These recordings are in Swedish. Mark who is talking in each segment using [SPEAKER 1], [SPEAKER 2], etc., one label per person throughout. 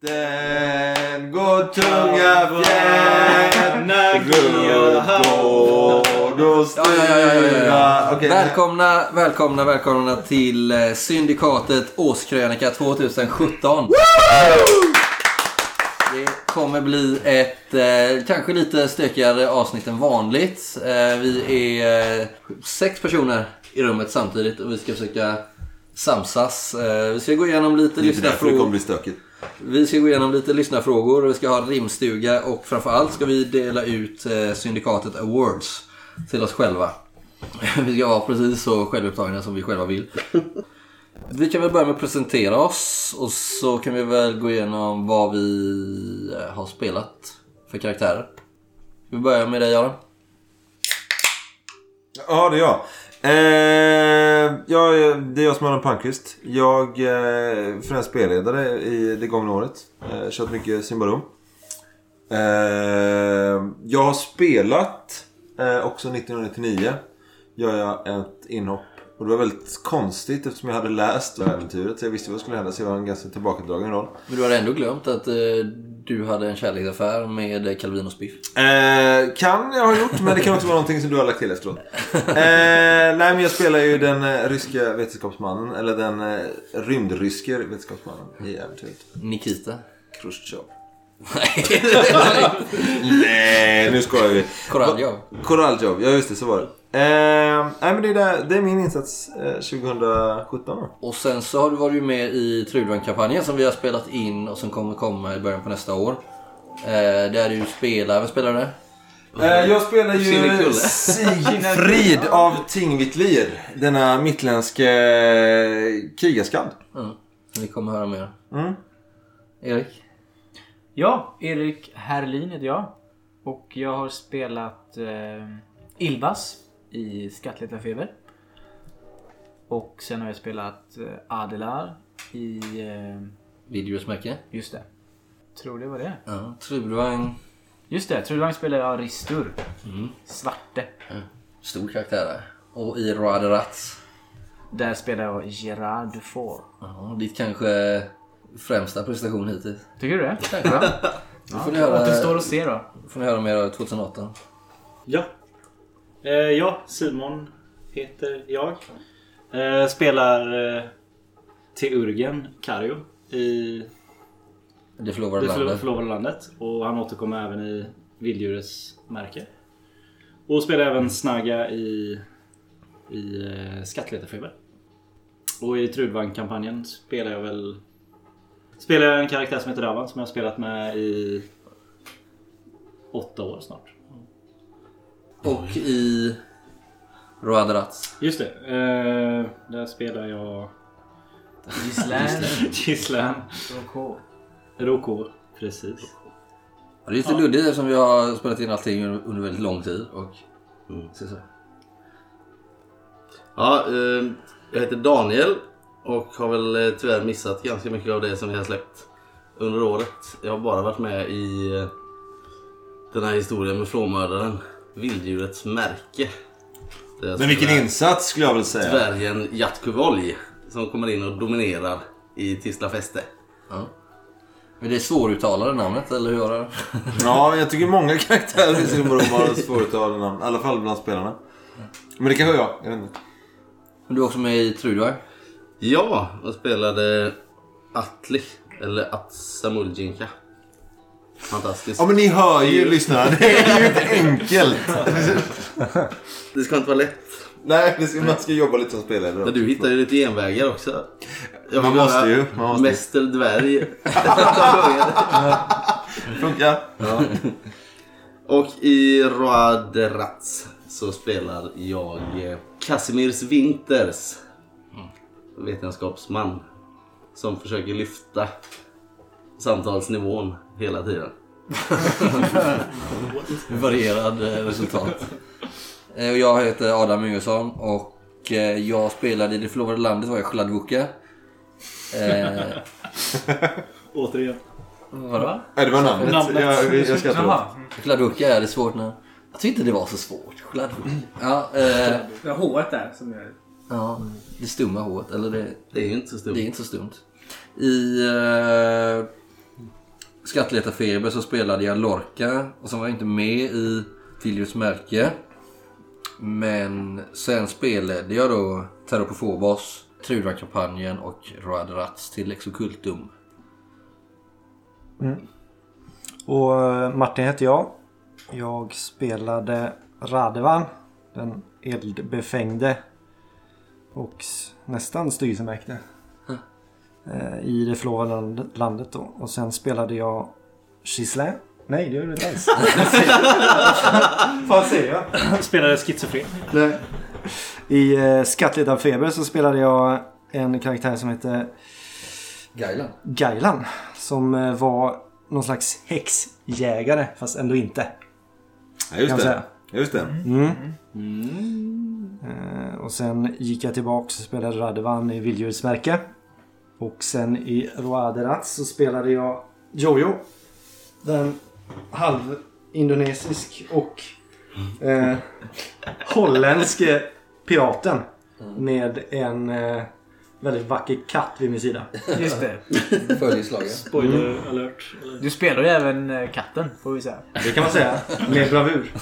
[SPEAKER 1] Natten går tunga fjädrar runt gård och stuga.
[SPEAKER 2] Ja, ja, ja, ja, ja, ja.
[SPEAKER 1] Okej,
[SPEAKER 2] Välkomna, välkomna, välkomna till eh, Syndikatet Årskrönika 2017. Det kommer bli ett eh, kanske lite stökigare avsnitt än vanligt. Eh, vi är eh, sex personer i rummet samtidigt och vi ska försöka samsas. Eh, vi ska gå igenom lite
[SPEAKER 1] Det är inte därför det kommer
[SPEAKER 2] lyssnarfrågor.
[SPEAKER 1] bli stökigt.
[SPEAKER 2] Vi ska gå igenom lite lyssnarfrågor och vi ska ha rimstuga och framförallt ska vi dela ut eh, Syndikatet Awards till oss själva. Vi ska vara precis så självupptagna som vi själva vill. Vi kan väl börja med att presentera oss och så kan vi väl gå igenom vad vi eh, har spelat för karaktärer. Vi börjar med dig Göran.
[SPEAKER 1] Ja, det är jag. Eh, jag är- det är jag som är Adam Palmqvist. Jag eh, främst spelledare i det gångna året. Eh, kört mycket Simbarum. Eh, jag har spelat eh, också 1999. Gör jag ett inhopp. Och det var väldigt konstigt eftersom jag hade läst det här äventyret. Så jag visste vad som skulle hända. Så jag var en ganska tillbakadragen roll.
[SPEAKER 2] Men du har ändå glömt att eh, du hade en kärleksaffär med Calvin och Spiff.
[SPEAKER 1] Eh, kan jag ha gjort, men det kan också vara någonting som du har lagt till efteråt. Eh, nej, men jag spelar ju den eh, ryska vetenskapsmannen, eller den eh, rymdryske vetenskapsmannen i äventyret.
[SPEAKER 2] Nikita.
[SPEAKER 1] Khrushchev.
[SPEAKER 2] Nej,
[SPEAKER 1] Nej, nu skojar vi.
[SPEAKER 2] Koraljov.
[SPEAKER 1] Koraljov, ja just det, så var det. Eh, nej, men det är, där, det är min insats eh, 2017 då.
[SPEAKER 2] Och sen så har du varit med i Trudvan-kampanjen som vi har spelat in och som kommer komma i början på nästa år. Eh, där du spelar, vem spelar du?
[SPEAKER 1] Eh, jag spelar ju
[SPEAKER 2] Kinnekulle.
[SPEAKER 1] Sigfrid av Tingvitlir, denna mittländske eh, krigarskadd.
[SPEAKER 2] Mm. Vi kommer höra mer.
[SPEAKER 1] Mm.
[SPEAKER 2] Erik?
[SPEAKER 3] Ja, Erik Herlin heter jag. Och jag har spelat eh, Ilvas i Skattletarfeber. Och sen har jag spelat eh, Adelar i... Eh,
[SPEAKER 2] Videosmärke?
[SPEAKER 3] just det. Tror det var det.
[SPEAKER 2] Ja, Trudvang.
[SPEAKER 3] Just det, Trudvang spelar jag Ristur. Svarte.
[SPEAKER 2] Stor karaktär där. Och i Raderats.
[SPEAKER 3] Där spelar jag Gerard Dufour.
[SPEAKER 2] Ja, ditt kanske främsta prestation hittills.
[SPEAKER 3] Tycker du det?
[SPEAKER 2] Kanske. Då får ni
[SPEAKER 3] Återstår
[SPEAKER 2] höra,
[SPEAKER 3] att se då.
[SPEAKER 2] får ni höra mer av 2018.
[SPEAKER 4] Ja. Eh, ja, Simon heter jag. Eh, spelar eh, Teurgen Kario i
[SPEAKER 2] Det förlovade
[SPEAKER 4] Det förlo-
[SPEAKER 2] landet.
[SPEAKER 4] förlovade landet. Och han återkommer även i Vilddjurets märke. Och spelar även Snaga i, i eh, Skattletarfeber. Och i Trudvang-kampanjen spelar jag väl... Spelar jag en karaktär som heter Ravan som jag har spelat med i åtta år snart.
[SPEAKER 2] Och i Raderats.
[SPEAKER 4] Just det. Eh, där spelar jag
[SPEAKER 3] Gislaine
[SPEAKER 4] Gisslan
[SPEAKER 3] Rocco.
[SPEAKER 4] Roko. Precis.
[SPEAKER 2] Ja, Det är lite luddigt eftersom vi har spelat in allting under väldigt lång tid. Och... Så- så.
[SPEAKER 5] Ja, eh, jag heter Daniel och har väl eh, tyvärr missat ganska mycket av det som vi har släppt under året. Jag har bara varit med i eh, den här historien med flåmördaren, Vilddjurets märke. Där jag
[SPEAKER 1] Men vilken
[SPEAKER 5] spelar
[SPEAKER 1] insats skulle jag vilja säga.
[SPEAKER 5] Dvärgen Jatkuvolj som kommer in och dominerar i Tisla fäste.
[SPEAKER 2] Ja. Men det är svåruttalade namnet, eller hur? Göran?
[SPEAKER 1] Ja, jag tycker många karaktärer i Simon Rom har svåruttalade namn. I alla fall bland spelarna. Men det kanske är jag. jag vet inte.
[SPEAKER 2] Men du är också med i Trudvang.
[SPEAKER 5] Ja, jag spelade Atli, eller Atsamurjinka. Fantastiskt.
[SPEAKER 1] Ja, men ni hör ju lyssnarna. Det är ju inte enkelt.
[SPEAKER 5] Det ska inte vara lätt.
[SPEAKER 1] Nej, det ska, man ska jobba lite som spelare.
[SPEAKER 5] Men
[SPEAKER 1] då.
[SPEAKER 5] du hittar ju lite genvägar också. Jag
[SPEAKER 1] Man
[SPEAKER 5] vill
[SPEAKER 1] måste
[SPEAKER 5] vara
[SPEAKER 1] ju, man måste ju.
[SPEAKER 5] Mäster dvärg.
[SPEAKER 1] Funkar.
[SPEAKER 5] och i Roaderats så spelar jag eh, Casimirs Winters. Mm. Vetenskapsman. Som försöker lyfta samtalsnivån hela tiden.
[SPEAKER 2] Varierad eh, resultat. Eh, och jag heter Adam Ingesson och eh, jag spelade i Det förlovade landet var jag Chladvuka. Eh,
[SPEAKER 4] Återigen.
[SPEAKER 2] vadå?
[SPEAKER 1] Nej, det var namnet.
[SPEAKER 4] Namnet.
[SPEAKER 1] Jag, jag skrattar åt.
[SPEAKER 3] Jaha.
[SPEAKER 2] Chladvuka, är det svårt nu? Jag tyckte inte det var så svårt. Chladvuka. Ja, eh,
[SPEAKER 3] Det var H där som jag...
[SPEAKER 2] ja, det stumma håret. Eller det,
[SPEAKER 5] Det är ju inte så
[SPEAKER 2] det är
[SPEAKER 5] stort.
[SPEAKER 2] inte så stumt. I eh, Skattletarfeber så spelade jag Lorca och sen var jag inte med i Viljus märke. Men sen spelade jag då Terror på Phobos, Trudvagnskampanjen och Road Rats till Exocultum.
[SPEAKER 6] Och eh, Martin heter jag. Jag spelade Radevan, den eldbefängde och s- nästan styrelsemärkte. Eh, I det förlovade land- landet då. Och sen spelade jag Gislain. Nej, det gjorde du inte alls. Vad säger jag?
[SPEAKER 4] Spelade schizofren.
[SPEAKER 6] Nej. I eh, Skattletan Feber så spelade jag en karaktär som hette
[SPEAKER 2] Gailan.
[SPEAKER 6] Gailan. Som eh, var någon slags häxjägare, fast ändå inte.
[SPEAKER 1] Ja, just
[SPEAKER 6] Kan
[SPEAKER 1] det.
[SPEAKER 6] säga.
[SPEAKER 1] Just det.
[SPEAKER 6] Eh, Och sen gick jag tillbaks och spelade Radevan i Vilddjurets märke. Och sen i Roaderat så spelade jag Jojo. Den halv-indonesisk och eh, holländske piraten. Med en eh, väldigt vacker katt vid min sida.
[SPEAKER 3] Just det.
[SPEAKER 2] Följeslagare.
[SPEAKER 4] Spoiler
[SPEAKER 3] Mm.
[SPEAKER 4] alert. Eller?
[SPEAKER 3] Du spelar ju även eh, katten, får vi säga.
[SPEAKER 6] Det kan man säga. Med bravur.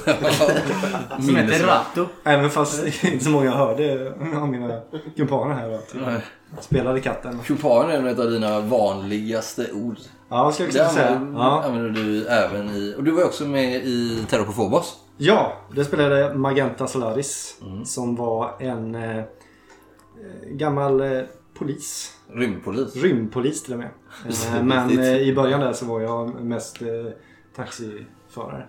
[SPEAKER 3] Som heter Rato.
[SPEAKER 6] Även fast inte så många hörde av mina kumpaner här. Att jag spelade katten.
[SPEAKER 2] Kupan är en av dina vanligaste ord.
[SPEAKER 6] Ja, skulle jag
[SPEAKER 2] Det
[SPEAKER 6] kunna säga.
[SPEAKER 2] använder,
[SPEAKER 6] Ja.
[SPEAKER 2] använder du även i... Och du var ju också med i Terror på Phobos.
[SPEAKER 6] Ja, det spelade Magenta Solaris som var en eh, eh, gammal eh, polis.
[SPEAKER 2] Rymdpolis.
[SPEAKER 6] Rymdpolis till och med. Eh, men eh, i början där så var jag mest eh, taxiförare.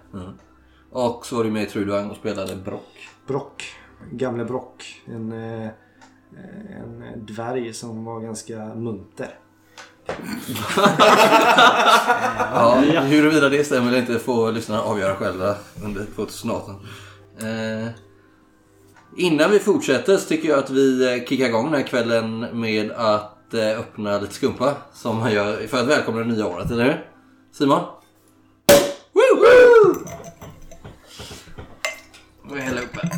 [SPEAKER 2] Och så var du med i Trudvang och spelade Brock.
[SPEAKER 6] Brock, gamle Brock. En, eh, en dvärg som var ganska munter.
[SPEAKER 2] Ja, huruvida det stämmer eller inte får lyssnarna avgöra själva under 2018. Eh, innan vi fortsätter så tycker jag att vi eh, kickar igång den här kvällen med att eh, öppna lite skumpa. Som man gör för att välkomna det nya året, eller hur? Simon? Woo! Woo! Får jag hälla upp här.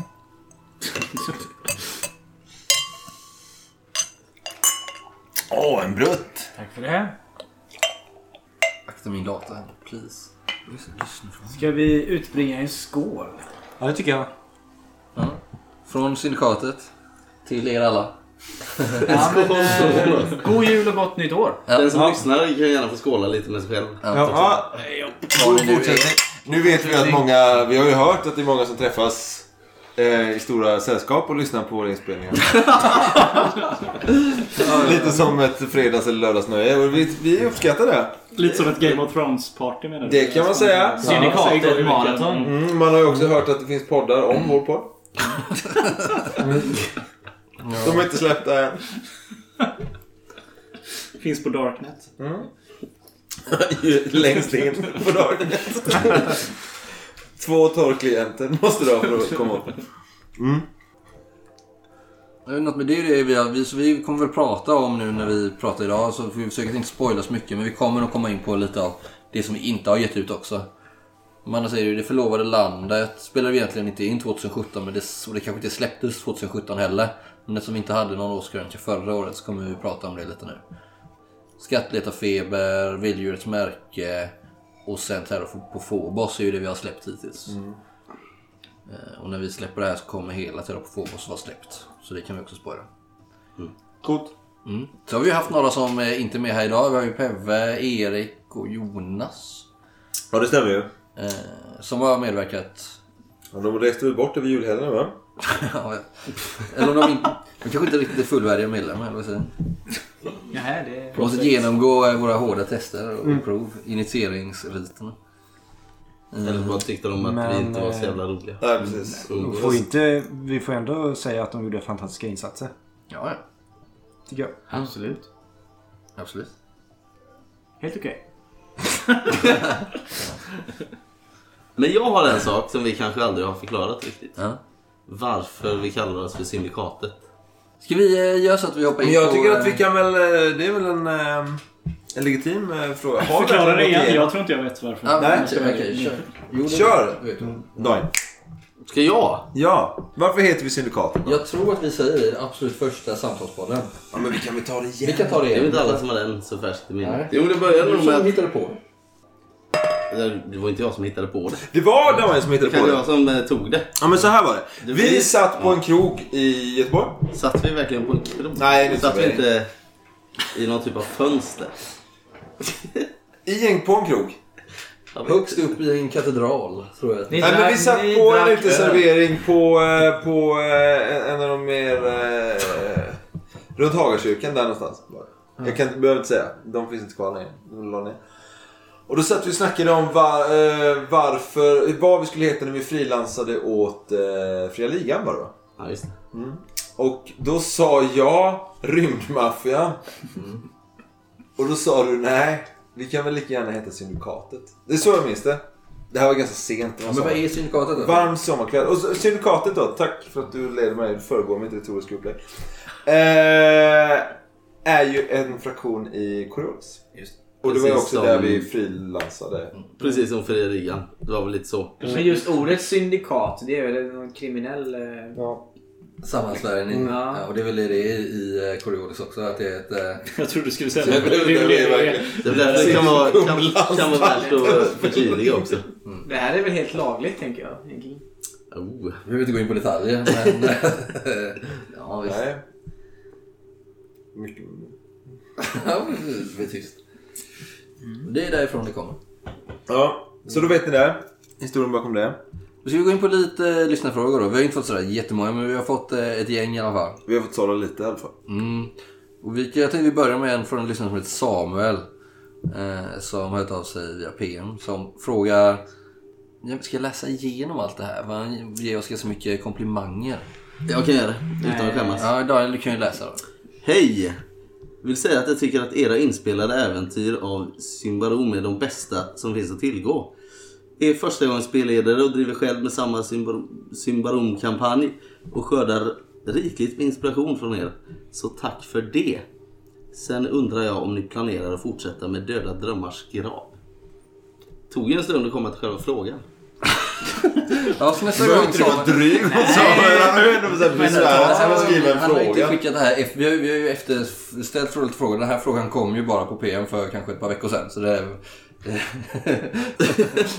[SPEAKER 1] Åh, en brutt!
[SPEAKER 3] Tack för det.
[SPEAKER 2] Akta min dator här, please.
[SPEAKER 3] Ska vi utbringa en skål?
[SPEAKER 6] Ja, det tycker jag.
[SPEAKER 2] Ja. Från syndikatet till er alla.
[SPEAKER 3] Ja, men, eh, god jul och gott nytt år!
[SPEAKER 5] Den som lyssnar kan gärna få skåla lite med sig själv.
[SPEAKER 2] Ja,
[SPEAKER 1] Ja, god fortsättning. Nu vet vi att många, vi har ju hört att det är många som träffas eh, i stora sällskap och lyssnar på våra inspelningar. Lite som ett fredags eller lördagsnöje och vi, vi uppskattar det.
[SPEAKER 4] Lite som ett Game of Thrones-party menar du?
[SPEAKER 1] Det kan man säga.
[SPEAKER 4] Syndikatet,
[SPEAKER 3] Syndikatet,
[SPEAKER 4] maraton.
[SPEAKER 3] maraton.
[SPEAKER 1] Mm, man har ju också hört att det finns poddar om vår podd. Mm. De är inte släppta än.
[SPEAKER 4] Finns på Darknet.
[SPEAKER 1] Längst in på darknet. Två torrklienter måste du ha för att komma upp.
[SPEAKER 2] Det är Något med det är det vi, har, vi, så vi kommer väl prata om nu när vi pratar idag, så vi försöker inte spoila så mycket, men vi kommer att komma in på lite av det som vi inte har gett ut också. Man annars är det ju Det förlovade landet spelade vi egentligen inte in 2017, men det, och det kanske inte släpptes 2017 heller. Men eftersom vi inte hade någon årskrönika förra året så kommer vi prata om det lite nu. Skattletarfeber, Vilddjurets märke och sen Terror på Phobos är ju det vi har släppt hittills. Eh, Och när vi släpper det här så kommer hela Terror på Phobos vara släppt. Så det kan vi också spoila.
[SPEAKER 1] Coolt.
[SPEAKER 2] Mm. Så har vi haft några som eh, inte är med här idag. Vi har ju Peve, Erik och Jonas.
[SPEAKER 1] Ja, det stämmer ju.
[SPEAKER 2] Eh, som har medverkat.
[SPEAKER 1] Ja, de reste väl bort över julhelgen va?
[SPEAKER 2] Ja, eller om de, inte, de kanske inte riktigt är fullvärdiga medlemmar. Eller vad säger jag?
[SPEAKER 3] Nähä, det...
[SPEAKER 2] de måste genomgå eh, våra hårda tester och prov. Initieringsriterna.
[SPEAKER 5] Eller bara tyckte de att vi
[SPEAKER 6] Men,
[SPEAKER 5] inte var så
[SPEAKER 6] eh,
[SPEAKER 5] jävla roliga.
[SPEAKER 1] Nej, precis.
[SPEAKER 6] Vi
[SPEAKER 5] Mm.
[SPEAKER 6] får, inte, vi får ändå säga att de gjorde fantastiska insatser.
[SPEAKER 2] Ja, ja.
[SPEAKER 6] Tycker jag.
[SPEAKER 3] Absolut.
[SPEAKER 2] Absolut.
[SPEAKER 3] Helt okej.
[SPEAKER 5] Men jag har en sak som vi kanske aldrig har förklarat riktigt.
[SPEAKER 2] Ja.
[SPEAKER 5] Varför vi kallar oss för Syndikatet.
[SPEAKER 2] Ska vi eh, göra så att vi hoppar in
[SPEAKER 1] Men jag
[SPEAKER 2] på...
[SPEAKER 1] tycker att vi
[SPEAKER 2] eh,
[SPEAKER 1] kan väl... eh, Det är väl en, eh, en legitim eh, fråga. Har vi
[SPEAKER 4] Förklara det
[SPEAKER 1] verkligen gått
[SPEAKER 4] igen.
[SPEAKER 1] igenom?
[SPEAKER 4] Jag tror inte jag vet varför.
[SPEAKER 2] Ja,
[SPEAKER 1] Nej.
[SPEAKER 2] okej, okej, kör. Jo, det-
[SPEAKER 1] Kör!
[SPEAKER 2] det vet jag.
[SPEAKER 1] Nej.
[SPEAKER 5] Ska jag?
[SPEAKER 1] Ja, varför heter vi Syndikatet?
[SPEAKER 2] Jag tror att vi säger det i den absolut första samtalspodden.
[SPEAKER 1] Ja, men vi kan väl ta det igen?
[SPEAKER 2] Vi kan ta det
[SPEAKER 5] Det är väl
[SPEAKER 2] igen.
[SPEAKER 5] inte alla som har den så färskt i minnet.
[SPEAKER 2] Nej.
[SPEAKER 5] Jo, det började
[SPEAKER 2] Du
[SPEAKER 5] nog med
[SPEAKER 2] som
[SPEAKER 5] att...
[SPEAKER 2] hittade på.
[SPEAKER 5] Det var inte jag som hittade på det.
[SPEAKER 1] Det var Daniel som hittade
[SPEAKER 5] Det
[SPEAKER 1] på
[SPEAKER 5] var
[SPEAKER 1] det.
[SPEAKER 5] jag som eh, tog det.
[SPEAKER 1] Ja, men så här var det.
[SPEAKER 5] Det
[SPEAKER 1] Vi
[SPEAKER 5] blir-
[SPEAKER 1] satt på en krog i Göteborg.
[SPEAKER 5] Satt vi verkligen på en krog?
[SPEAKER 1] Nej, det
[SPEAKER 5] Satt
[SPEAKER 1] tror
[SPEAKER 5] vi
[SPEAKER 1] jag
[SPEAKER 5] inte i någon typ av fönster?
[SPEAKER 1] I en, på en krog.
[SPEAKER 5] Jag vet
[SPEAKER 2] Högst
[SPEAKER 5] inte.
[SPEAKER 2] upp i en katedral, tror jag.
[SPEAKER 3] Ni
[SPEAKER 1] Nej, men
[SPEAKER 3] drack-
[SPEAKER 1] vi satt
[SPEAKER 3] ni
[SPEAKER 1] på en
[SPEAKER 3] drack öl.
[SPEAKER 1] uteservering på, eh, på eh, en av de mer... eh, Runt Hagakyrkan där någonstans. Jag kan, behöver inte säga. De finns inte kvar längre. De la ner. Och då satt vi och snackade om var, eh, varför, vad vi skulle heta när vi frilansade åt eh, Fria Ligan var det va?
[SPEAKER 5] Ja, just det.
[SPEAKER 1] Och då sa jag rymdmaffian. Och då sa du nej, vi kan väl lika gärna heta Syndikatet. Det är så jag minns det. Det här var ganska sent. Det var
[SPEAKER 2] Ja, men vad
[SPEAKER 1] sommar.
[SPEAKER 2] är Syndikatet då?
[SPEAKER 1] Varm sommarkväll. Och så, Syndikatet då, tack för att du leder mig. Du föregår mitt retoriska upplägg. Eh, är ju en fraktion i Coriolis.
[SPEAKER 2] Just det. Mm.
[SPEAKER 1] Och det var ju
[SPEAKER 5] Precis
[SPEAKER 1] också där
[SPEAKER 5] som-
[SPEAKER 1] vi frilansade.
[SPEAKER 5] Precis som Fria Rigan. Det var väl lite så.
[SPEAKER 4] Precis.
[SPEAKER 3] Men just ordet syndikat, det är väl någon kriminell... eh,
[SPEAKER 1] Ja.
[SPEAKER 2] Sammansvärjning.
[SPEAKER 3] Mm.
[SPEAKER 2] Ja, och det är väl det det är i eh, Coriolis också. Att det är ett, eh,
[SPEAKER 4] Jag trodde du skulle säga
[SPEAKER 5] Jag
[SPEAKER 4] det.
[SPEAKER 5] trodde
[SPEAKER 4] är väl
[SPEAKER 1] det, verkligen.
[SPEAKER 5] Det är därför det kan vara, kan, kan vara värt att förtydliga också.
[SPEAKER 3] Det här är väl helt lagligt tänker jag. egentligen.
[SPEAKER 5] Oh.
[SPEAKER 2] vi behöver inte gå in på detaljer, men... eh, ja, visst.
[SPEAKER 1] Nej. Mycket.
[SPEAKER 2] Ja, precis. Vi är tyst. Mm. Det är därifrån det kommer.
[SPEAKER 1] Ja, så då vet ni det. Historien bakom det.
[SPEAKER 2] Nu ska vi gå in på lite eh, lyssnarfrågor då. Vi har ju inte fått sådär jättemånga, men vi har fått eh, ett gäng i alla fall.
[SPEAKER 1] Vi har fått sålla lite i alla fall.
[SPEAKER 2] Mm. Och vi, jag tänkte vi börjar med en från en lyssnare som heter Samuel. Eh, som har hört av sig via PM. Som frågar... "Ja, Ska jag läsa igenom allt det här? Han ger oss ganska mycket komplimanger.
[SPEAKER 5] Jag kan göra det utan att skämmas.
[SPEAKER 2] Ja, Daniel du kan ju läsa då.
[SPEAKER 5] Hej! Vill säga att jag tycker att era inspelade äventyr av Symbarom är de bästa som finns att tillgå. Är första gången spelledare och driver själv med samma Symbar- Symbarom-kampanj och skördar rikligt med inspiration från er. Så tack för det! Sen undrar jag om ni planerar att fortsätta med Döda Drömmars grav? Tog ju en stund att komma till själva frågan.
[SPEAKER 2] Ja, så nästa
[SPEAKER 1] Du behöver
[SPEAKER 2] gång
[SPEAKER 1] inte vara
[SPEAKER 2] Samuel.
[SPEAKER 1] dryg mot Samuel. Han är ju ändå så här besvärad som
[SPEAKER 2] Han
[SPEAKER 1] att
[SPEAKER 2] har,
[SPEAKER 1] skriva
[SPEAKER 2] ju-
[SPEAKER 1] en
[SPEAKER 2] han har ju inte
[SPEAKER 1] fråga.
[SPEAKER 2] skickat det här. efter- Vi har, ju- vi har ju efterställt frågor. Den här frågan kom ju bara på PM för kanske ett par veckor sedan. Så det är...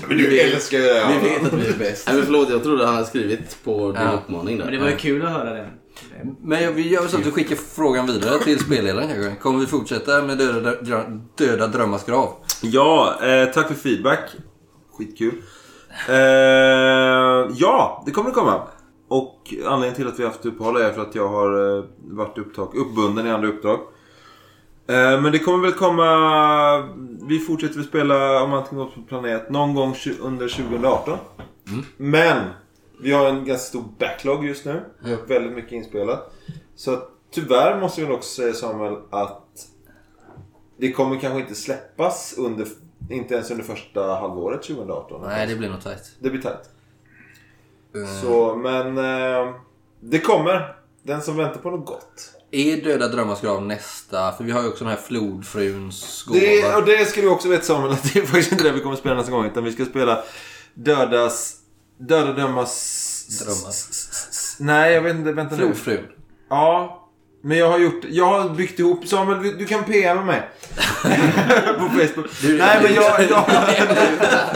[SPEAKER 1] Men du älskar ju det.
[SPEAKER 2] Vi
[SPEAKER 1] här.
[SPEAKER 2] vet att vi är bäst.
[SPEAKER 5] Nej men förlåt, jag trodde han hade skrivit på din
[SPEAKER 2] Ja.
[SPEAKER 5] uppmaning där.
[SPEAKER 3] Men det var ju kul att höra den.
[SPEAKER 2] Men jag- vi gör så att du skickar frågan vidare till spelledaren kanske. Kommer vi fortsätta med Döda, drö- döda drömmars grav?
[SPEAKER 1] Ja, eh, tack för feedback. Skitkul. Eh, ja, det kommer det komma. Och anledningen till att vi har haft uppehåll är för att jag har eh, varit upptag, uppbunden i andra uppdrag. Eh, men det kommer väl komma... Vi fortsätter att spela om allting går på planet någon gång tju- under 2018. Men vi har en ganska stor backlog just nu. Vi har väldigt mycket inspelat. Så att, tyvärr måste vi nog också säga Samuel att det kommer kanske inte släppas under, inte ens under första halvåret 2018.
[SPEAKER 2] Nej, det blir nog tajt.
[SPEAKER 1] Det blir tajt.
[SPEAKER 2] Eh,
[SPEAKER 1] Så, men eh, det kommer. Den som väntar på något gott.
[SPEAKER 2] Är Döda drömmars grav nästa? För vi har ju också den här Flodfruns gåva.
[SPEAKER 1] Det, och det ska du också veta Samuel, att det är faktiskt inte det vi kommer spela nästa gång. Utan vi ska spela Dödas... Döda dömas...
[SPEAKER 2] Drömmar.
[SPEAKER 1] s- s- s- Nej, jag vet inte. Vänta nu.
[SPEAKER 2] Flodfrun.
[SPEAKER 1] Ja. Men jag har gjort... Jag har byggt ihop... Samuel, du, du kan PMa mig. på Facebook. Nej, men jag... Jag,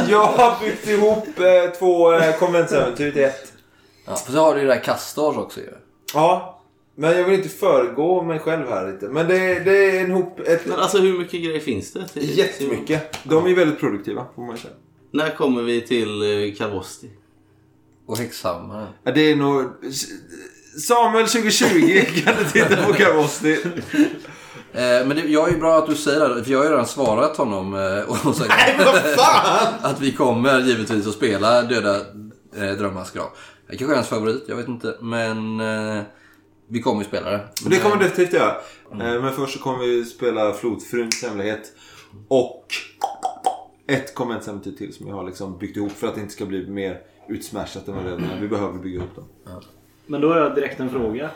[SPEAKER 1] jag har byggt ihop eh, två eh, konventsäventyr till ett.
[SPEAKER 2] Ja, för så har du ju det här Kastars också ju.
[SPEAKER 1] Ja. Men jag vill inte föregå mig själv här lite. Men det, det är en hop... Ett,
[SPEAKER 5] Men alltså hur mycket grejer finns det? till-
[SPEAKER 1] jättemycket. De är väldigt produktiva, får man ju säga.
[SPEAKER 5] När kommer vi till eh, Kalvosti?
[SPEAKER 2] Och Häxhammaren.
[SPEAKER 1] Ja, det är nog... Samuel 2020 kan du titta på Kavosti.
[SPEAKER 2] Eh, men det, jag är ju bra att du säger det, här, för jag har ju redan svarat honom eh, och sagt
[SPEAKER 1] Vad fan!
[SPEAKER 2] att vi kommer givetvis att spela Döda eh, drömmars grav. Det kanske är hans favorit, jag vet inte. Men eh, vi kommer ju spela det.
[SPEAKER 1] Men det kommer vi definitivt göra. Eh, Men först så kommer vi spela Flodfruns hemlighet. Och ett konventsäventyr till som jag har liksom byggt ihop för att det inte ska bli mer utsmashat än vad det redan är. Vi behöver bygga ihop dem.
[SPEAKER 4] Men då har jag direkt en fråga.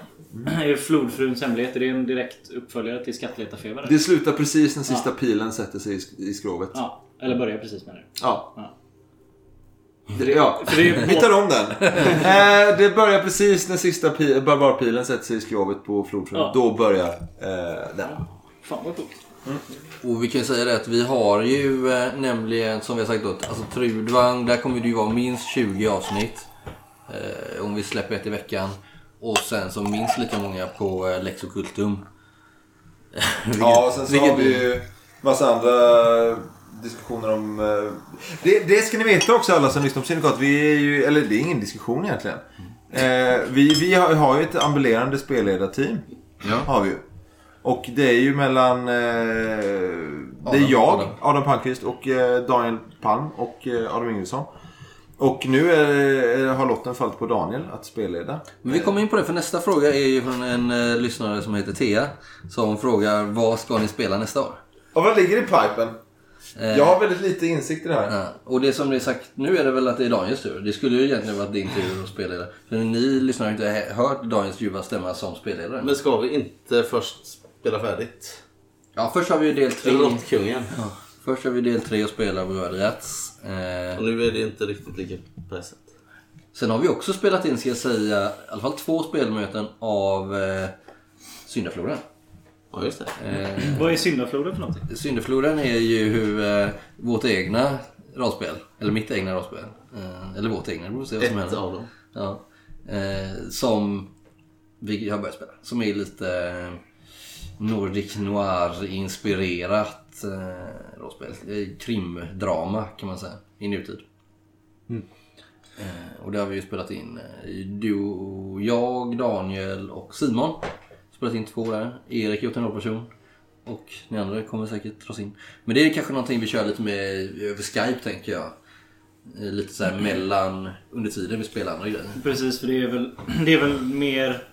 [SPEAKER 4] Är Flodfruns hemlighet, är det en direkt uppföljare till Skattletarfeber?
[SPEAKER 1] Det slutar precis när sista pilen sätter sig i sk- i skrovet.
[SPEAKER 4] Ja, eller börjar precis med det.
[SPEAKER 1] Ja.
[SPEAKER 4] Ja.
[SPEAKER 1] Ja,
[SPEAKER 4] För det är
[SPEAKER 1] hittar om den. eh, det börjar precis när sista pi- barbarpilen sätter sig i skrovet på flodfrun.
[SPEAKER 4] Ja.
[SPEAKER 1] Då börjar eh, den.
[SPEAKER 4] Fan vad sjukt.
[SPEAKER 2] Och vi kan ju säga det att vi har ju eh, nämligen, som vi har sagt då, alltså Trudvang, där kommer det ju vara minst 20 avsnitt. Eh, om vi släpper ett i veckan. Och sen så minst lika många på eh, Lexocultum.
[SPEAKER 1] Ja, och sen så
[SPEAKER 2] vilket-
[SPEAKER 1] har vi ju massa andra diskussioner om... eh, Det, det ska ni veta också alla som lyssnar på Syndikat. Vi är ju, eller det är ingen diskussion egentligen. Eh, vi, vi har, har ju ett ambulerande spelledarteam.
[SPEAKER 2] Ja.
[SPEAKER 1] Har vi ju. Och det är ju mellan... Eh, det
[SPEAKER 2] Adam-
[SPEAKER 1] är jag,
[SPEAKER 2] Adam.
[SPEAKER 1] Adam, Palmqvist och eh, Daniel Palm och eh, Adam Yngvesson. Och nu är, eh, har lotten fallit på Daniel att spelleda.
[SPEAKER 2] Men vi kommer in på det, för nästa fråga är ju från en eh, lyssnare som heter Thea. Som frågar, vad ska ni spela nästa år?
[SPEAKER 1] Och vad ligger i pipen?
[SPEAKER 2] Eh,
[SPEAKER 1] Jag har väldigt lite insikt i det här.
[SPEAKER 2] Ja, Eh, och det som det är sagt nu är det väl att det är Daniels tur. Det skulle ju egentligen varit din tur att spelledare. För ni lyssnar inte he- hört Daniels ljuva stämma som spelledare.
[SPEAKER 5] Men ska vi inte först spela färdigt?
[SPEAKER 2] Ja, först har vi ju del tre.
[SPEAKER 5] Råttkungen.
[SPEAKER 2] Ja, först har vi del tre och spelar Brödrats. Eh,
[SPEAKER 5] Och nu är det inte riktigt lika pressat.
[SPEAKER 2] sen har vi också spelat in, ska jag säga, i alla fall två spelmöten av eh, Syndafloden.
[SPEAKER 5] Ja, just det.
[SPEAKER 2] Eh,
[SPEAKER 4] Vad är syndafloden för någonting?
[SPEAKER 2] Syndefloden är ju hur, eh, vårt egna rollspel, eller mitt egna rollspel, eh, eller vårt egna, det beror på vad som
[SPEAKER 5] Ett
[SPEAKER 2] händer.
[SPEAKER 5] av dem.
[SPEAKER 2] Ja. Eh, som vi har börjat spela. Som är lite eh, Nordic Noir-inspirerat eh, rollspel. Det är Krimdrama kan man säga, i nutid. Eh, och det har vi ju spelat in. eh, Du, och jag, Daniel och Simon. Spelat in två där. Erik har gjort en rollperson. Och ni andra kommer säkert dras in. Men det är kanske någonting vi kör lite med över Skype tänker jag. Eh, Lite så här mellan, under tiden vi spelar andra grejer.
[SPEAKER 4] Precis, för det är väl, det är väl mer...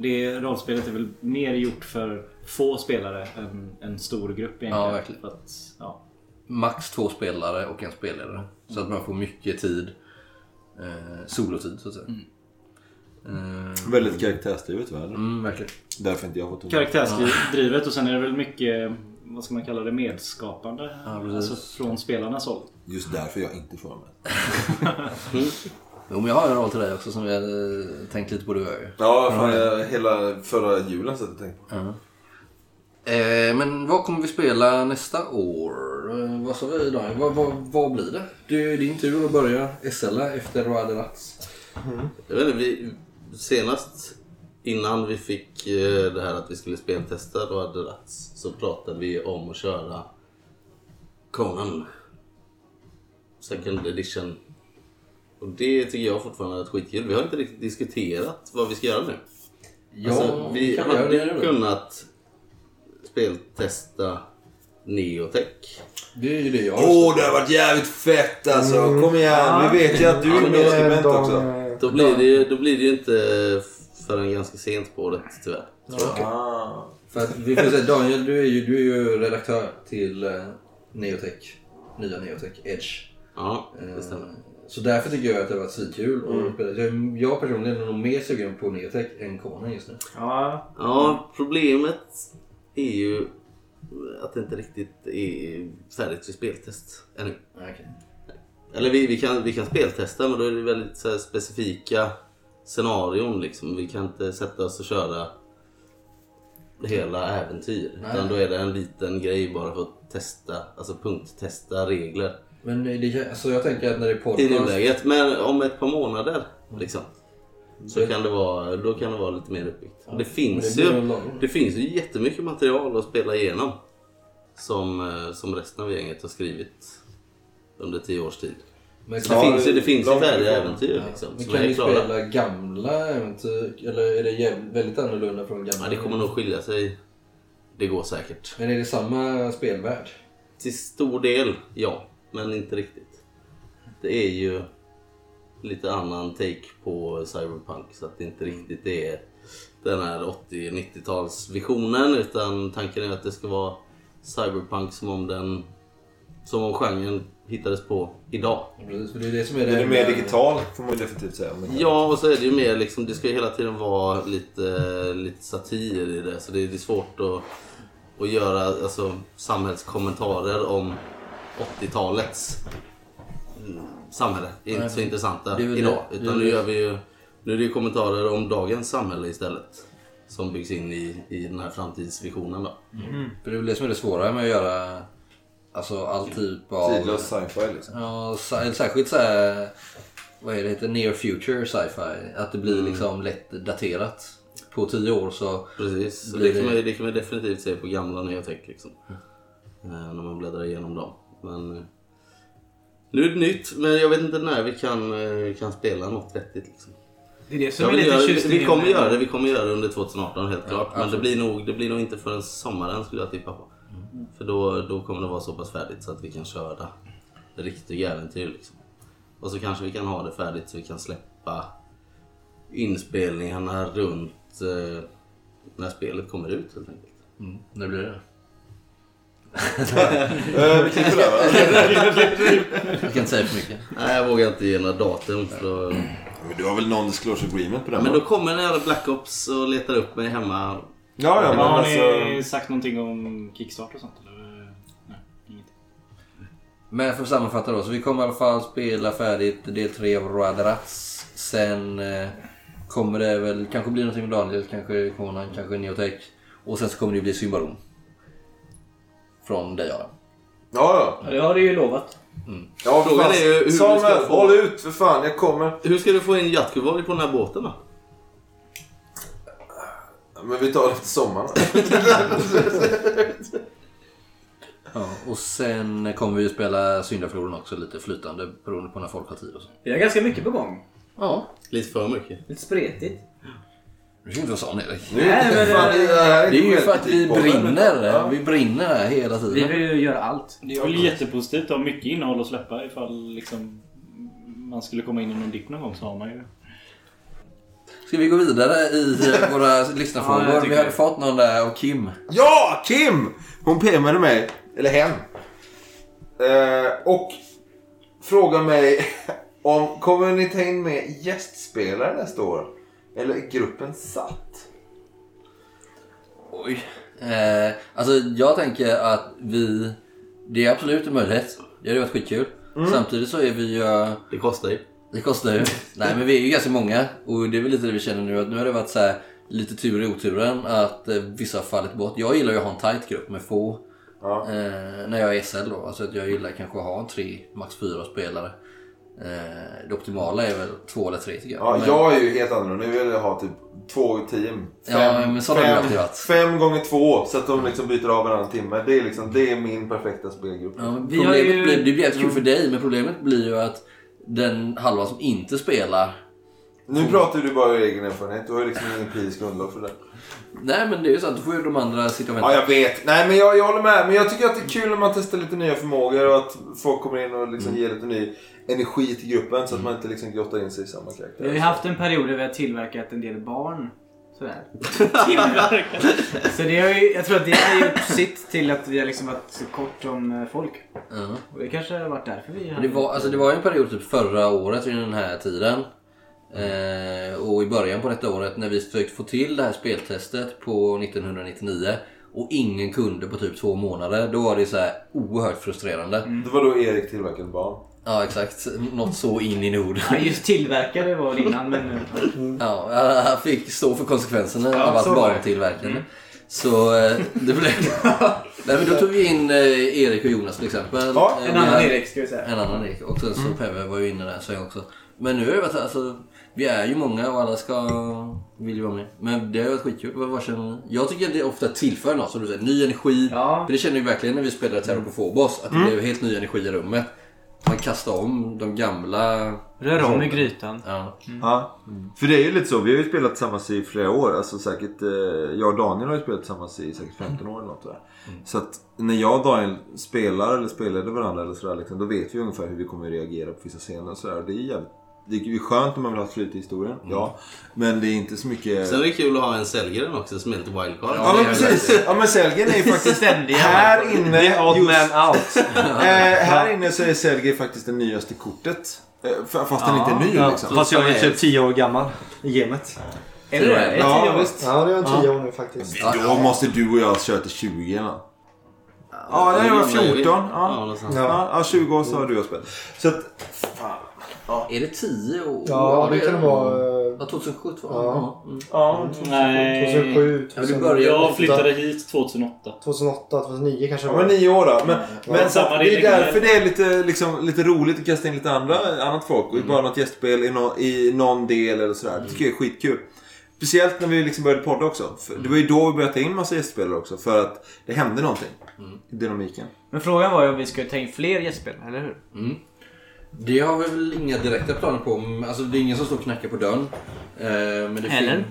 [SPEAKER 4] Det rollspelet är väl mer gjort för få spelare än en stor grupp egentligen.
[SPEAKER 2] Ja, verkligen.
[SPEAKER 4] För Att, ja.
[SPEAKER 2] Max två spelare och en spelledare. Så att man får mycket tid. Eh, solotid så att säga. Eh,
[SPEAKER 1] Väldigt karaktärsdrivet värld.
[SPEAKER 2] mm, verkligen.
[SPEAKER 1] Därför inte jag fått ordet.
[SPEAKER 4] Karaktärsdrivet och sen är det väl mycket, vad ska man kalla det, medskapande.
[SPEAKER 2] Ja, precis.
[SPEAKER 4] alltså från spelarnas håll.
[SPEAKER 1] Just därför jag inte får med.
[SPEAKER 2] Jo, men jag har en roll till dig också som jag eh, tänkt lite på du och jag ju.
[SPEAKER 1] Ja, fan, jag, hela förra julen satt jag tänkte på.
[SPEAKER 2] Eh, men vad kommer vi spela nästa år? Eh, vad sa vi Daniel? Vad, vad, vad blir det? Det är din tur att börja SLA efter Roa de Rats.
[SPEAKER 5] Jag vet inte, vi, senast innan vi fick eh, det här att vi skulle speltesta då hade Rats så pratade vi om att köra Conan Second edition. Och det tycker jag fortfarande är ett skitkul. Vi har inte riktigt diskuterat vad vi ska göra nu.
[SPEAKER 2] Ja,
[SPEAKER 5] alltså, vi
[SPEAKER 2] kan vi göra
[SPEAKER 5] hade
[SPEAKER 2] det nu?
[SPEAKER 5] ju kunnat speltesta Neotech.
[SPEAKER 2] Det är ju det jag har
[SPEAKER 1] Åh, det har varit jävligt fett alltså. Kom igen, vi vet ju att du är med och skribent också.
[SPEAKER 2] Eh,
[SPEAKER 5] Då blir det ju, då blir det ju inte förrän ganska sent på året tyvärr. Tror jag.
[SPEAKER 1] Ah.
[SPEAKER 2] För att vi får säga, Daniel, du är ju, du är ju redaktör till eh, Neotech. Nya Neotech Edge.
[SPEAKER 5] Ja, det
[SPEAKER 2] Eh,
[SPEAKER 5] stämmer.
[SPEAKER 2] Så därför tycker jag att det har varit svinkul. att spela. Jag, jag personligen är nog mer sugen på Neotech än Conan just nu.
[SPEAKER 4] Ja,
[SPEAKER 5] Ja, problemet är ju att det inte riktigt är färdigt för speltest ännu.
[SPEAKER 2] Okej.
[SPEAKER 5] Eller vi, vi, kan, vi kan speltesta men då är det väldigt så här specifika scenarion liksom. Vi kan inte sätta oss och köra hela äventyr.
[SPEAKER 2] Nej.
[SPEAKER 5] Utan då är det en liten grej bara för att testa, alltså punkttesta regler
[SPEAKER 2] Men det, så jag tänker att när det är
[SPEAKER 5] i
[SPEAKER 2] podcast...
[SPEAKER 5] nuläget. Men om ett par månader liksom. Så kan det vara, då kan det vara lite mer uppbyggt. Och Det finns
[SPEAKER 2] Mm. det blir
[SPEAKER 5] ju
[SPEAKER 2] nog lagom.
[SPEAKER 5] det finns ju jättemycket material att spela igenom. Som, eh, som resten av gänget har skrivit under tio års tid.
[SPEAKER 2] Men
[SPEAKER 5] Så det,
[SPEAKER 2] kan,
[SPEAKER 5] finns ju, det finns ju
[SPEAKER 1] långt
[SPEAKER 5] färdiga
[SPEAKER 1] ifrån.
[SPEAKER 5] äventyr
[SPEAKER 2] ja,
[SPEAKER 5] liksom.
[SPEAKER 2] men
[SPEAKER 5] Som
[SPEAKER 2] kan
[SPEAKER 5] är
[SPEAKER 2] ni
[SPEAKER 5] klara.
[SPEAKER 2] spela gamla äventyr? Eller är det jäv- väldigt annorlunda från gamla?
[SPEAKER 5] Ja, det kommer nog skilja sig. Det går säkert.
[SPEAKER 2] Men är det samma spelvärld?
[SPEAKER 5] Till stor del, ja. Men inte riktigt. Det är ju lite annan take på cyberpunk. Så att det inte riktigt är den här 80-90-talsvisionen. Utan tanken är att det ska vara cyberpunk som om den... Som om genren hittades på idag.
[SPEAKER 2] Precis, för det är det som är det...
[SPEAKER 1] Är det mer digital får man ju definitivt säga. Men-
[SPEAKER 5] Ja, och så är det ju mer liksom, det ska ju hela tiden vara lite, lite satir i det. Så det, det är svårt att, att göra alltså, samhällskommentarer om 80-talets mm, samhälle är inte så intressanta
[SPEAKER 2] Det är väl
[SPEAKER 5] idag.
[SPEAKER 2] det.
[SPEAKER 5] Utan
[SPEAKER 2] Det är
[SPEAKER 5] nu
[SPEAKER 2] väl
[SPEAKER 5] gör vi ju nu är det ju kommentarer om dagens samhälle istället. Som byggs in i, i den här framtidsvisionen då.
[SPEAKER 2] För det är väl det som är det svåra med att göra alltså, all typ av...
[SPEAKER 1] Tidlös sci-fi liksom.
[SPEAKER 2] Ja, sä- eller särskilt så här, vad är det heter, near future sci-fi. Att det
[SPEAKER 5] Mm.
[SPEAKER 2] blir liksom lätt daterat. På tio år så...
[SPEAKER 5] Precis, och
[SPEAKER 2] Blir
[SPEAKER 5] det kan,
[SPEAKER 2] det-
[SPEAKER 5] man, ju- det kan man definitivt se på gamla nyhetech liksom. Eh, när man bläddrar igenom dem. Men eh, nu är det nytt, men jag vet inte när vi kan, eh, kan spela något vettigt liksom.
[SPEAKER 3] Det är det som
[SPEAKER 5] Jag
[SPEAKER 3] är
[SPEAKER 5] vill
[SPEAKER 3] lite
[SPEAKER 5] göra, vi,
[SPEAKER 3] tjusningen
[SPEAKER 5] vi kommer
[SPEAKER 3] med-
[SPEAKER 5] göra det, vi kommer göra det under 2018 helt klart. Men det
[SPEAKER 2] absolut.
[SPEAKER 5] blir, nog, det blir nog inte förrän sommaren skulle jag tippa på. För då, då kommer det vara så pass färdigt så att vi kan köra riktiga äventyr liksom. Och så kanske vi kan ha det färdigt så vi kan släppa inspelningarna runt eh, när spelet kommer ut helt enkelt.
[SPEAKER 2] Mm, det blir det.
[SPEAKER 1] Eh, vi klipper där va?
[SPEAKER 2] Jag kan inte säga för mycket.
[SPEAKER 5] Nej, jag vågar inte ge några datum. För då...
[SPEAKER 1] Men du har väl non-disclosure agreement på den
[SPEAKER 5] Men
[SPEAKER 1] va?
[SPEAKER 5] då kommer den jävla Black Ops och letar upp mig hemma.
[SPEAKER 1] Ja, ja, men
[SPEAKER 4] har
[SPEAKER 1] alltså...
[SPEAKER 4] ni sagt någonting om kickstart och sånt? Eller? Nej, inget.
[SPEAKER 2] Men för att sammanfatta då, så vi kommer i alla fall spela färdigt del 3 av Radarats. Sen eh, kommer det väl kanske bli någonting med Daniel, kanske Conan, kanske Neotech. Och sen så kommer det bli Symbarom. Från dig Adam.
[SPEAKER 1] Ja, ja.
[SPEAKER 3] Ja, det har du ju lovat.
[SPEAKER 1] ja för
[SPEAKER 5] Frågan
[SPEAKER 1] fan.
[SPEAKER 5] är ju hur vi ska
[SPEAKER 1] Samuel,
[SPEAKER 5] få-
[SPEAKER 1] håll ut för fan. Jag kommer.
[SPEAKER 5] Hur ska du få in Jatkoborg på den här båten då?
[SPEAKER 1] Men vi tar det efter sommaren.
[SPEAKER 2] Ja, och sen kommer vi ju spela Syndafloden också lite flytande beroende på när folk har tid och så.
[SPEAKER 3] Vi har ganska mycket på gång.
[SPEAKER 2] Ja.
[SPEAKER 5] Lite för mycket.
[SPEAKER 3] Lite spretigt.
[SPEAKER 2] Du ska inte vara sån Erik.
[SPEAKER 1] Nu är det
[SPEAKER 3] men,
[SPEAKER 1] fan, det här är
[SPEAKER 2] eh, Det är ju
[SPEAKER 1] självkritik
[SPEAKER 2] för att vi
[SPEAKER 1] på den.
[SPEAKER 2] brinner.
[SPEAKER 1] Ja.
[SPEAKER 2] Vi brinner här hela
[SPEAKER 3] Vi
[SPEAKER 2] tiden.
[SPEAKER 3] vill ju göra allt.
[SPEAKER 4] Det är väl jättepositivt att ha mycket innehåll att släppa ifall liksom man skulle komma in i någon dipp någon gång så har man ju...
[SPEAKER 2] Ska vi gå vidare i eh, våra lyssnarfrågor?
[SPEAKER 4] Ja, jag tycker
[SPEAKER 2] vi hade
[SPEAKER 4] det.
[SPEAKER 2] fått någon där av Kim.
[SPEAKER 1] Ja, Kim! Hon PMade mig. Eller hen. Eh, och frågar mig om kommer ni ta in med gästspelare nästa år? Eller är gruppen satt?
[SPEAKER 2] Oj. Eh, alltså jag tänker att vi... Det är absolut en möjlighet. Det hade varit skitkul.
[SPEAKER 1] Mm.
[SPEAKER 2] Samtidigt så är vi ju... eh,
[SPEAKER 5] Det kostar ju.
[SPEAKER 2] Det kostar ju. Nej men vi är ju ganska många och det är väl lite det vi känner nu att nu har det varit så här lite tur i oturen att eh, vissa har fallit bort. Jag gillar ju att ha en tight grupp med få.
[SPEAKER 1] Ja.
[SPEAKER 2] Eh, när jag är SL då. Alltså att jag gillar kanske att ha en tre, max fyra spelare. Eh, det optimala är väl två eller tre tycker jag.
[SPEAKER 1] Ja,
[SPEAKER 2] Men-
[SPEAKER 1] jag är ju helt annorlunda. Nu vill jag ha typ två team.
[SPEAKER 2] Ja, men sådana har jag alltid varit.
[SPEAKER 1] fem gånger två så att de liksom byter av varannan timme. Det är, liksom, det är min perfekta spelgrupp.
[SPEAKER 2] Ja, men
[SPEAKER 3] Vi har
[SPEAKER 2] problemet
[SPEAKER 3] ju-
[SPEAKER 2] blir, det blir jättekul för dig men problemet blir ju att den halva som inte spelar
[SPEAKER 1] Nu pratar du bara ur egen erfarenhet. Du har ju liksom ingen empirisk grundlag för det.
[SPEAKER 2] Nej men det är ju så att då får ju de andra sitta och vänta.
[SPEAKER 1] Ja, jag vet. Nej, men jag, jag håller med. Men jag tycker att det är kul när man testar lite nya förmågor och att folk kommer in och liksom ger lite ny energi till gruppen så att man inte liksom grottar in sig i samma karaktär.
[SPEAKER 3] Vi har ju haft en period där vi har tillverkat en del barn. Sådär. Så det har ju, jag tror att det har gjort sitt till att vi har liksom varit så kort om eh, folk.
[SPEAKER 2] Ja.
[SPEAKER 3] Och det kanske har varit därför vi
[SPEAKER 2] Men Det var, alltså det var ju en period typ förra året vid den här tiden. Eh, och i början på detta året när vi försökte få till det här speltestet på 1999 och ingen kunde på typ två månader. Då var det så här oerhört frustrerande.
[SPEAKER 1] Det var då Erik tillverkade barn.
[SPEAKER 2] Ja exakt, något så in i Norden.
[SPEAKER 3] Ja, just tillverkade var det innan men nu...
[SPEAKER 2] Ja, han fick stå för konsekvenserna av
[SPEAKER 3] så
[SPEAKER 2] att
[SPEAKER 3] var det. Mm.
[SPEAKER 2] barntillverkande. Så eh, det blev... Nej, men då tog vi in eh, Erik och Jonas till exempel.
[SPEAKER 1] Ja,
[SPEAKER 2] Eh,
[SPEAKER 3] En
[SPEAKER 2] vi
[SPEAKER 3] annan
[SPEAKER 2] hade-
[SPEAKER 3] Erik Mm. ska vi säga.
[SPEAKER 2] En annan Erik. Och sen så Peve var ju inne där så jag också. Men nu har det varit alltså... Vi är ju många och alla ska... Vill ju vara med. Men det har varit skitkul. Vad- vad känner ni? Jag tycker att det ofta tillför något som du säger. Ny energi.
[SPEAKER 3] Ja. Mm.
[SPEAKER 2] För det känner vi verkligen när vi spelade Terror på Phobos. Att det blev helt ny energi i rummet. Man kastar om de gamla...
[SPEAKER 3] Rör om i grytan.
[SPEAKER 2] Ja.
[SPEAKER 1] Ja. För det är ju lite så. Vi har ju spelat tillsammans i flera år. Alltså säkert, eh, jag och Daniel har ju spelat tillsammans i säkert 15 år eller något där. Så att när jag och Daniel spelar eller spelade varandra eller sådär. Liksom, då vet vi ungefär hur vi kommer reagera på vissa scener och sådär. Och Det är ju jävligt det är ju skönt om man vill ha ett slut i historien. Ja. Men det är inte Mm. så mycket...
[SPEAKER 5] Sen är det kul att ha en säljgren också som är lite wildcard.
[SPEAKER 1] Ja men precis. Ja men Selgren är ju faktiskt
[SPEAKER 3] Ständiga.
[SPEAKER 1] här inne.
[SPEAKER 6] The odd
[SPEAKER 1] just-
[SPEAKER 6] man out.
[SPEAKER 1] eh, här inne så är Selgren faktiskt det nyaste kortet. Eh, f- Fast han inte är ny
[SPEAKER 6] Ja,
[SPEAKER 1] liksom.
[SPEAKER 6] fast jag är typ 10 år gammal i gamet.
[SPEAKER 3] Är det det? Är det tio år?
[SPEAKER 6] Ja, det är jag 10 år nu faktiskt.
[SPEAKER 1] Då måste du och jag köra till 20 eller nåt. Ja, jag var 14.
[SPEAKER 5] Ja,
[SPEAKER 1] Ja.
[SPEAKER 5] någonstans.
[SPEAKER 1] Ja, ja, 20 år så har du har spelat. Så att, fan.
[SPEAKER 2] Är det 10 år?
[SPEAKER 7] Ja, det kan det vara. eh,
[SPEAKER 2] Ja, 2017?
[SPEAKER 7] Ja.
[SPEAKER 2] Mm.
[SPEAKER 1] Ja,
[SPEAKER 4] Nej.
[SPEAKER 7] 2007,
[SPEAKER 2] Ja, du började-
[SPEAKER 7] 2008,
[SPEAKER 4] Jag flyttade hit 2008.
[SPEAKER 7] 2009 kanske det
[SPEAKER 1] jag var
[SPEAKER 7] var.
[SPEAKER 1] nio år då. Men, men så,
[SPEAKER 4] Samma
[SPEAKER 1] det är
[SPEAKER 4] regler.
[SPEAKER 1] därför det är lite, liksom, lite roligt att kasta in lite andra, annat folk. Och bara något gästspel i, nå i någon del eller sådär. Det tycker jag är skitkul. Speciellt när vi liksom började podda också. För det var ju då vi började ta in massa gästspelare också. För att det hände någonting i dynamiken.
[SPEAKER 3] Men frågan var ju om vi skulle ta in fler gästspelare, eller hur?
[SPEAKER 2] Det har vi väl inga direkta planer på. men Alltså, det är ingen som står och knackar på dörren. Eh, Men det
[SPEAKER 3] Eller?
[SPEAKER 2] fin-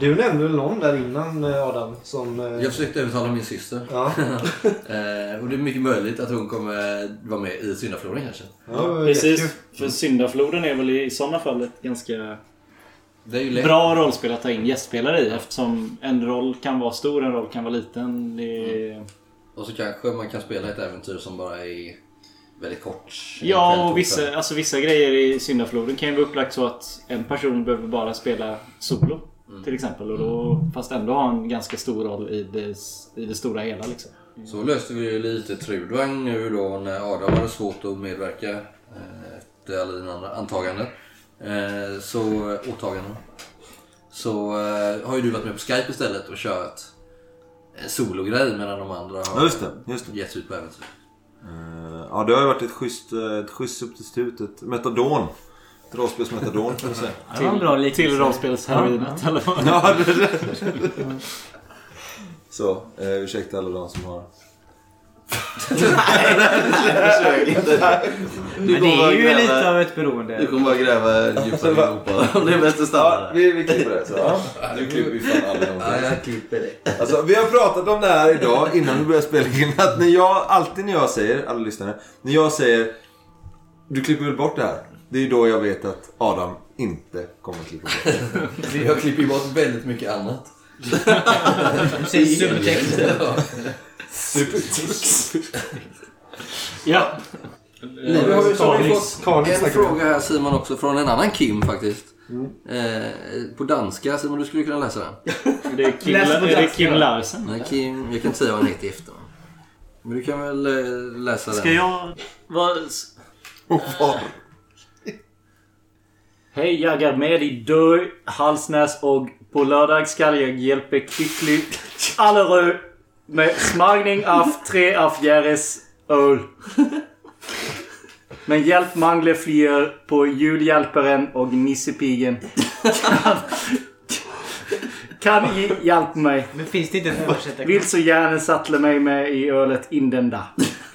[SPEAKER 7] Du nämnde väl någon där innan eh, Adam som... eh,
[SPEAKER 2] Jag försökte övertala min syster.
[SPEAKER 7] Ja,
[SPEAKER 2] Eh, och det är mycket möjligt att hon kommer vara med i Syndafloden kanske.
[SPEAKER 7] ja det var jättekul.
[SPEAKER 4] Precis. För Syndafloden är väl i sådana fall ett ganska
[SPEAKER 2] Det är ju lätt.
[SPEAKER 4] bra rollspel att ta in gästspelare i eftersom en roll kan vara stor, en roll kan vara liten. Det
[SPEAKER 3] Mm.
[SPEAKER 4] är...
[SPEAKER 2] Och så kanske man kan spela ett äventyr som bara är väldigt kort. En kväll,
[SPEAKER 4] Ja,
[SPEAKER 2] två
[SPEAKER 4] och vissa,
[SPEAKER 2] kvällar.
[SPEAKER 4] alltså, vissa grejer i Syndafloden kan ju vara upplagt så att en person behöver bara spela solo.
[SPEAKER 3] Mm.
[SPEAKER 4] Till exempel. Och då, fast ändå ha en ganska stor roll i det, i det stora hela. Liksom.
[SPEAKER 2] Så löste vi ju lite Trudvang nu då när Adam hade svårt att medverka eh, efter alla dina andra antaganden. Eh, Så, åtaganden. Så eh, har ju du varit med på Skype istället och kört en sologrej medan de andra
[SPEAKER 1] Ja,
[SPEAKER 2] har
[SPEAKER 1] just det. Just det.
[SPEAKER 2] gett sig ut på äventyr.
[SPEAKER 1] Eh, Ja, det har ju varit ett schysst, eh, ett schysst substitut. Ett metadon. Ett rollspelsmetadon kan man säga.
[SPEAKER 3] Det var en bra liknelse.
[SPEAKER 4] till rollspelshäroinet. eller vad?
[SPEAKER 1] Ja, det- det- Så, eh, ursäkta alla de som har...
[SPEAKER 5] Försök inte. Du
[SPEAKER 3] Men det är ju lite
[SPEAKER 5] gräva,
[SPEAKER 3] av ett
[SPEAKER 5] du
[SPEAKER 3] beroende.
[SPEAKER 5] kommer bara gräva djupare i gropa. Det är bäst att stanna där.
[SPEAKER 1] vi, vi klipper det. Så, ja. Nu klipper vi fan aldrig någonting.
[SPEAKER 2] jag klipper det.
[SPEAKER 1] Alltså, vi har pratat om det här idag innan vi började spela in. Att när jag, alltid när jag säger, alla lyssnare, när jag säger du klipper väl bort det här. Det är ju då jag vet att Adam inte kommer att klippa bort det.
[SPEAKER 2] Jag klipper ju bort väldigt mycket annat.
[SPEAKER 3] Du säger subtext.
[SPEAKER 4] Ja,
[SPEAKER 2] Vi Eh, har ju så har vi
[SPEAKER 7] Kalix.
[SPEAKER 2] fått
[SPEAKER 7] Kalix
[SPEAKER 2] en
[SPEAKER 7] snackar vi om.
[SPEAKER 2] fråga här Simon också från en annan Kim faktiskt.
[SPEAKER 1] Mm.
[SPEAKER 2] Eh, på danska. Simon du skulle kunna läsa den.
[SPEAKER 4] det är Kim,
[SPEAKER 3] Läs på
[SPEAKER 4] är det
[SPEAKER 3] danska.
[SPEAKER 4] Kim Larsen.
[SPEAKER 2] Nej, Kim, jag kan inte säga vad han heter i efternamn. Men du kan väl eh, läsa
[SPEAKER 4] Ska
[SPEAKER 2] den?
[SPEAKER 4] jag... Vad,
[SPEAKER 1] Och vad-
[SPEAKER 4] Hej, jag är med i Dö, Halsnäs och på lördag ska jag hjälpa Kvickly Allerö med smagning av tre av deras öl. Men hjälp manglar fler på julhjälparen och nissepigen. Kan ni hjälpa mig?
[SPEAKER 3] Men finns det inte en översättare?
[SPEAKER 4] Vill så gärna sattla mig med i ölet indenda.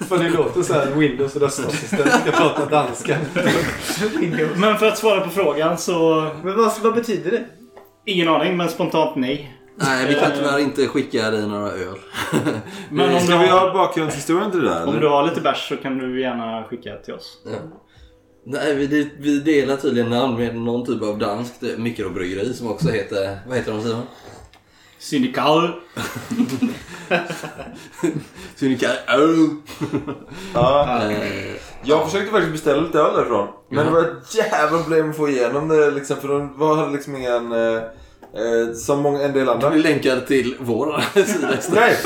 [SPEAKER 7] För det låter så här Windows röstassistent ska prata danska.
[SPEAKER 4] Men för att svara på frågan så...
[SPEAKER 7] Men vad, vad betyder det?
[SPEAKER 4] Ingen aning, men spontant nej.
[SPEAKER 2] Nej, vi kan tyvärr inte skicka dig några öl.
[SPEAKER 4] Men om du
[SPEAKER 1] Ska vi
[SPEAKER 4] har,
[SPEAKER 1] ha bakgrundshistorien till det där?
[SPEAKER 4] om
[SPEAKER 1] eller?
[SPEAKER 4] du har lite bärs så kan du gärna skicka till oss.
[SPEAKER 2] Nej, vi, det- vi delar tydligen namn med någon typ av danskt eh, mikrobryggeri som också heter... Vad heter de Simon?
[SPEAKER 4] Syndikal.
[SPEAKER 2] Synikar Öl.
[SPEAKER 1] Ja.
[SPEAKER 2] Eh,
[SPEAKER 1] Jag försökte faktiskt beställa lite öl därifrån. Men det var ett jävla problem att få igenom det. Liksom, för de var, hade liksom ingen... Eh, eh, som många, en del andra.
[SPEAKER 2] Vi länkar till vår sida istället.
[SPEAKER 1] Nej!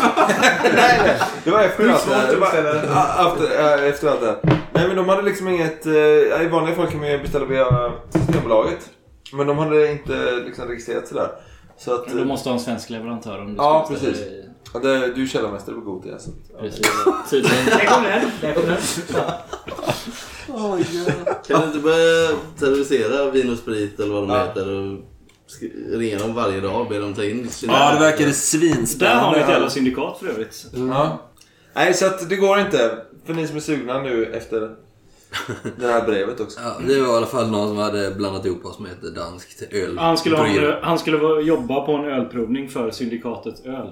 [SPEAKER 1] nej, nej. Det var efter allt det här. Det var- Ja, Efter, äh, efter allt det här. Nej men de hade liksom inget... eh, I vanliga fall kan man ju beställa via Systembolaget. Men de hade inte liksom registrerat sig där. Så att...
[SPEAKER 4] Du måste ha en svensk leverantör om du
[SPEAKER 1] Ja,
[SPEAKER 4] ska beställa
[SPEAKER 1] precis.
[SPEAKER 4] dig.
[SPEAKER 1] eh, det, du är ju källarmästare på Gothia. Så.
[SPEAKER 4] Precis. Tydligen.
[SPEAKER 3] Där kom den! Där kom den.
[SPEAKER 5] Kan du inte börja terrorisera Vin och Sprit eller vad de heter och sk- ringa dem varje dag och be dem ta in sina...
[SPEAKER 4] Där har
[SPEAKER 1] svinspännande.
[SPEAKER 4] ni ett jävla syndikat för övrigt.
[SPEAKER 1] Ja. Nej så att det går inte. För ni som är sugna nu efter det här brevet också.
[SPEAKER 2] Ja, det var i alla fall någon som hade blandat ihop oss med ett danskt öl.
[SPEAKER 4] Han skulle,
[SPEAKER 2] bryggeri.
[SPEAKER 4] ha, han skulle vara- jobba på en ölprovning för syndikatet öl.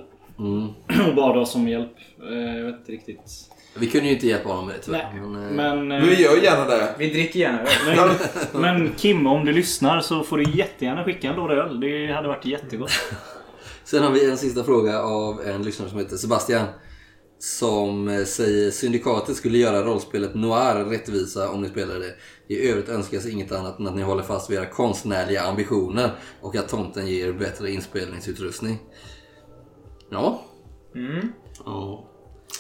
[SPEAKER 4] Och bad oss om hjälp. Eh, Jag vet inte riktigt.
[SPEAKER 2] Vi kunde ju inte hjälpa honom med det tyvärr.
[SPEAKER 4] Nej,
[SPEAKER 2] Men, eh,
[SPEAKER 4] Men, eh,
[SPEAKER 1] Men vi gör gärna det.
[SPEAKER 3] Vi dricker gärna öl.
[SPEAKER 4] men, men Kim, om du lyssnar så får du jättegärna skicka en låda öl. Det hade varit jättegott.
[SPEAKER 2] Sen har vi en sista fråga av en lyssnare som heter Sebastian. Som eh, säger syndikatet skulle göra rollspelet Noir rättvisa om ni spelar det. I övrigt önskas inget annat än att ni håller fast vid era konstnärliga ambitioner och att tomten ger er bättre inspelningsutrustning. Ja,
[SPEAKER 5] Ja.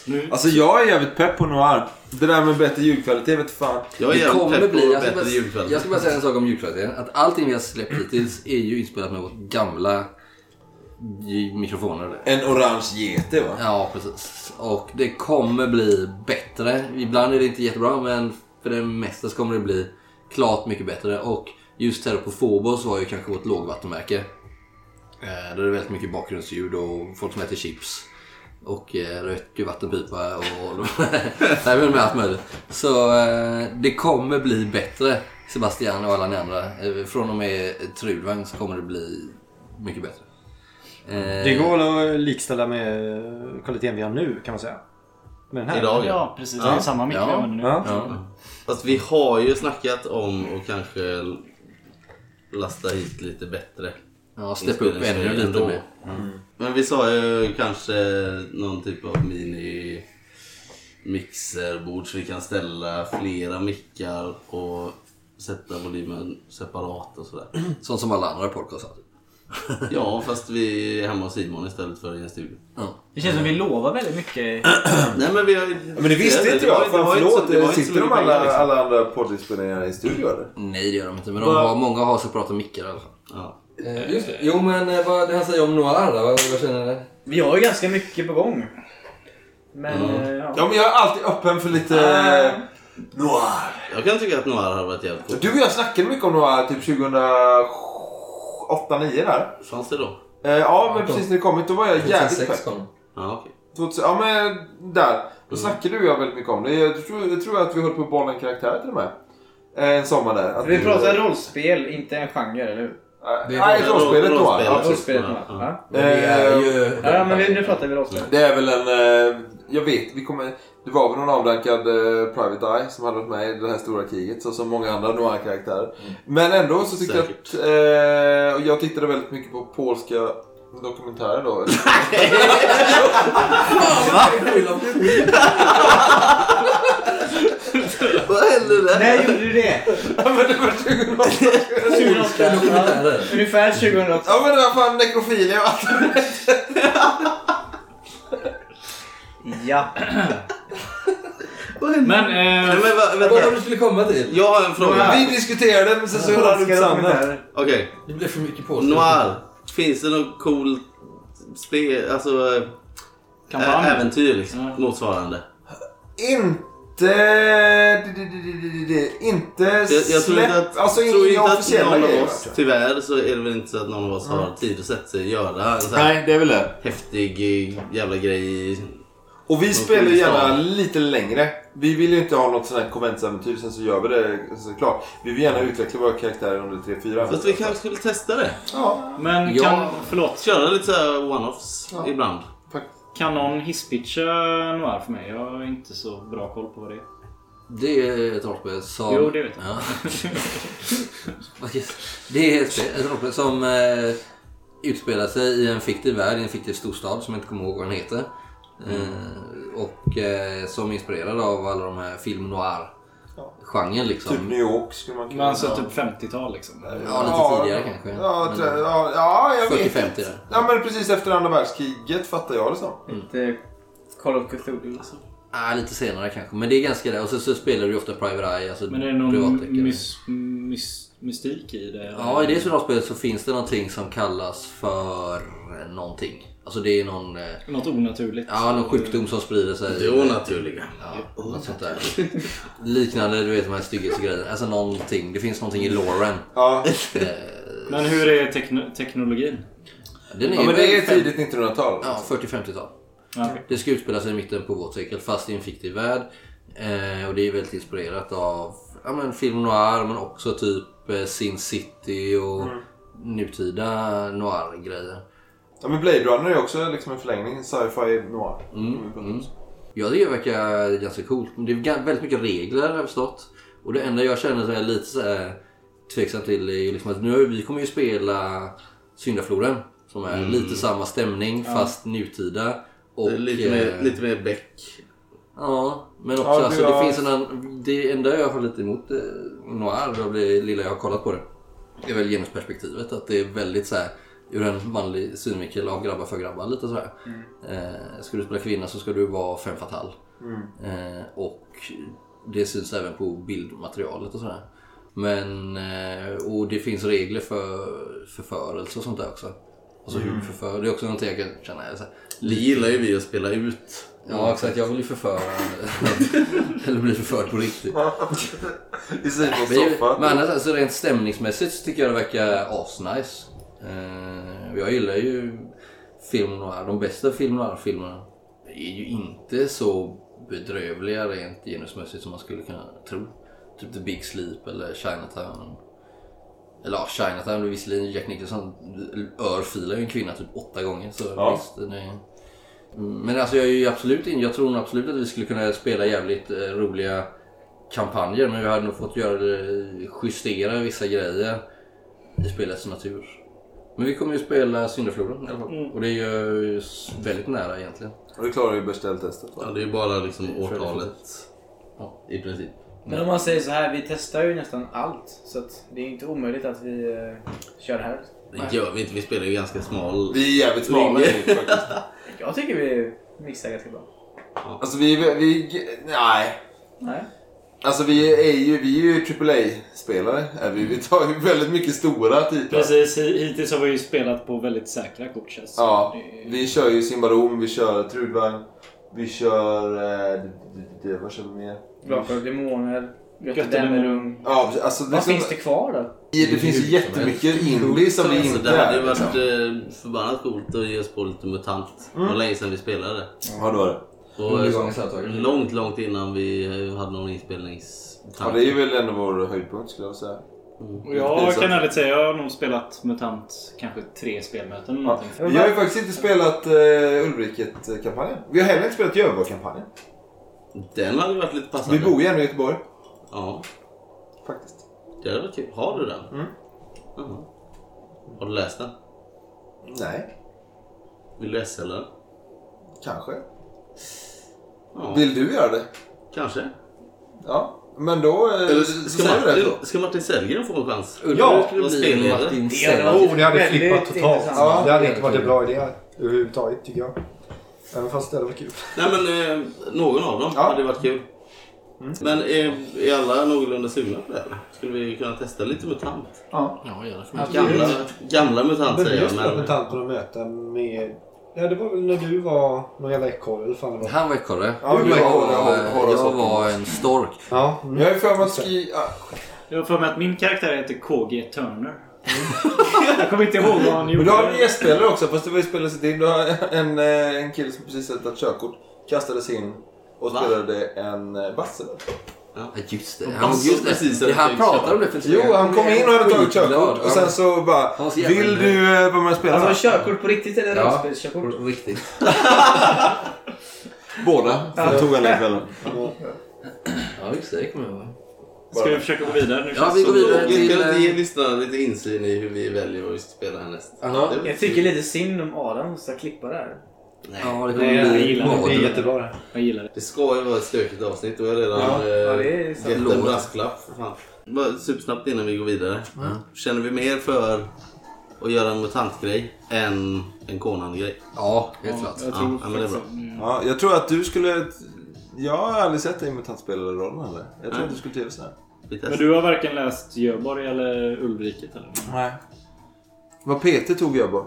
[SPEAKER 4] Nu.
[SPEAKER 1] Alltså jag är jävligt pepp på Noir. Det där med bättre ljudkvalitet vet fan.
[SPEAKER 5] Jag är
[SPEAKER 2] Det
[SPEAKER 5] jävligt
[SPEAKER 2] kommer
[SPEAKER 5] pepp
[SPEAKER 2] bli... alltså,
[SPEAKER 5] på
[SPEAKER 2] Jag ska,
[SPEAKER 5] bättre
[SPEAKER 2] bara,
[SPEAKER 5] julkväll.
[SPEAKER 2] jag ska bara säga en sak om ljudkvaliteten. Att allting vi har släppt hittills är ju inspelat med vårt gamla j- mikrofoner.
[SPEAKER 1] En orange gete va?
[SPEAKER 2] Ja, precis. Och det kommer bli bättre. Ibland är det inte jättebra, men för det mesta så kommer det bli klart mycket bättre. Och just här på Phobos var ju kanske vårt lågvattenmärke. Eh, Där det är väldigt mycket bakgrundsljud och folk som äter chips. Och eh, röker vattenpipa och... Nej, men med allt möjligt. Så eh, det kommer bli bättre, Sebastian och alla ni andra. Eh, Från och med Trudvagn så kommer det bli mycket bättre. Eh,
[SPEAKER 6] Det går väl att likställa med eh, kvaliteten vi har nu kan man säga. Med den här.
[SPEAKER 5] Idag ja.
[SPEAKER 4] Ja, precis. Det är samma mick vi
[SPEAKER 2] Ja.
[SPEAKER 4] använder nu.
[SPEAKER 6] Ja.
[SPEAKER 2] Ja.
[SPEAKER 5] Fast vi har ju snackat om och kanske l- lasta hit lite bättre.
[SPEAKER 2] Ja, steppa upp ännu lite
[SPEAKER 5] Ändå.
[SPEAKER 2] mer.
[SPEAKER 5] Mm. Men vi sa ju kanske någon typ av mini mixerbord så vi kan ställa flera mickar och sätta volymen separat och sådär.
[SPEAKER 2] Sånt som alla andra podcast har.
[SPEAKER 5] Ja, fast vi är hemma hos Simon istället för i en studio.
[SPEAKER 2] Ja.
[SPEAKER 3] Det känns som vi lovar väldigt mycket.
[SPEAKER 5] Nej men vi har ju...
[SPEAKER 1] Men det visste inte jag.
[SPEAKER 5] var- det
[SPEAKER 1] Fan,
[SPEAKER 5] var inte så-
[SPEAKER 1] förlåt.
[SPEAKER 5] det var inte så
[SPEAKER 1] Sitter
[SPEAKER 5] mycket
[SPEAKER 1] de alla,
[SPEAKER 5] pengar, liksom.
[SPEAKER 1] alla andra poddinspelningarna i studio eller?
[SPEAKER 2] Nej, det gör de inte. Men de har, många har separata mickar i alla fall.
[SPEAKER 5] Ja.
[SPEAKER 2] just det. Jo, men eh, vad det han säger om Noir då? Vad, vad känner ni?
[SPEAKER 3] Vi har ju ganska mycket på gång. Men eh, ja.
[SPEAKER 1] Ja men jag är alltid öppen för lite...
[SPEAKER 3] Ah.
[SPEAKER 1] Noir.
[SPEAKER 5] Jag kan tycka att Noir hade varit jävligt coolt.
[SPEAKER 1] Du och jag snackade mycket om Noir typ 2008, 9 där.
[SPEAKER 5] Fanns det då?
[SPEAKER 1] Eh, ja men precis när det kommit då var jag jävligt pepp.
[SPEAKER 2] 2006 kom
[SPEAKER 5] Ja, okej.
[SPEAKER 1] 2000, ja men där.
[SPEAKER 2] Mm.
[SPEAKER 1] Då snackade du och jag väldigt mycket om det. Jag tror, jag tror att vi höll på att bolla en karaktär till och med. Eh, En sommar där. Att
[SPEAKER 3] Vi pratar rollspel, inte en genre, eller hur?
[SPEAKER 1] Eh, Nej, rollspelet då. Eh,
[SPEAKER 5] Rollspelet.
[SPEAKER 1] Ja.
[SPEAKER 5] precis.
[SPEAKER 3] Rollspelet,
[SPEAKER 5] Ja, ja.
[SPEAKER 3] va?
[SPEAKER 2] Det är
[SPEAKER 1] Eh,
[SPEAKER 2] ju...
[SPEAKER 3] Ja, men vi, nu pratar vi rollspel.
[SPEAKER 1] Det är väl en... eh, Jag vet, vi kommer... Det var väl någon avdankad eh, Private Eye som hade varit med i det här stora kriget, så som många andra noir-karaktärer.
[SPEAKER 2] Mm.
[SPEAKER 1] Men ändå så tyckte jag att...
[SPEAKER 5] Säkert.
[SPEAKER 1] Eh, och jag tittade väldigt mycket på polska dokumentärer då.
[SPEAKER 5] Vad hände där?
[SPEAKER 3] När gjorde du det?
[SPEAKER 1] ja men det var 2008.
[SPEAKER 3] 2008. Ja, Ungefär 2008.
[SPEAKER 1] Ja men det var fan nekrofilia och allt.
[SPEAKER 3] Ja.
[SPEAKER 4] Men,
[SPEAKER 5] Nej,
[SPEAKER 4] eh,
[SPEAKER 5] men va,
[SPEAKER 2] Vad var det du
[SPEAKER 5] vänta.
[SPEAKER 2] skulle komma till?
[SPEAKER 5] Jag har en fråga.
[SPEAKER 1] Vi diskuterade men sen så höll han upp sanden.
[SPEAKER 5] Okej.
[SPEAKER 2] Det blev för mycket på
[SPEAKER 5] Noir. Finns det något coolt spel, alltså eh,
[SPEAKER 4] kampanj.
[SPEAKER 5] ä- äventyr liksom,
[SPEAKER 4] Ja.
[SPEAKER 5] motsvarande?
[SPEAKER 1] Inte... det- det- det- det- det- det- Inte
[SPEAKER 5] Jag, jag tror inte
[SPEAKER 1] släpp...
[SPEAKER 5] att,
[SPEAKER 1] Alltså
[SPEAKER 5] tror
[SPEAKER 1] inga
[SPEAKER 5] inte att
[SPEAKER 1] officiella
[SPEAKER 5] någon av
[SPEAKER 1] grejer.
[SPEAKER 5] oss, tyvärr så är det väl inte så att någon av oss har tid att sätta sig och göra en sån här
[SPEAKER 1] Nej, det är väl det.
[SPEAKER 5] häftig eh, jävla grej.
[SPEAKER 1] Och vi spelar
[SPEAKER 5] kommer
[SPEAKER 1] ju
[SPEAKER 5] vi
[SPEAKER 1] gärna
[SPEAKER 5] stava.
[SPEAKER 1] lite längre. Vi vill ju inte ha något sånt här konventsäventyr, sen så gör vi det såklart. Vi vill gärna utveckla våra karaktärer under 3-4.
[SPEAKER 5] Fast vi kanske skulle testa det.
[SPEAKER 1] Ja,
[SPEAKER 4] men
[SPEAKER 2] Ja.
[SPEAKER 4] kan, förlåt,
[SPEAKER 5] Köra lite så här one-offs
[SPEAKER 1] Ja.
[SPEAKER 5] ibland.
[SPEAKER 1] faktiskt.
[SPEAKER 4] kan någon hisspitcha Noir för mig? Jag har inte så bra koll på vad det är.
[SPEAKER 2] Det är ett rollspel som...
[SPEAKER 4] Jo, det vet jag.
[SPEAKER 2] Ja. det är ett spel- ett rollspel som eh, utspelar sig i en fiktiv värld, i en fiktiv storstad som jag inte kommer ihåg vad den heter. Eh, och eh, som är inspirerad av alla de här film noir-genren liksom.
[SPEAKER 1] Typ New York skulle man kunna...
[SPEAKER 4] Men alltså typ 50-tal liksom.
[SPEAKER 2] Ja, lite tidigare kanske.
[SPEAKER 1] Ja,
[SPEAKER 2] Men,
[SPEAKER 1] tre- ja, ja, jag vet.
[SPEAKER 2] 40-50 där.
[SPEAKER 1] Ja, men precis efter andra världskriget fattar jag det som.
[SPEAKER 3] Inte Call of Cthulhu alltså.
[SPEAKER 2] Ah, lite senare kanske, men det är ganska det. Och sen så spelar du ju ofta Private Eye, alltså
[SPEAKER 4] Men är det någon
[SPEAKER 2] privatdeckare.
[SPEAKER 4] mys, mys, mystik i det?
[SPEAKER 2] Ja, i det soldatspelet så finns det någonting som kallas för någonting. Alltså det är någon... eh,
[SPEAKER 4] Något onaturligt?
[SPEAKER 2] Ja, någon sjukdom som sprider sig.
[SPEAKER 5] Det onaturliga.
[SPEAKER 2] Ja, något sånt där. Liknande, du vet de här styggelsegrejerna. Alltså någonting. Det finns någonting i Loren.
[SPEAKER 1] Ja,
[SPEAKER 4] Men hur är tekno- teknologin?
[SPEAKER 2] Den är
[SPEAKER 1] ja men det är
[SPEAKER 2] väl fem-
[SPEAKER 1] tidigt 1900-tal.
[SPEAKER 2] Ja, 40-50-tal.
[SPEAKER 4] Ja, okej.
[SPEAKER 2] Det ska utspela sig i mitten på vårt sekel fast i en fiktiv värld. Eh, och det är väldigt inspirerat av ja, men film noir men också typ eh, Sin City och nutida noir-grejer.
[SPEAKER 1] Ja, men Blade Runner är också liksom en förlängning. en Sci-fi noir. Mm. Mm.
[SPEAKER 2] Jag tycker det verkar ganska coolt. Men det är ga- väldigt mycket regler har jag förstått. Och det enda jag känner som jag är lite så här tveksam till är ju liksom att nu vi kommer ju spela Syndafloden. Som är lite samma stämning fast nutida. Och,
[SPEAKER 5] Mm. Det är lite,
[SPEAKER 2] eh,
[SPEAKER 5] mer, lite mer Beck.
[SPEAKER 2] Ja, men också
[SPEAKER 1] Ja, du
[SPEAKER 2] alltså, det
[SPEAKER 1] har-
[SPEAKER 2] finns en annan... Det enda jag har lite emot eh, Noir, av det lilla jag har kollat på det, är väl genusperspektivet. Att det är väldigt så här ur en manlig synvinkel av grabbar för grabbar lite sådär.
[SPEAKER 1] Mm.
[SPEAKER 2] Eh, ska du spela kvinna så ska du vara fem fatal. Eh, och det syns även på bildmaterialet och sådär. Men, eh, och det finns regler för förförelse och sånt där också. Alltså
[SPEAKER 1] Mm.
[SPEAKER 2] hur förför, det är också någonting jag kan känna. Så här,
[SPEAKER 5] Det gillar ju vi att spela ut.
[SPEAKER 2] ja exakt, jag vill ju förföra. eller bli förförd på riktigt.
[SPEAKER 1] I Simons
[SPEAKER 2] Men, ju-
[SPEAKER 1] soffa.
[SPEAKER 2] men annars, alltså, rent stämningsmässigt så tycker jag det verkar asnice. Eh, och jag gillar ju film noir. De bästa film noir-filmerna är ju inte så bedrövliga rent genusmässigt som man skulle kunna tro. Typ The Big Sleep eller Chinatown. Eller ja, Chinatown, visserligen Jack Nicholson örfilar ju en kvinna typ åtta gånger. Så
[SPEAKER 1] Ja.
[SPEAKER 2] visst, den är... Men alltså jag är ju absolut in, jag tror nog absolut att vi skulle kunna spela jävligt eh, roliga kampanjer men vi hade nog fått göra det, justera vissa grejer i spelets natur. Men vi kommer ju spela Syndafloden i alla fall. Och det är ju s- väldigt nära egentligen.
[SPEAKER 1] Och du klarar ju beställtestet va?
[SPEAKER 5] Ja, det är ju bara liksom årtalet.
[SPEAKER 2] Ja.
[SPEAKER 5] I princip.
[SPEAKER 3] Men om man säger så här, vi testar ju nästan allt. Så att det är inte omöjligt att vi eh, kör det här.
[SPEAKER 5] Det gör vi inte, vi spelar ju ganska smal.
[SPEAKER 1] Vi är jävligt smala nu faktiskt.
[SPEAKER 3] Jag tycker vi mixar ganska bra.
[SPEAKER 1] Alltså vi, vi, nej.
[SPEAKER 3] Nej.
[SPEAKER 1] Alltså vi är ju, vi är ju AAA-spelare. är Vi, vi tar ju väldigt mycket stora titlar.
[SPEAKER 4] Precis, hi- hittills har vi ju spelat på väldigt säkra kort känns det
[SPEAKER 1] Ja,
[SPEAKER 4] som. Det är-
[SPEAKER 1] vi kör ju Simbarom, vi kör Trudvagn, vi kör... eh, d- d- d- Vad kör vi mer?
[SPEAKER 3] Glasögon, demoner,
[SPEAKER 4] Göttedemorum.
[SPEAKER 3] Göttedemorum.
[SPEAKER 1] Ja, precis. alltså, det,
[SPEAKER 3] Vad
[SPEAKER 1] som,
[SPEAKER 3] finns det kvar då?
[SPEAKER 1] det, finns ju jättemycket indie som vi
[SPEAKER 5] Alltså,
[SPEAKER 1] inte
[SPEAKER 5] det hade ju
[SPEAKER 1] är. liksom.
[SPEAKER 5] varit eh, förbannat coolt att ge oss på lite MUTANT.
[SPEAKER 1] Mm.
[SPEAKER 5] Det var länge sedan vi spelade.
[SPEAKER 1] Ja, det var det.
[SPEAKER 5] Och,
[SPEAKER 2] Under
[SPEAKER 5] eh,
[SPEAKER 2] gången så här taget.
[SPEAKER 5] långt, långt innan vi eh, hade någon inspelnings...
[SPEAKER 1] Ja, det är ju väl ändå vår höjdpunkt skulle jag säga.
[SPEAKER 4] Och jag kan ärligt säga jag har nog spelat MUTANT kanske tre spelmöten eller någonting.
[SPEAKER 1] Vi har ju faktiskt inte spelat uh, Ulriket-kampanjen. Vi har heller inte spelat Göteborg-kampanjen.
[SPEAKER 5] Den hade varit lite passande.
[SPEAKER 1] Vi bor ju ändå i Göteborg,
[SPEAKER 5] Ja,
[SPEAKER 1] faktiskt.
[SPEAKER 5] det hade varit kul. Har du den?
[SPEAKER 1] Mm.
[SPEAKER 5] Jaha. Har du läst den?
[SPEAKER 1] Nej,
[SPEAKER 5] Vill du SL den?
[SPEAKER 1] kanske.
[SPEAKER 5] Ja,
[SPEAKER 1] Vill du göra det?
[SPEAKER 5] kanske.
[SPEAKER 1] Ja, men då... eh,
[SPEAKER 5] Eller
[SPEAKER 1] så
[SPEAKER 5] ska,
[SPEAKER 1] säger vi det då.
[SPEAKER 5] Martin, ska Martin Sellgren få en chans?
[SPEAKER 2] Undrar hur det
[SPEAKER 5] vad
[SPEAKER 2] skulle
[SPEAKER 5] spelar
[SPEAKER 2] bli
[SPEAKER 5] det?
[SPEAKER 2] om Martin
[SPEAKER 3] Ja,
[SPEAKER 2] Sellgren...
[SPEAKER 6] Jo, det hade
[SPEAKER 3] Väldigt
[SPEAKER 6] flippat totalt.
[SPEAKER 3] intressant.
[SPEAKER 1] Ja,
[SPEAKER 6] det hade inte varit en bra idé överhuvudtaget tycker jag. Även fast det hade varit kul.
[SPEAKER 5] Nej men eh, någon av dem
[SPEAKER 1] Ja.
[SPEAKER 5] hade varit kul.
[SPEAKER 2] Mm.
[SPEAKER 5] Men är, är alla någorlunda sugna på det? här? Skulle vi kunna testa lite MUTANT?
[SPEAKER 2] Ja, gärna för
[SPEAKER 6] Alltså,
[SPEAKER 5] Gamla, gamla MUTANT
[SPEAKER 6] Men
[SPEAKER 5] säger
[SPEAKER 6] vi
[SPEAKER 5] jag.
[SPEAKER 6] spelat
[SPEAKER 5] Men,
[SPEAKER 6] MUTANT på något möte med... Ja, det var väl när du var någon jävla ekorre eller fan det var.
[SPEAKER 2] Han var ekorre.
[SPEAKER 1] Ja, du var ekorre,
[SPEAKER 2] Jag,
[SPEAKER 1] Horace
[SPEAKER 2] jag
[SPEAKER 1] Hoffman.
[SPEAKER 2] var en stork.
[SPEAKER 6] Ja, mm.
[SPEAKER 1] Jag har ju för mig att skri... ah,
[SPEAKER 4] Jag har för mig att min karaktär heter KG Turner. jag kommer inte ihåg vad han
[SPEAKER 1] Men
[SPEAKER 4] gjorde.
[SPEAKER 1] du har en gästspelare också, fast det var ju spelare sitt in. Du har en, eh, en kille som precis hade tagit körkort, kastades in och
[SPEAKER 5] Va?
[SPEAKER 1] spelade en eh, basse. där.
[SPEAKER 2] Ja, just det.
[SPEAKER 5] Han
[SPEAKER 2] Han,
[SPEAKER 5] såg
[SPEAKER 2] just
[SPEAKER 5] precis
[SPEAKER 2] det.
[SPEAKER 5] hur
[SPEAKER 2] det. Han
[SPEAKER 5] det
[SPEAKER 2] pratade
[SPEAKER 5] var.
[SPEAKER 2] om det för
[SPEAKER 1] Jo, han kom in och hade tagit
[SPEAKER 2] Skitglad.
[SPEAKER 1] körkort och sen så
[SPEAKER 2] Han
[SPEAKER 1] bara...
[SPEAKER 2] var så jävla
[SPEAKER 1] Vill
[SPEAKER 2] nöjd."
[SPEAKER 1] du eh, vara med och spela?
[SPEAKER 3] Alltså körkort på riktigt eller
[SPEAKER 2] Ja.
[SPEAKER 3] rollspelskörkort?
[SPEAKER 2] På Riktigt.
[SPEAKER 1] Båda. Så tog han den kvällen.
[SPEAKER 2] Ja, just det. Det kommer jag ihåg.
[SPEAKER 4] Ska vi försöka gå vidare nu?
[SPEAKER 2] Ja, vi går vidare
[SPEAKER 5] vi
[SPEAKER 2] till...
[SPEAKER 5] ska ge
[SPEAKER 2] eh,
[SPEAKER 5] lyssnarna lite insyn i hur vi väljer vad vi ska spela härnäst.
[SPEAKER 2] Jaha.
[SPEAKER 5] Det-
[SPEAKER 3] Jag tycker lite synd om Adam som ska klippa det här.
[SPEAKER 2] Ja, det
[SPEAKER 4] Nej,
[SPEAKER 2] kommer
[SPEAKER 4] jag
[SPEAKER 2] bli...
[SPEAKER 4] gillar det.
[SPEAKER 6] Mm. Det är
[SPEAKER 2] badrum.
[SPEAKER 6] jättebra det.
[SPEAKER 4] Jag gillar det.
[SPEAKER 5] Det ska ju vara ett stökigt avsnitt. Du har redan
[SPEAKER 6] Ja,
[SPEAKER 5] eh,
[SPEAKER 3] ja, det är sant.
[SPEAKER 5] gett en
[SPEAKER 2] Lovat.
[SPEAKER 5] brasklapp. för fan. Bara Supersnabbt innan vi går vidare. Känner vi mer för att göra en mutantgrej än en Conan-grej?
[SPEAKER 2] Ja, helt klart.
[SPEAKER 4] Jag
[SPEAKER 5] Ja,
[SPEAKER 4] tror
[SPEAKER 5] men det är bra.
[SPEAKER 1] Ja, jag tror att du skulle... Jag har aldrig sett dig i mutantspelare-rollen heller. Jag tror att du skulle trivas där.
[SPEAKER 5] Vi
[SPEAKER 4] Men
[SPEAKER 5] testar.
[SPEAKER 4] du har varken läst Göteborg eller Ulriket eller?
[SPEAKER 1] Nej. Vad Peter tog jag bara.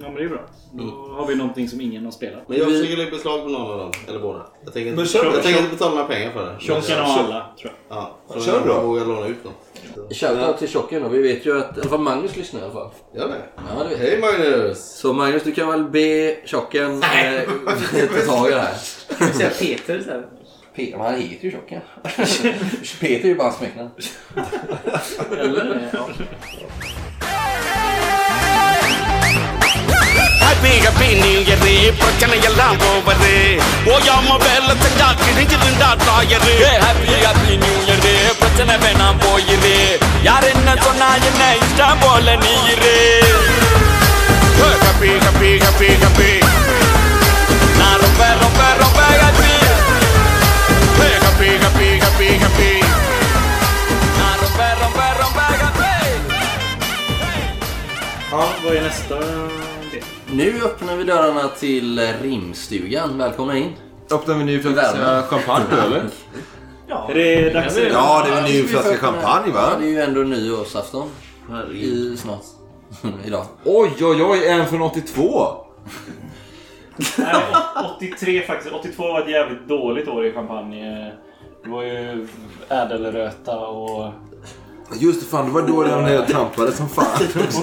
[SPEAKER 4] Ja men det är bra.
[SPEAKER 5] Mm.
[SPEAKER 4] Då har vi någonting som ingen har spelat.
[SPEAKER 5] Men jag försöker lägga beslag på någon av dem. Eller båda. Jag tänker
[SPEAKER 1] Men
[SPEAKER 5] inte,
[SPEAKER 1] kör,
[SPEAKER 5] jag
[SPEAKER 1] kör.
[SPEAKER 5] tänker inte betala några pengar för det.
[SPEAKER 4] Tjocken har alla tror jag.
[SPEAKER 5] Ja,
[SPEAKER 1] Kör
[SPEAKER 5] då.
[SPEAKER 1] då.
[SPEAKER 5] Jag vågar låna ut något.
[SPEAKER 2] Shoutout till Tjocken då. Vi vet ju att... I alla fall Magnus lyssnar i alla fall.
[SPEAKER 5] Gör det.
[SPEAKER 2] Ja, det vet jag.
[SPEAKER 5] Hej Magnus!
[SPEAKER 2] Så Magnus, du kan väl be Tjocken eh, ta tag i det här.
[SPEAKER 3] Jag vill säga Peter så här.
[SPEAKER 2] Peter, han heter ju Tjocken. Peter är ju bara hans smeknamn.
[SPEAKER 4] Eller? Ja.
[SPEAKER 8] அதிக பின்னியது பிரச்சனை எல்லாம் போவது ஓயாம வேலை செஞ்சா கிழிஞ்சிருந்தா தாயது ஹாப்பி ஹாப்பி நியூ இயர் பிரச்சனை வேணாம் போயிரு யார் என்ன சொன்னா என்ன இஷ்டம் போல நீ இரு ஹப்பி ஹப்பி ஹப்பி ஹப்பி நான் ரொம்ப ரொம்ப ரொம்ப happy happy happy happy happy நான் ரொம்ப ரொம்ப ரொம்ப happy
[SPEAKER 1] Ja,
[SPEAKER 4] Ja, vad är nästa del?
[SPEAKER 2] Nu öppnar vi dörrarna till eh, rimstugan. Välkomna in.
[SPEAKER 1] Öppnar vi nu för
[SPEAKER 2] Värme.
[SPEAKER 1] champagne då, eller?
[SPEAKER 4] Är det dags?
[SPEAKER 1] Ja, det är väl
[SPEAKER 2] Ja,
[SPEAKER 1] ny
[SPEAKER 2] vi får
[SPEAKER 1] flaska
[SPEAKER 2] öppna-
[SPEAKER 1] champagne
[SPEAKER 2] Ja,
[SPEAKER 1] va?
[SPEAKER 2] det är ju ändå nyårsafton.
[SPEAKER 5] Herregud.
[SPEAKER 2] I, snart. Idag.
[SPEAKER 1] Oj, oj, oj, en från 82!
[SPEAKER 4] Nej, 83 faktiskt. 82 var ett jävligt dåligt år i champagne. Det var ju ädelröta och...
[SPEAKER 1] Just det, fan det var då jag när jag trampade som fan.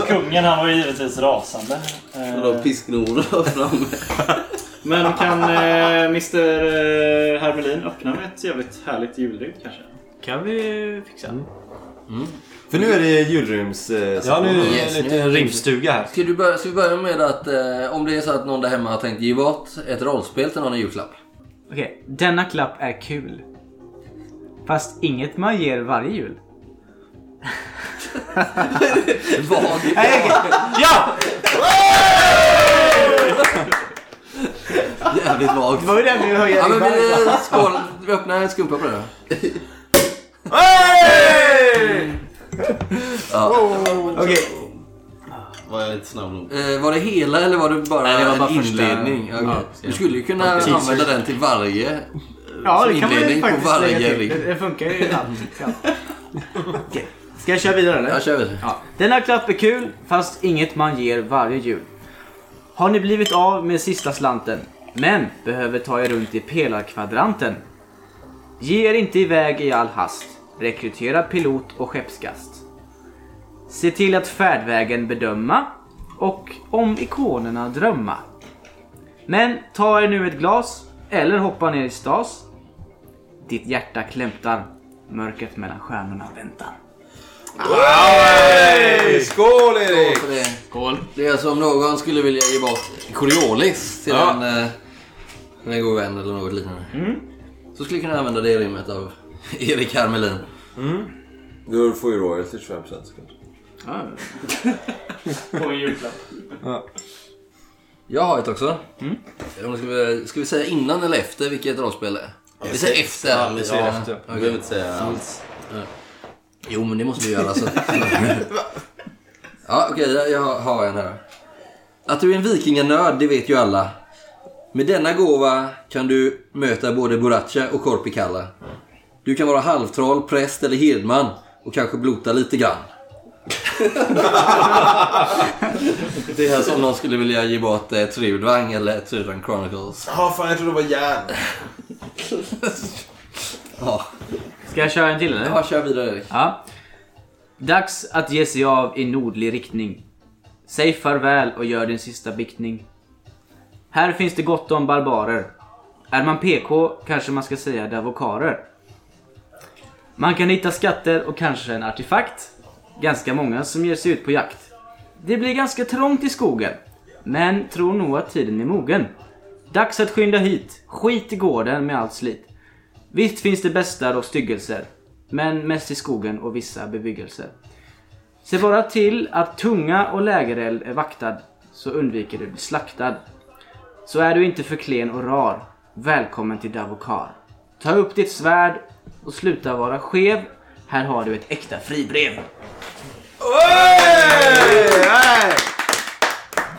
[SPEAKER 4] Och kungen han var ju givetvis rasande. Eh,
[SPEAKER 5] Och då pisknoder framme.
[SPEAKER 4] Men kan eh, Mr eh, Hermelin öppna med ett jävligt härligt juldryck kanske?
[SPEAKER 9] kan vi fixa.
[SPEAKER 6] Mm.
[SPEAKER 1] För nu är det julryms... Eh,
[SPEAKER 10] Ja, nu är
[SPEAKER 2] Yes,
[SPEAKER 10] det en
[SPEAKER 2] nu är
[SPEAKER 10] liten
[SPEAKER 2] det-
[SPEAKER 10] rimstuga här.
[SPEAKER 2] Ska, du börja, ska vi börja med att eh, om det är så att någon där hemma har tänkt ge bort ett rollspel till någon i julklapp.
[SPEAKER 9] Okej, denna klapp är kul. Fast inget man ger varje jul.
[SPEAKER 2] Vad?
[SPEAKER 9] Ja!
[SPEAKER 2] Jävligt vagt.
[SPEAKER 9] Det var ju den vi höjde
[SPEAKER 2] Ja, men
[SPEAKER 9] ribban.
[SPEAKER 2] vi, eh, skål. vi öppnar en skumpa på det då.
[SPEAKER 9] Okej,
[SPEAKER 5] Var jag lite snabb nog?
[SPEAKER 2] Eh, var det hela eller var det bara,
[SPEAKER 5] Nej, det var bara
[SPEAKER 2] en
[SPEAKER 5] första-
[SPEAKER 2] inledning? Okej.
[SPEAKER 5] Ja.
[SPEAKER 2] du skulle ju kunna använda den till varje eh,
[SPEAKER 9] ja
[SPEAKER 2] som
[SPEAKER 9] det kan man ju
[SPEAKER 2] inledning på
[SPEAKER 9] faktiskt lägga
[SPEAKER 2] varje
[SPEAKER 9] till.
[SPEAKER 2] ring.
[SPEAKER 9] Det, det funkar ju ibland. Ja. Okej, Ska jag köra vidare eller?
[SPEAKER 2] Jag kör väl.
[SPEAKER 9] Ja. Denna klapp är kul, fast inget man ger varje jul. Har ni blivit av med sista slanten, men behöver ta er runt i pelarkvadranten? Ge er inte iväg i all hast. Rekrytera pilot och skeppskast. Se till att färdvägen bedöma och om ikonerna drömma. Men ta er nu ett glas eller hoppa ner i stas. Ditt hjärta klämtar. Mörkret mellan stjärnorna väntar.
[SPEAKER 1] Skål Erik!
[SPEAKER 2] För det. det är som om någon skulle vilja ge bort Coriolis till en, eh, en god vän eller något liknande.
[SPEAKER 9] Mm.
[SPEAKER 2] Så skulle jag kunna använda det i rimmet av Erik Hermelin.
[SPEAKER 1] Du får ju royalty 25% kanske.
[SPEAKER 4] På en julklapp.
[SPEAKER 2] Jag har ett också. Om vi Ska, vi, ska vi säga innan eller efter vilket rollspel det är? Vi säger efter.
[SPEAKER 5] Ja, vi säger
[SPEAKER 2] Ja,
[SPEAKER 5] efter.
[SPEAKER 2] okej.
[SPEAKER 5] Jag behöver inte säga alls.
[SPEAKER 2] Jo, men det måste vi göra. alltså. Så. ja, okej, jag, jag har en här. Att du är en vikinganörd, det vet ju alla. Med denna gåva kan du möta både Boracha och Korpikalla. Du kan vara halvtroll, präst eller herdman och kanske blota lite grann. det är som någon skulle vilja ge bort eh, Trudvang eller Trudvang Chronicles.
[SPEAKER 1] Ja, fan jag trodde det var järn.
[SPEAKER 2] Ja,
[SPEAKER 9] Ska jag köra en till eller?
[SPEAKER 2] ja kör vidare Erik.
[SPEAKER 9] Ja. Dags att ge sig av i nordlig riktning. Säg farväl och gör din sista biktning. Här finns det gott om barbarer. Är man PK kanske man ska säga davokarer. Man kan hitta skatter och kanske en artefakt. Ganska många som ger sig ut på jakt. Det blir ganska trångt i skogen. Men tror nog att tiden är mogen. Dags att skynda hit. Skit i gården med allt slit. Visst finns det bästar och styggelser, men mest i skogen och vissa bebyggelser. Se bara till att tunga och lägereld är vaktad, så undviker du att bli slaktad. Så är du inte för klen och rar, välkommen till Davokar. Ta upp ditt svärd och sluta vara skev, här har du ett äkta fribrev.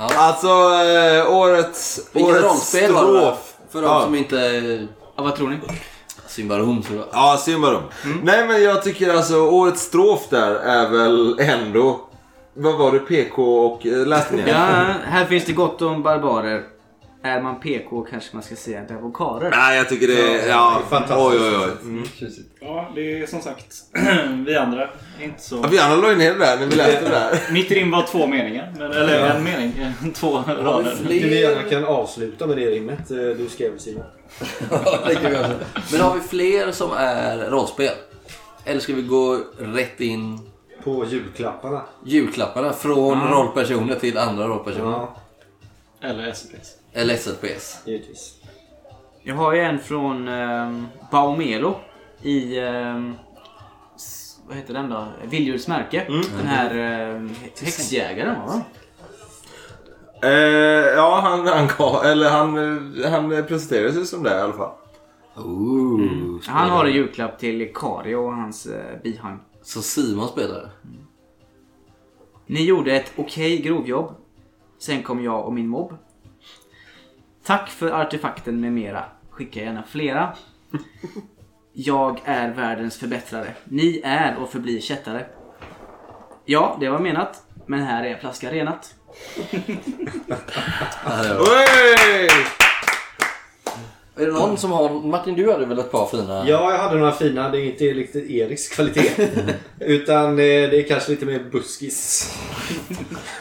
[SPEAKER 1] Alltså, eh, årets,
[SPEAKER 2] Vilket
[SPEAKER 1] årets
[SPEAKER 2] rollspel var det? va?
[SPEAKER 1] strof.
[SPEAKER 2] För de
[SPEAKER 1] Ja.
[SPEAKER 2] som inte...
[SPEAKER 9] Ja, vad tror ni?
[SPEAKER 2] Symbarom tror jag.
[SPEAKER 1] Ja, Symbarum.
[SPEAKER 2] Mm.
[SPEAKER 1] Nej men jag tycker alltså årets strof där är väl ändå... Vad var det? PK och... eh, Läste ni?
[SPEAKER 9] Ja, här finns det gott om barbarer. Är man PK kanske man ska säga davokarer.
[SPEAKER 1] Nej jag tycker det är... Ja, oj oj oj. Mm.
[SPEAKER 4] Ja, det är som sagt vi andra. är Inte så...
[SPEAKER 1] Ja, vi andra la ju ner det där när vi läste det där.
[SPEAKER 4] Mitt rim var två meningar. Men, eller en mening. Två rader.
[SPEAKER 6] Du vi gärna kan avsluta med det rimmet eh, du skrev Simon.
[SPEAKER 2] Ja, det kan vi göra. Men har vi fler som är rollspel? Eller ska vi gå rätt in
[SPEAKER 6] På julklapparna.
[SPEAKER 2] julklapparna från rollpersoner till andra rollpersoner?
[SPEAKER 6] Ja,
[SPEAKER 4] Eller SPs.
[SPEAKER 2] Eller SLPS?
[SPEAKER 6] givetvis.
[SPEAKER 9] Jag har ju en från ehm, Baumelo i... ehm, s- vad heter den då? Viljurs märke. Den här um, häxjägaren va?
[SPEAKER 1] Eh, ja, han, han, gav- eller han, eh, han presenterade sig som det i alla fall.
[SPEAKER 2] Ooh,
[SPEAKER 9] Han
[SPEAKER 2] spännande.
[SPEAKER 9] har en julklapp till Kari och hans eh, bihang.
[SPEAKER 2] Så Simon spelar?
[SPEAKER 9] Ni gjorde ett okej grovjobb. Sen kom jag och min mobb. Tack för artefakten med mera. Skicka gärna flera. Jag är världens förbättrare. Ni är och förblir kättare. Ja, det var menat. Men här är flaska renat.
[SPEAKER 1] Oj!
[SPEAKER 2] Är det någon som har... Martin, du hade väl ett par fina...
[SPEAKER 7] Ja, jag hade några fina. Det är inte riktigt Eriks kvalitet. utan eh, det är kanske lite mer buskis.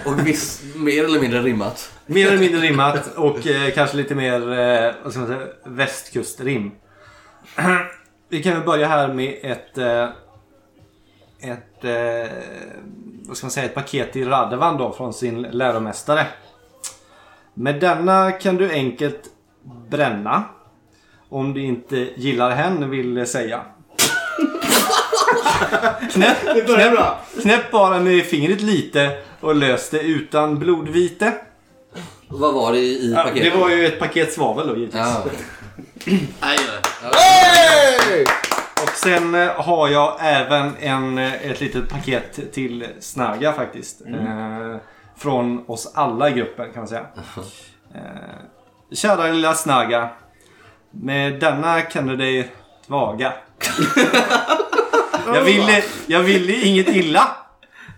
[SPEAKER 2] Och viss, mer eller mindre rimmat.
[SPEAKER 6] Mer eller mindre rimmat och eh, kanske lite mer eh, vad ska man säga, västkustrim. Vi kan väl börja här med ett... Eh, ett... Eh, vad ska man säga? Ett paket till Radovan då från sin läromästare. Med denna kan du enkelt bränna. Om du inte gillar hen vill säga. knäpp, knäpp, knäpp bara med fingret lite och lös det utan blodvite.
[SPEAKER 2] Vad var det i i
[SPEAKER 7] Ja, det
[SPEAKER 2] paketet?
[SPEAKER 7] var ju ett paket svavel då givetvis.
[SPEAKER 2] Ja.
[SPEAKER 5] Nej, nej.
[SPEAKER 6] Och sen eh, har jag även en, eh, ett litet paket till Snaga faktiskt.
[SPEAKER 2] Mm.
[SPEAKER 6] Eh, från oss alla i gruppen kan man säga. Eh, kära lilla Snaga. Med denna kan du dig vaga. jag, ville, jag ville inget illa.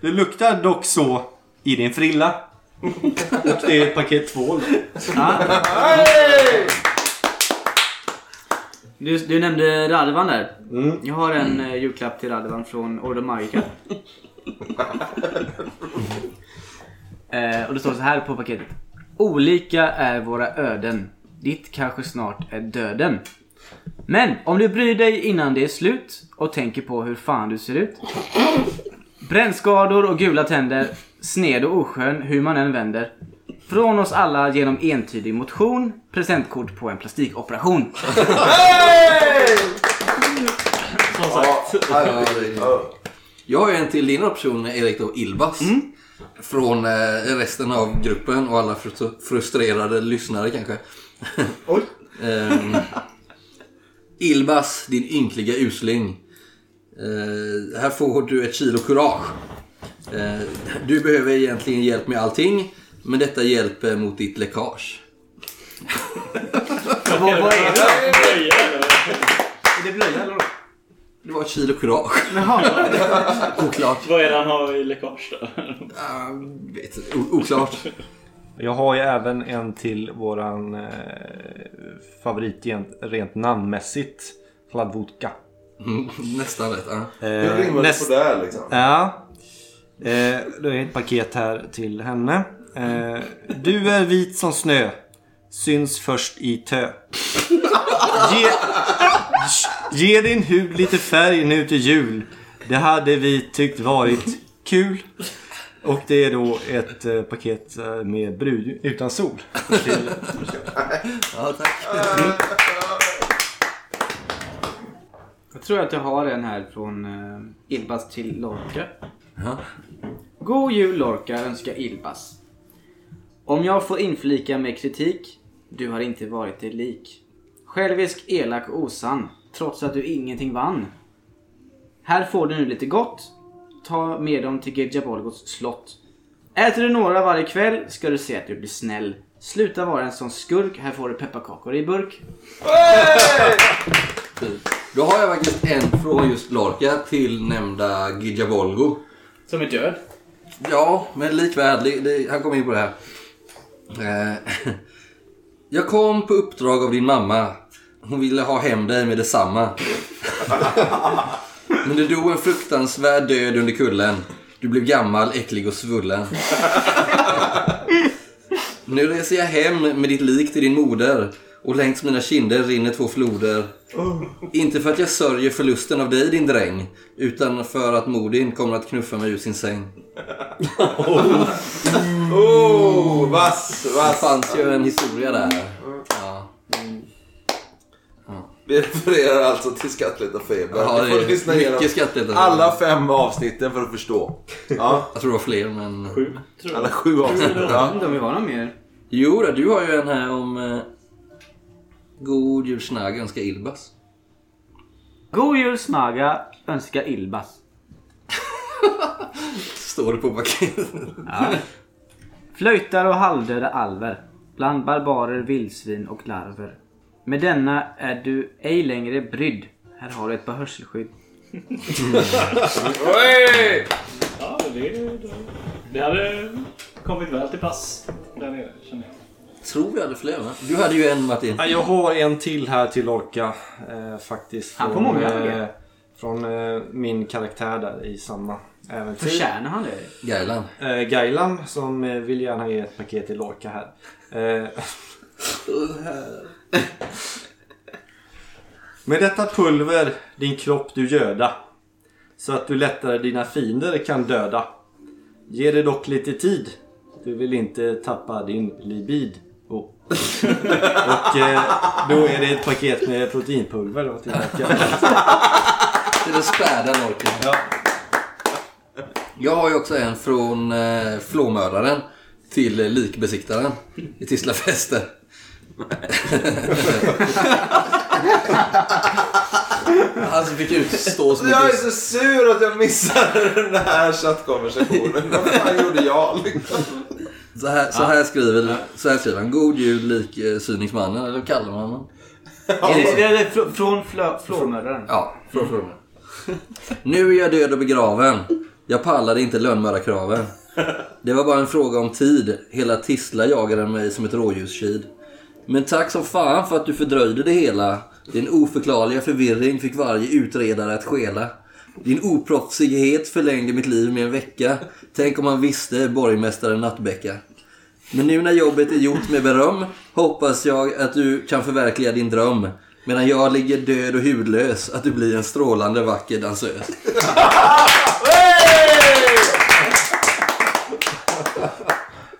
[SPEAKER 6] Du luktar dock så i din frilla.
[SPEAKER 7] Och det är paket två. då.
[SPEAKER 9] Du, du nämnde Radovan där. Jag har en eh, julklapp till Radovan från Ordo Magica. eh, och det står så här på paketet. Olika är våra öden. Ditt kanske snart är döden. Men om du bryr dig innan det är slut och tänker på hur fan du ser ut. Brännskador och gula tänder. Sned och oskön hur man än vänder. Från oss alla genom entydig motion. Presentkort på en plastikoperation.
[SPEAKER 2] Ja, det är- Jag har ju en till din option, Erik, då, Ilvas. Från eh, resten av gruppen och alla frus- frustrerade lyssnare kanske.
[SPEAKER 7] Oj.
[SPEAKER 2] Ehm, Ilvas, din ynkliga usling. Eh, här får du ett kilo kurage. Eh, du behöver egentligen hjälp med allting, men detta hjälper mot ditt läckage.
[SPEAKER 9] Vad, vad är det? Är det blöja eller? något?
[SPEAKER 2] Det var ett kilo kurage. Oklart.
[SPEAKER 4] Vad är det han har i läckage då?
[SPEAKER 2] Ah, vet, inte. o- oklart.
[SPEAKER 6] Jag har ju även en till våran eh, favorit rent, rent namnmässigt. Fladvodka.
[SPEAKER 2] Mm, nästan rätt. ja.
[SPEAKER 1] Hur rimmar det
[SPEAKER 6] Eh, näst-
[SPEAKER 1] på det här liksom?
[SPEAKER 6] Ja. Eh, då är det ett paket här till henne. Eh, du är vit som snö. Syns först i tö. Ge, ge din hud lite färg nu till jul. Det hade vi tyckt varit kul. Och det är då ett eh, paket eh, med brud utan sol. Till,
[SPEAKER 2] Ja, tack.
[SPEAKER 9] Jag tror att jag har en här från eh, Ilbas till Lorca.
[SPEAKER 2] Ja.
[SPEAKER 9] God jul Lorca önskar Ilbas. Om jag får inflika med kritik, du har inte varit dig lik. Självisk, elak och osann, trots att du ingenting vann. Här får du nu lite gott. Ta med dem till Gejabolgos slott. Äter du några varje kväll ska du se att du blir snäll. Sluta vara en sån skurk, här får du pepparkakor i burk.
[SPEAKER 2] Då har jag faktiskt en från just Lorca till nämnda Gijavolgo.
[SPEAKER 4] Som är död.
[SPEAKER 2] Ja, men likväl. Det, det, han kom in på det här. Eh, jag kom på uppdrag av din mamma. Hon ville ha hem dig med detsamma. Men du dog en fruktansvärd död under kullen. Du blev gammal, äcklig och svullen. Nu reser jag hem med ditt lik till din moder och längs mina kinder rinner två floder. Inte för att jag sörjer förlusten av dig din dräng, utan för att modin kommer att knuffa mig ur sin säng.
[SPEAKER 1] Oh, vass,
[SPEAKER 2] Det
[SPEAKER 1] vass.
[SPEAKER 2] fanns ju en historia
[SPEAKER 1] Mm.
[SPEAKER 2] där. Ja.
[SPEAKER 1] Vi refererar alltså till Skattletarfeber.
[SPEAKER 2] Ja,
[SPEAKER 1] Ni får
[SPEAKER 2] det är
[SPEAKER 1] lyssna
[SPEAKER 2] mycket
[SPEAKER 1] igenom
[SPEAKER 2] Skattletarfeber.
[SPEAKER 1] Alla fem avsnitten för att förstå. Ja,
[SPEAKER 2] Jag tror det var fler men...
[SPEAKER 1] alla sju avsnitt.
[SPEAKER 9] Jag
[SPEAKER 1] Ja.
[SPEAKER 9] undrar om vi har någon mer?
[SPEAKER 2] Jo, då, du har ju en här om... Eh... God jul Snagg önskar Ilbas.
[SPEAKER 9] God jul Snaga önskar Ilbas.
[SPEAKER 2] Står står det på paketet.
[SPEAKER 9] Flöjtar och halvdöda alver, bland barbarer, vildsvin och larver. Med denna är du ej längre brydd. Här har du ett par hörselskydd.
[SPEAKER 4] Ja, det, det hade kommit väl till pass där nere känner jag.
[SPEAKER 2] Tror vi hade fler va? Du hade ju en Martin.
[SPEAKER 6] Ja, jag har en till här till Orka eh, faktiskt.
[SPEAKER 9] Han får många frågor.
[SPEAKER 6] eh, Från eh, min karaktär där i samma äventyr.
[SPEAKER 9] Förtjänar han det?
[SPEAKER 2] Gailan.
[SPEAKER 6] Eh, Gailan som eh, vill gärna ge ett paket till Lorca här. Eh, Med detta pulver din kropp du göda så att du lättare dina fiender kan döda. Ge det dock lite tid. Du vill inte tappa din libid. Oh. Och eh, då är det ett paket med proteinpulver då till Lorca.
[SPEAKER 2] Det är den späda orken.
[SPEAKER 6] Ja.
[SPEAKER 2] Jag har ju också en från eh, flåmördaren till eh, likbesiktaren i Tislafester. Han som fick utstå så
[SPEAKER 1] Jag är
[SPEAKER 2] mycket.
[SPEAKER 1] så sur att jag missade den här chattkonversationen. Vad fan gjorde jag liksom?
[SPEAKER 2] Så här, så här, skriver, så här skriver han. God jul liksyningsmannen, eller vad kallar man honom?
[SPEAKER 9] Är det, det, det fr- från flö- Mm. flåmördaren?
[SPEAKER 2] Ja, från frågan. Nu är jag död och begraven. Jag pallade inte lönnmördarkraven. Det var bara en fråga om tid. Hela Tisla jagade mig som ett rådjurskid. Men tack som fan för att du fördröjde det hela. Din oförklarliga förvirring fick varje utredare att skela. Din oproffsighet förlängde mitt liv med en vecka. Tänk om han visste, borgmästare Nattbäcka. Men nu när jobbet är gjort med beröm hoppas jag att du kan förverkliga din dröm. Medan jag ligger död och hudlös att du blir en strålande vacker dansös.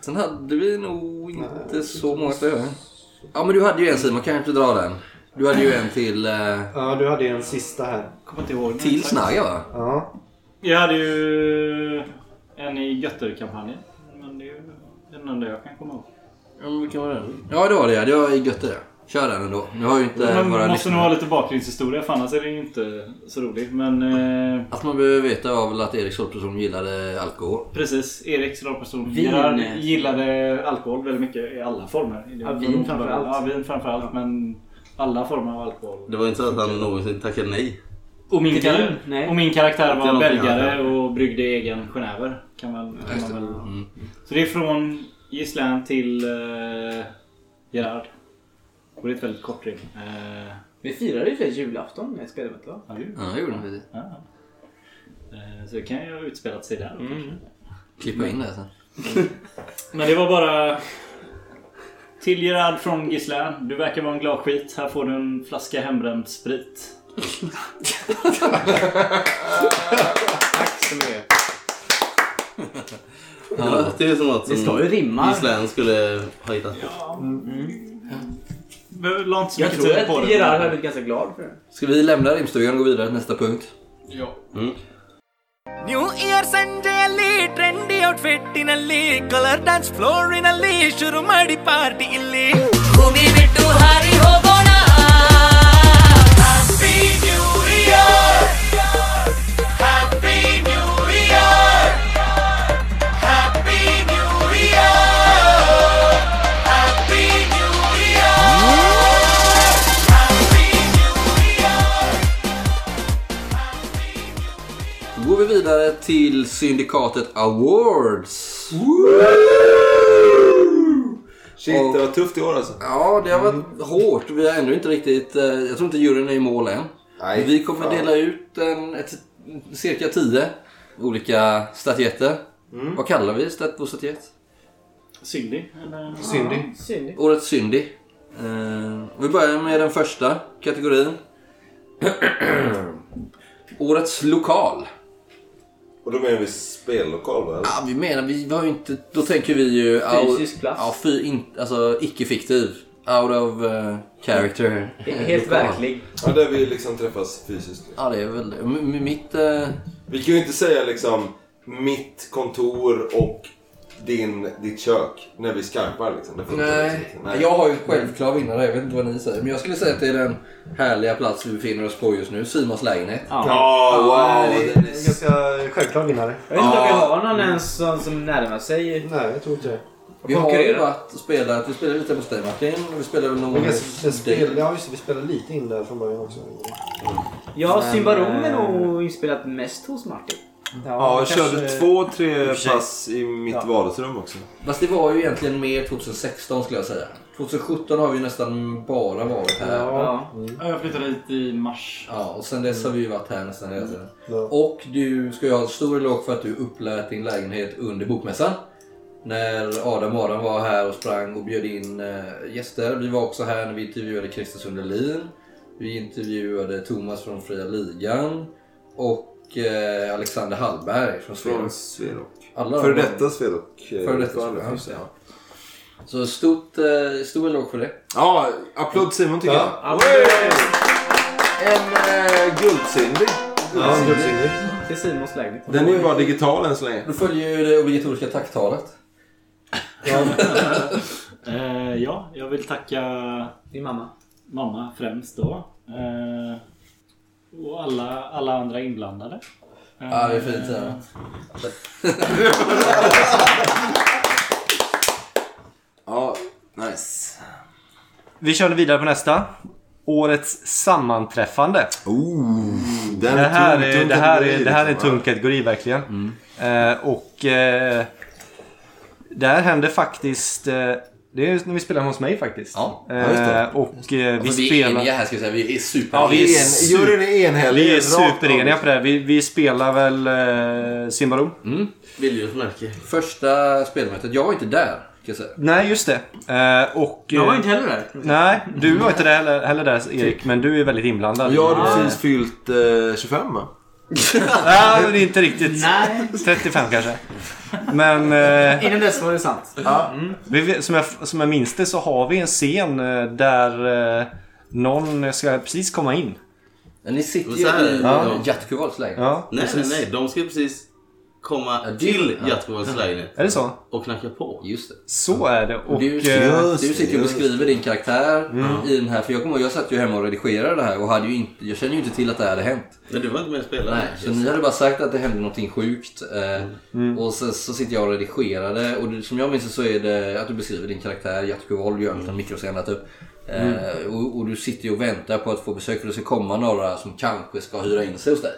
[SPEAKER 2] Sen hade vi nog inte så många fler. Ja men du hade ju en Simon, kan jag inte dra den? Du hade ju en till, eh,
[SPEAKER 6] ja, du hade en sista här.
[SPEAKER 4] Kommer inte ihåg.
[SPEAKER 2] till Snagga va?
[SPEAKER 6] Ja.
[SPEAKER 4] Jag hade ju en i Götter-kampanjen. Men det är ju den enda jag kan komma ihåg.
[SPEAKER 2] Ja, men vilken var det? Ja det var det ja. det var gött det. Kör den ändå. Nu har ju inte
[SPEAKER 4] Man
[SPEAKER 2] våra
[SPEAKER 4] måste nog ha
[SPEAKER 2] lyssnare...
[SPEAKER 4] lite bakgrundshistoria för annars är det ju inte så roligt. Men eh,
[SPEAKER 2] Allt Alltså, man behöver veta var väl att Erik Stolpesson gillade alkohol.
[SPEAKER 4] precis, Eriks rollperson
[SPEAKER 9] Vin.
[SPEAKER 4] gillade, gillade alkohol väldigt mycket i alla former. Det
[SPEAKER 9] Ja,
[SPEAKER 4] var
[SPEAKER 9] vin
[SPEAKER 4] nog
[SPEAKER 9] framför
[SPEAKER 4] bara-
[SPEAKER 9] allt.
[SPEAKER 4] Ja, vin framförallt. Men alla former av alkohol.
[SPEAKER 5] Det var inte så att han någonsin tackade nej.
[SPEAKER 4] Och min,
[SPEAKER 9] Inte
[SPEAKER 4] kar-
[SPEAKER 9] vin, nej.
[SPEAKER 4] och min karaktär
[SPEAKER 5] Inte
[SPEAKER 4] var
[SPEAKER 5] någon
[SPEAKER 4] belgare
[SPEAKER 5] annan.
[SPEAKER 4] och bryggde egen genever. Kan man, kan man väl... Så det är från Gislaine till eh, Gerard. Och det är ett väldigt kort rim. Eh,
[SPEAKER 9] Vi firade ju för julafton när jag spelade med
[SPEAKER 4] ja, ju.
[SPEAKER 2] Ja, det gjorde han precis.
[SPEAKER 4] Ja. Eh, Så det kan ju ha utspelat sig där.
[SPEAKER 9] Mm.
[SPEAKER 2] Klippa in det sen.
[SPEAKER 4] Men det var bara... Till Gerard från Gislaine. Du verkar vara en glad skit. Här får du en flaska hembränd sprit.
[SPEAKER 5] Det låter ju som något som
[SPEAKER 9] Det ska ju rimma.
[SPEAKER 5] Gislaine skulle ha hittat på.
[SPEAKER 4] Behöver- La inte så
[SPEAKER 9] Jag
[SPEAKER 4] mycket
[SPEAKER 9] tror
[SPEAKER 4] tid på
[SPEAKER 9] att
[SPEAKER 4] det.
[SPEAKER 9] Gerard hade blivit ganska glad för det.
[SPEAKER 2] Ska vi lämna rimstugan och gå vidare till nästa punkt?
[SPEAKER 8] New year ಸಂಜೆಯಲ್ಲಿ trendy ಔಟ್ಫಿಟ್ಟಿನಲ್ಲಿ colour dance ಫ್ಲೋರಿನಲ್ಲಿ ಶುರು ಮಾಡಿ party ಇಲ್ಲಿ ಭೂಮಿ ಬಿಟ್ಟು ಹಾರಿ ಹೋಗೋಣ happy new year happy new year happy new year happy new year happy new year
[SPEAKER 2] Då går vi vidare till Syndikatet Awards.
[SPEAKER 1] Shit, det var tufft i år alltså.
[SPEAKER 2] Ja, det har varit hårt. Vi har ännu inte riktigt... eh, Jag tror inte juryn är i mål än.
[SPEAKER 1] Nej,
[SPEAKER 2] Men vi kommer
[SPEAKER 1] fan.
[SPEAKER 2] dela ut en, ett, cirka tio olika statyetter. Vad kallar vi stat på statyett?
[SPEAKER 4] Cindy? Eller?
[SPEAKER 6] Syndig.
[SPEAKER 2] Årets Syndy. Eh, vi börjar med den första kategorin. Årets lokal.
[SPEAKER 1] Och då menar vi spellokal va?
[SPEAKER 2] Ja, vi menar, vi har ju inte... Då tänker vi ju... au-
[SPEAKER 9] Fysisk plats.
[SPEAKER 2] Ja, fy, in, alltså icke-fiktiv. Out of eh, character.
[SPEAKER 9] Helt
[SPEAKER 2] Lokal.
[SPEAKER 9] verklig.
[SPEAKER 1] Ja, där vi liksom träffas fysiskt.
[SPEAKER 2] Ja, det är väl det. M- m- mitt... eh,
[SPEAKER 1] Vi kan ju inte säga liksom mitt kontor och din, ditt kök när vi skarpar liksom. Det funkar liksom
[SPEAKER 2] Nej.
[SPEAKER 1] inte.
[SPEAKER 2] jag har ju en självklar vinnare. Jag vet inte vad ni säger. Men jag skulle säga att det är den härliga plats vi befinner oss på just nu. Simons lägenhet.
[SPEAKER 1] Ja, wow!
[SPEAKER 7] det är en ganska självklar vinnare.
[SPEAKER 9] Jag vet inte om vi har någon ens som, som närmar sig.
[SPEAKER 7] Nej, jag tror inte det.
[SPEAKER 2] Vi har ju
[SPEAKER 9] konkurrerar.
[SPEAKER 2] varit och spelat. Vi spelade lite hos dig Martin. Vi spelade väl någon
[SPEAKER 7] Men
[SPEAKER 2] gång
[SPEAKER 7] ganska-
[SPEAKER 2] hos
[SPEAKER 7] den
[SPEAKER 2] dig.
[SPEAKER 7] spel, ja, just det, vi spelade lite in där från början också.
[SPEAKER 9] Ja,
[SPEAKER 2] Men,
[SPEAKER 9] Simbarom är
[SPEAKER 2] eh,
[SPEAKER 9] nog inspelat mest hos Martin.
[SPEAKER 1] Ja, jag
[SPEAKER 7] kanske-
[SPEAKER 1] körde Alltså, två, tre
[SPEAKER 7] och för sig.
[SPEAKER 1] pass i mitt vardagsrum också.
[SPEAKER 2] Fast det var ju egentligen mer 2016 skulle jag säga. 2017 har vi ju nästan bara varit här.
[SPEAKER 9] Ja.
[SPEAKER 1] Mm.
[SPEAKER 4] Ja, Jag flyttade hit i mars.
[SPEAKER 2] Ja, och sen dess har vi ju varit här nästan hela tiden.
[SPEAKER 7] Ja.
[SPEAKER 2] Och du ska ju ha en stor eloge för att du upplät din lägenhet under bokmässan. När Adam och Adam var här och sprang och bjöd in eh, gäster. Vi var också här när vi intervjuade Christer Sundelin. Vi intervjuade Thomas från Fria Ligan. Och eh, Alexander Hallberg från
[SPEAKER 1] Från
[SPEAKER 2] Sverige.
[SPEAKER 1] Sverok.
[SPEAKER 2] Alla
[SPEAKER 1] Före
[SPEAKER 2] de-
[SPEAKER 1] detta Sverok. eh,
[SPEAKER 2] Före detta
[SPEAKER 1] ordförande.
[SPEAKER 2] Sverok, just det, ja. Så stort, eh, stor eloge för det.
[SPEAKER 1] Ja, applåd Simon tycker
[SPEAKER 7] Ja.
[SPEAKER 1] jag. Hey! En eh, guldsindig.
[SPEAKER 7] Ja, det är det.
[SPEAKER 9] Till Simons lägenhet.
[SPEAKER 1] Den är ju bara digital än så länge.
[SPEAKER 2] Då följer ju det obligatoriska tacktalet.
[SPEAKER 4] Eh, ja, jag vill tacka
[SPEAKER 9] Din mamma.
[SPEAKER 4] mamma främst då. Eh, och alla, alla andra inblandade. Eh,
[SPEAKER 2] Ja, det är fint. Ja.
[SPEAKER 1] Ja, nice.
[SPEAKER 6] Vi kör vidare på nästa. Årets sammanträffande.
[SPEAKER 1] Oh, den
[SPEAKER 6] Det här
[SPEAKER 1] tung-
[SPEAKER 6] är,
[SPEAKER 1] tung
[SPEAKER 6] det här
[SPEAKER 1] kategori,
[SPEAKER 6] är, det här är en
[SPEAKER 1] liksom, Mm.
[SPEAKER 6] tung kategori verkligen. Eh, och eh, det här hände faktiskt... Eh, det är när vi spelade hos mig faktiskt.
[SPEAKER 2] Ja,
[SPEAKER 6] eh,
[SPEAKER 1] just det.
[SPEAKER 6] och eh, vi
[SPEAKER 2] Alltså, Vi, vi är
[SPEAKER 6] spelar...
[SPEAKER 2] eniga här ska vi säga. Vi är super
[SPEAKER 6] Ja,
[SPEAKER 1] ja.
[SPEAKER 6] vi är
[SPEAKER 1] En,
[SPEAKER 6] super-
[SPEAKER 1] juryn är enhällig.
[SPEAKER 6] Vi är
[SPEAKER 1] rakt av.
[SPEAKER 6] supereniga på det här. Vi, vi spelar väl eh, Simbarum?
[SPEAKER 1] Mm.
[SPEAKER 5] Viljus märke.
[SPEAKER 2] Första spelmötet. Jag var inte där. Kan jag säga.
[SPEAKER 6] Nej, just det. Eh, och,
[SPEAKER 9] Jag var
[SPEAKER 6] eh,
[SPEAKER 9] inte heller där.
[SPEAKER 6] Nej, du var inte där heller, heller där Erik, men du är väldigt inblandad.
[SPEAKER 1] Jag hade
[SPEAKER 6] Eh,
[SPEAKER 1] precis fyllt eh, 25 va?
[SPEAKER 6] Nej, men det är inte riktigt.
[SPEAKER 9] Nej.
[SPEAKER 6] 35 kanske. Men eh,
[SPEAKER 9] Innan dess var det sant.
[SPEAKER 6] vi, som, jag, som jag minns det så har vi en scen eh, där eh, någon ska precis komma in.
[SPEAKER 2] Men Ni sitter
[SPEAKER 5] Men
[SPEAKER 2] ju
[SPEAKER 5] så här-
[SPEAKER 2] i eh,
[SPEAKER 5] Ja.
[SPEAKER 2] ja. Jatkuvals lägenhet.
[SPEAKER 6] Ja,
[SPEAKER 5] Nej, nej, nej. De ska precis
[SPEAKER 2] Ja,
[SPEAKER 5] komma
[SPEAKER 2] det-
[SPEAKER 5] till
[SPEAKER 2] ja.
[SPEAKER 5] Hjärtkovals lägenhet
[SPEAKER 6] är det så?
[SPEAKER 5] och knacka på.
[SPEAKER 2] Just det.
[SPEAKER 6] Så är det. Och,
[SPEAKER 2] Du,
[SPEAKER 6] eh, Mm.
[SPEAKER 2] du sitter ju och beskriver din karaktär i den här. För jag kommer ihåg, jag satt ju hemma och redigerade det här och hade ju inte, jag kände ju inte till att det här hade hänt.
[SPEAKER 5] Men du var inte med och spelade.
[SPEAKER 2] Nej, så ni hade bara sagt att det hände någonting sjukt. Eh, Och sen så sitter jag och redigerade och det, som jag minns det så är det att du beskriver din karaktär, Jatkuvold, gör en liten mikroscena typ. Eh, och, och du sitter ju och väntar på att få besök för det ska komma några som kanske ska hyra in sig hos dig.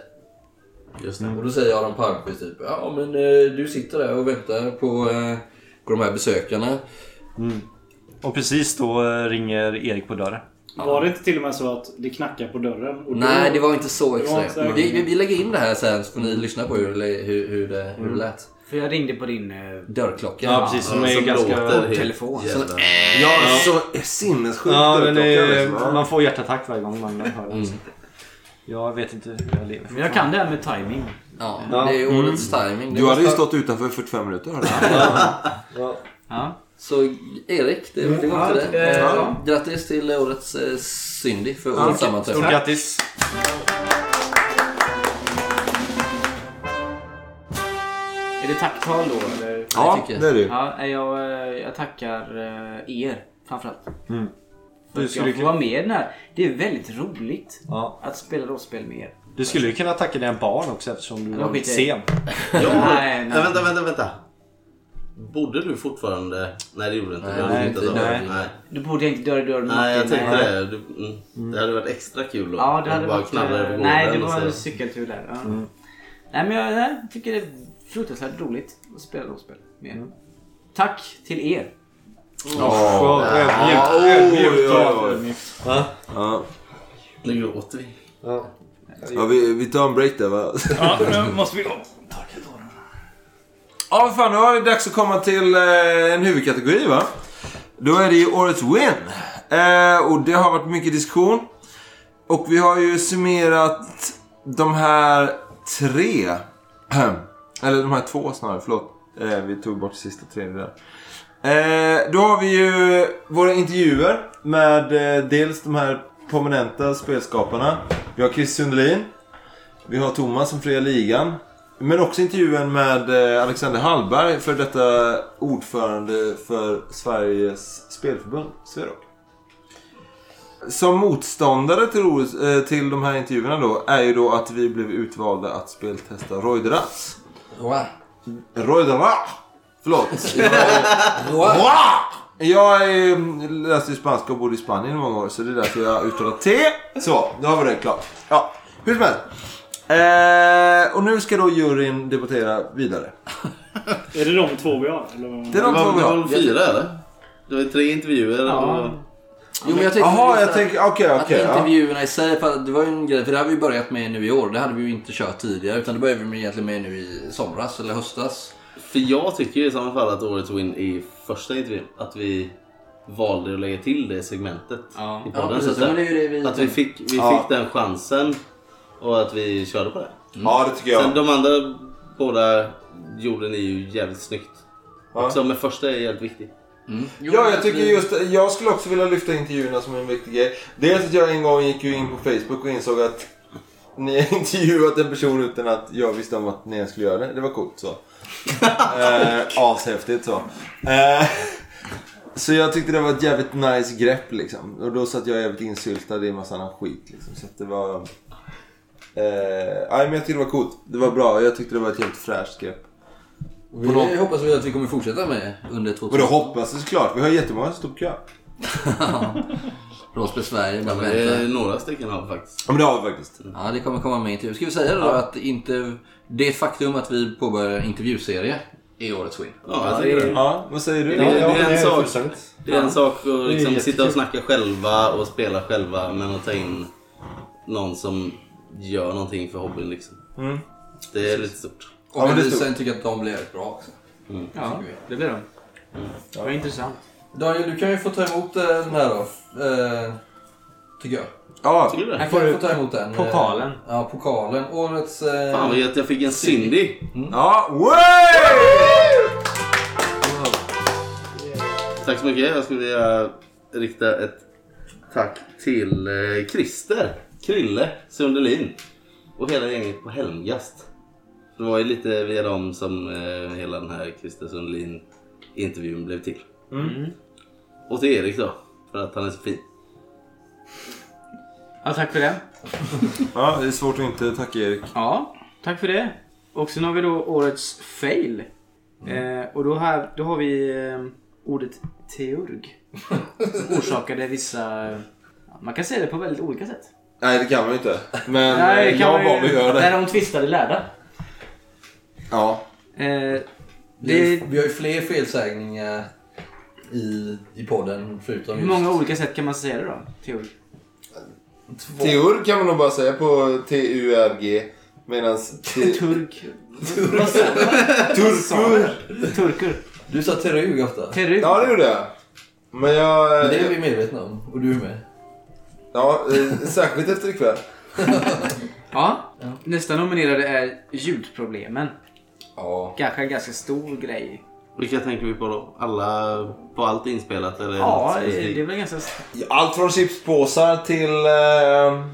[SPEAKER 5] Just det.
[SPEAKER 2] Och då säger Adam Palmqvist typ ja men eh, du sitter där och väntar på, eh, på de här besökarna.
[SPEAKER 6] och precis då eh, ringer Erik på dörren.
[SPEAKER 4] Var det inte till och med så att det knackar på dörren? Och då-
[SPEAKER 2] Nej det var inte så
[SPEAKER 4] Det var inte
[SPEAKER 2] extremt.
[SPEAKER 4] så-
[SPEAKER 2] Vi, vi, vi lägger in det här sen så får ni lyssna på hur, det- hur, hur, det, hur det lät.
[SPEAKER 9] För jag ringde på din eh,
[SPEAKER 2] Mm. Dörrklockan.
[SPEAKER 6] Ja, precis. Som är ganska...
[SPEAKER 5] helt
[SPEAKER 9] telefon.
[SPEAKER 5] jävla-
[SPEAKER 1] Ja, så sinnessjukt
[SPEAKER 6] Ja, men det,
[SPEAKER 1] överklockan,
[SPEAKER 6] är-
[SPEAKER 1] liksom. Ja.
[SPEAKER 6] man får hjärtattack varje gång man hör det. Jag vet inte hur jag lever.
[SPEAKER 9] Men jag kan det här med timing.
[SPEAKER 2] Ja, det är årets timing. Det
[SPEAKER 1] Mm. Du hade ju
[SPEAKER 2] kostar-
[SPEAKER 1] stått utanför i 45 minuter. hörde jag.
[SPEAKER 9] Ja.
[SPEAKER 2] Så Erik, det, det var till dig.
[SPEAKER 9] eh,
[SPEAKER 2] Eh, Grattis till årets eh, Cindy för årets
[SPEAKER 6] Stort
[SPEAKER 2] sammanträffande.
[SPEAKER 6] grattis!
[SPEAKER 9] Är det tacktal då eller?
[SPEAKER 1] Ja,
[SPEAKER 2] tycker jag.
[SPEAKER 1] det är det ju.
[SPEAKER 9] Ja, nej, jag, eh, jag tackar eh, er framförallt. För
[SPEAKER 6] Du
[SPEAKER 9] att
[SPEAKER 6] skulle
[SPEAKER 9] jag får
[SPEAKER 6] kunna,
[SPEAKER 9] vara med i den här. Det är väldigt roligt
[SPEAKER 6] ja,
[SPEAKER 9] att spela rollspel med er.
[SPEAKER 6] du skulle ju kunna tacka dina barn också eftersom du
[SPEAKER 9] Ja,
[SPEAKER 6] var
[SPEAKER 9] skit i.
[SPEAKER 6] sen.
[SPEAKER 5] Ja,
[SPEAKER 9] Nej,
[SPEAKER 5] nej,
[SPEAKER 9] nej.
[SPEAKER 5] Vänta, vänta, vänta. Bodde du fortfarande... Nej, det gjorde du inte.
[SPEAKER 2] Nej,
[SPEAKER 5] Jag hade
[SPEAKER 6] nej,
[SPEAKER 5] inte
[SPEAKER 2] nej.
[SPEAKER 5] nej. nej.
[SPEAKER 9] Du borde jag inte dörr i dörr med
[SPEAKER 5] nej, jag
[SPEAKER 9] Martin.
[SPEAKER 5] tänkte det. Du, mm. Det hade varit extra kul då.
[SPEAKER 9] Ja,
[SPEAKER 5] Om
[SPEAKER 9] det hade
[SPEAKER 5] du bara
[SPEAKER 9] varit...
[SPEAKER 5] knallade på
[SPEAKER 9] eh, Nej, det
[SPEAKER 5] gården och
[SPEAKER 9] var en
[SPEAKER 5] så-
[SPEAKER 9] cykeltur där. Ja. Nej, men jag nej, jag tycker det är fruktansvärt roligt att spela rollspel med er. Tack till er.
[SPEAKER 6] Så,
[SPEAKER 1] Ja,
[SPEAKER 6] ödmjukt,
[SPEAKER 1] oj,
[SPEAKER 6] ödmjukt.
[SPEAKER 1] oj, oj. Ja.
[SPEAKER 5] Nu gråter vi.
[SPEAKER 1] Ja, vi, vi tar en break där va?
[SPEAKER 4] Ja, nu måste vi... Oh,
[SPEAKER 1] Ja, vad fan, då är det dags att komma till eh, en huvudkategori va? Då är det ju årets win. Eh, och det har varit mycket diskussion. Och vi har ju summerat de här tre. Eller de här två snarare, förlåt. Eh, vi tog bort sista tre där. Eh, då har vi ju våra intervjuer med eh, dels de här prominenta spelskaparna. Vi har Chris Sundelin. Vi har Thomas som fria ligan. Men också intervjun med eh, Alexander Hallberg, för detta ordförande för Sveriges spelförbund, Sverok. Som motståndare till, Ros- eh, till de här intervjuerna då, är ju då att vi blev utvalda att speltesta Roideras.
[SPEAKER 2] Wow.
[SPEAKER 1] Roidera! Förlåt. Jag eh, läste ju spanska och bodde i Spanien i många år så det är därför jag uttalar T. Så, då har vi det klart. Ja, hur som helst. Eh, och nu ska då juryn debattera vidare.
[SPEAKER 4] Är det de två vi har? Eller vad-
[SPEAKER 1] Det är de
[SPEAKER 5] Det
[SPEAKER 1] två
[SPEAKER 5] var,
[SPEAKER 1] vi
[SPEAKER 5] det var
[SPEAKER 1] har.
[SPEAKER 5] väl fyra eller? Det var ju tre intervjuer. Och...
[SPEAKER 2] Jo, men jag tänkte
[SPEAKER 1] Jaha,
[SPEAKER 2] just
[SPEAKER 1] jag
[SPEAKER 2] att-
[SPEAKER 1] tänker... Okej,
[SPEAKER 2] Att
[SPEAKER 1] okej. ja.
[SPEAKER 2] intervjuerna i sig, för det var ju en grej, för det har vi ju börjat med nu i år. Det hade vi ju inte kört tidigare, utan det började vi med egentligen med nu i somras eller höstas.
[SPEAKER 5] För jag tycker ju i samma fall att årets win i första intervjun, att vi valde att lägga till det segmentet
[SPEAKER 9] Ja.
[SPEAKER 5] i
[SPEAKER 2] Ja,
[SPEAKER 5] podden.
[SPEAKER 2] precis.
[SPEAKER 5] så att,
[SPEAKER 2] Men det är ju det vi...
[SPEAKER 5] att vi fick, vi
[SPEAKER 1] Ja.
[SPEAKER 5] fick den chansen och att vi körde på det.
[SPEAKER 1] Ja, det tycker
[SPEAKER 5] Sen
[SPEAKER 1] jag.
[SPEAKER 5] de andra båda gjorde ni ju jävligt snyggt.
[SPEAKER 1] Ja.
[SPEAKER 5] Också, men första är jävligt viktig.
[SPEAKER 2] Jo,
[SPEAKER 1] Ja,
[SPEAKER 2] men
[SPEAKER 1] jag tycker
[SPEAKER 2] vi-
[SPEAKER 1] just Jag skulle också vilja lyfta intervjuerna som en viktig grej. Dels att jag en gång gick ju in på Facebook och insåg att ni har intervjuat en person utan att jag visste om att ni ens skulle göra det. Det var coolt så. eh, ashäftigt så. Eh, så jag tyckte det var ett jävligt nice grepp liksom. Och då satt jag jävligt insyltad i en massa annan skit liksom. Så att det var... Eh, ja, men jag tyckte det var coolt. Det var bra. Jag tyckte det var ett jävligt fräscht grepp.
[SPEAKER 2] Vi det hoppas vi att vi kommer fortsätta med under
[SPEAKER 1] Och det
[SPEAKER 2] 2000
[SPEAKER 1] hoppas jag såklart. Vi har jättemånga som står på kö.
[SPEAKER 2] Rollspel Sverige. Bara
[SPEAKER 5] Det är
[SPEAKER 2] vänta.
[SPEAKER 5] några stycken av faktiskt.
[SPEAKER 1] Ja men det har vi faktiskt.
[SPEAKER 2] Ja, det kommer komma med intervju. Ska vi säga då att inte... Det faktum att vi påbörjar en intervjuserie är årets win.
[SPEAKER 5] Ja, jag tycker det.
[SPEAKER 1] Ja, vad säger du?
[SPEAKER 5] Det, det,
[SPEAKER 7] Ja, det
[SPEAKER 5] är en
[SPEAKER 7] är
[SPEAKER 5] sak,
[SPEAKER 7] fullständigt.
[SPEAKER 5] det är en sak att liksom
[SPEAKER 7] jättekul.
[SPEAKER 5] sitta och snacka själva och spela själva men att ta in någon som gör någonting för hobbyn liksom. Det är lite stort.
[SPEAKER 2] Och
[SPEAKER 1] Ja, men
[SPEAKER 2] vi
[SPEAKER 1] det är
[SPEAKER 2] sen tycker att de blir jävligt bra också.
[SPEAKER 9] Ja, det blir de. Det var intressant.
[SPEAKER 2] Daniel, du kan ju få ta emot eh, den här då. Eh, tycker jag.
[SPEAKER 1] Ja,
[SPEAKER 5] Tycker du det?
[SPEAKER 9] Här
[SPEAKER 2] Får
[SPEAKER 9] får
[SPEAKER 2] du
[SPEAKER 9] du
[SPEAKER 2] få ta emot den? eh,
[SPEAKER 9] pokalen.
[SPEAKER 2] Ja, pokalen. Årets... eh,
[SPEAKER 5] Fan vad gött, jag fick en Cindy.
[SPEAKER 1] ja, way!
[SPEAKER 5] Tack så mycket. Jag skulle vilja rikta ett tack till eh, Christer, Krille Sundelin och hela gänget på Helmgast. Det var ju lite via dem som eh, hela den här Christer Sundelin intervjun blev till.
[SPEAKER 9] Mm.
[SPEAKER 5] Och till Erik då, för att han är så fin.
[SPEAKER 9] Ja, tack för det.
[SPEAKER 1] Ja, det är svårt att inte tacka Erik.
[SPEAKER 9] Ja, tack för det. Och sen har vi då årets fail. Eh, och då, här, då har vi eh, ordet teurg. Som orsakade vissa... ja, Man kan säga det på väldigt olika sätt.
[SPEAKER 1] Nej, det kan man ju inte. Men
[SPEAKER 9] Nej,
[SPEAKER 1] Nej,
[SPEAKER 9] det kan
[SPEAKER 1] jag
[SPEAKER 9] man
[SPEAKER 1] var
[SPEAKER 9] ju-
[SPEAKER 1] vi gör det.
[SPEAKER 9] Där de tvistade lärda.
[SPEAKER 1] Ja.
[SPEAKER 9] Eh,
[SPEAKER 2] Vi,
[SPEAKER 9] det,
[SPEAKER 2] vi har ju fler felsägningar i, i podden förutom
[SPEAKER 9] hur
[SPEAKER 2] just
[SPEAKER 9] många olika sätt kan man säga det då? Teurg.
[SPEAKER 2] två.
[SPEAKER 1] Teurg kan man nog bara säga på T-U-R-G. Medan
[SPEAKER 9] Turk.
[SPEAKER 1] Turkur.
[SPEAKER 9] Turkur.
[SPEAKER 2] Du sa terug ofta.
[SPEAKER 9] Teurg.
[SPEAKER 1] Ja, det gjorde jag. Men jag... eh,
[SPEAKER 2] Men det är vi medvetna om. Och du är med.
[SPEAKER 1] Ja, eh, särskilt efter ikväll.
[SPEAKER 9] Ja. Nästa nominerade är ljudproblemen.
[SPEAKER 2] Ja.
[SPEAKER 9] Kanske en ganska stor grej.
[SPEAKER 5] Vilka tänker vi på då? Alla, på allt inspelat eller?
[SPEAKER 9] Ja,
[SPEAKER 5] något specifikt?
[SPEAKER 9] det är väl ganska...
[SPEAKER 1] Allt från chipspåsar till... eh,